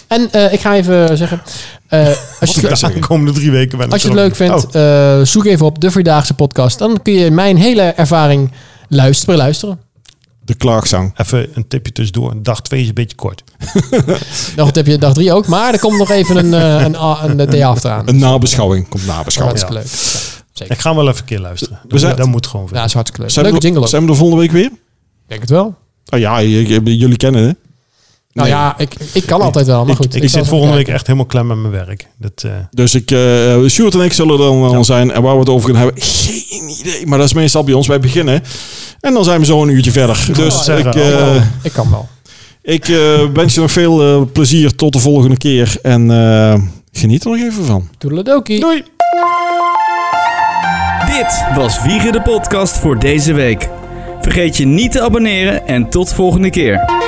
Speaker 4: En eh, ik ga even zeggen, eh, als, je,
Speaker 3: Wat
Speaker 2: De
Speaker 3: zeggen.
Speaker 2: aankomende drie weken ben ik
Speaker 4: als je het
Speaker 2: er ook
Speaker 4: leuk
Speaker 2: niet.
Speaker 4: vindt,
Speaker 2: Oh,
Speaker 4: eh, zoek even op de Vierdaagse podcast. Dan kun je mijn hele ervaring luisteren, luisteren.
Speaker 3: De klaagzang.
Speaker 2: Oh, Even een tipje tussendoor. Dag 2 is een beetje kort.
Speaker 4: Dan heb je dag drie ook. Maar er komt nog even een, eh, een, a- een, day after aan. Nou,
Speaker 3: Een nabeschouwing. Komt nabeschouwing.
Speaker 4: Hartstikke leuk. Ja, zeker.
Speaker 2: Ik ga hem wel even een keer luisteren.
Speaker 3: We
Speaker 2: Dat,
Speaker 3: zijn-
Speaker 2: dat moet gewoon
Speaker 4: Ja,
Speaker 2: weer.
Speaker 4: dat is hartstikke leuk.
Speaker 3: Zijn we,
Speaker 4: Leuke
Speaker 3: er-
Speaker 4: jingle ook.
Speaker 3: zijn we er volgende week weer?
Speaker 4: Ik denk het wel.
Speaker 3: Oh ja, j- j- jullie kennen het.
Speaker 4: Nou
Speaker 3: Nee.
Speaker 4: ja, ik, ik kan altijd wel. Maar goed.
Speaker 2: ik
Speaker 4: zal
Speaker 2: zit
Speaker 4: eens
Speaker 2: volgende
Speaker 4: even
Speaker 2: week echt helemaal klem aan mijn werk. Dat, eh,
Speaker 3: Dus ik, eh Sjoerd en ik zullen er dan wel zijn. En waar we het over gaan hebben, geen idee. Maar dat is meestal bij ons. Wij beginnen. En dan zijn we zo een uurtje verder. Dus
Speaker 2: zeggen,
Speaker 3: ik, eh,
Speaker 2: allemaal.
Speaker 4: kijken. Ik kan wel.
Speaker 3: ik eh, wens je nog veel eh, plezier. Tot de volgende keer. En eh, geniet er nog even van.
Speaker 4: Toedeledokie.
Speaker 3: Doei!
Speaker 1: Dit was Wiegen de Podcast voor deze week. Vergeet je niet te abonneren en tot volgende keer.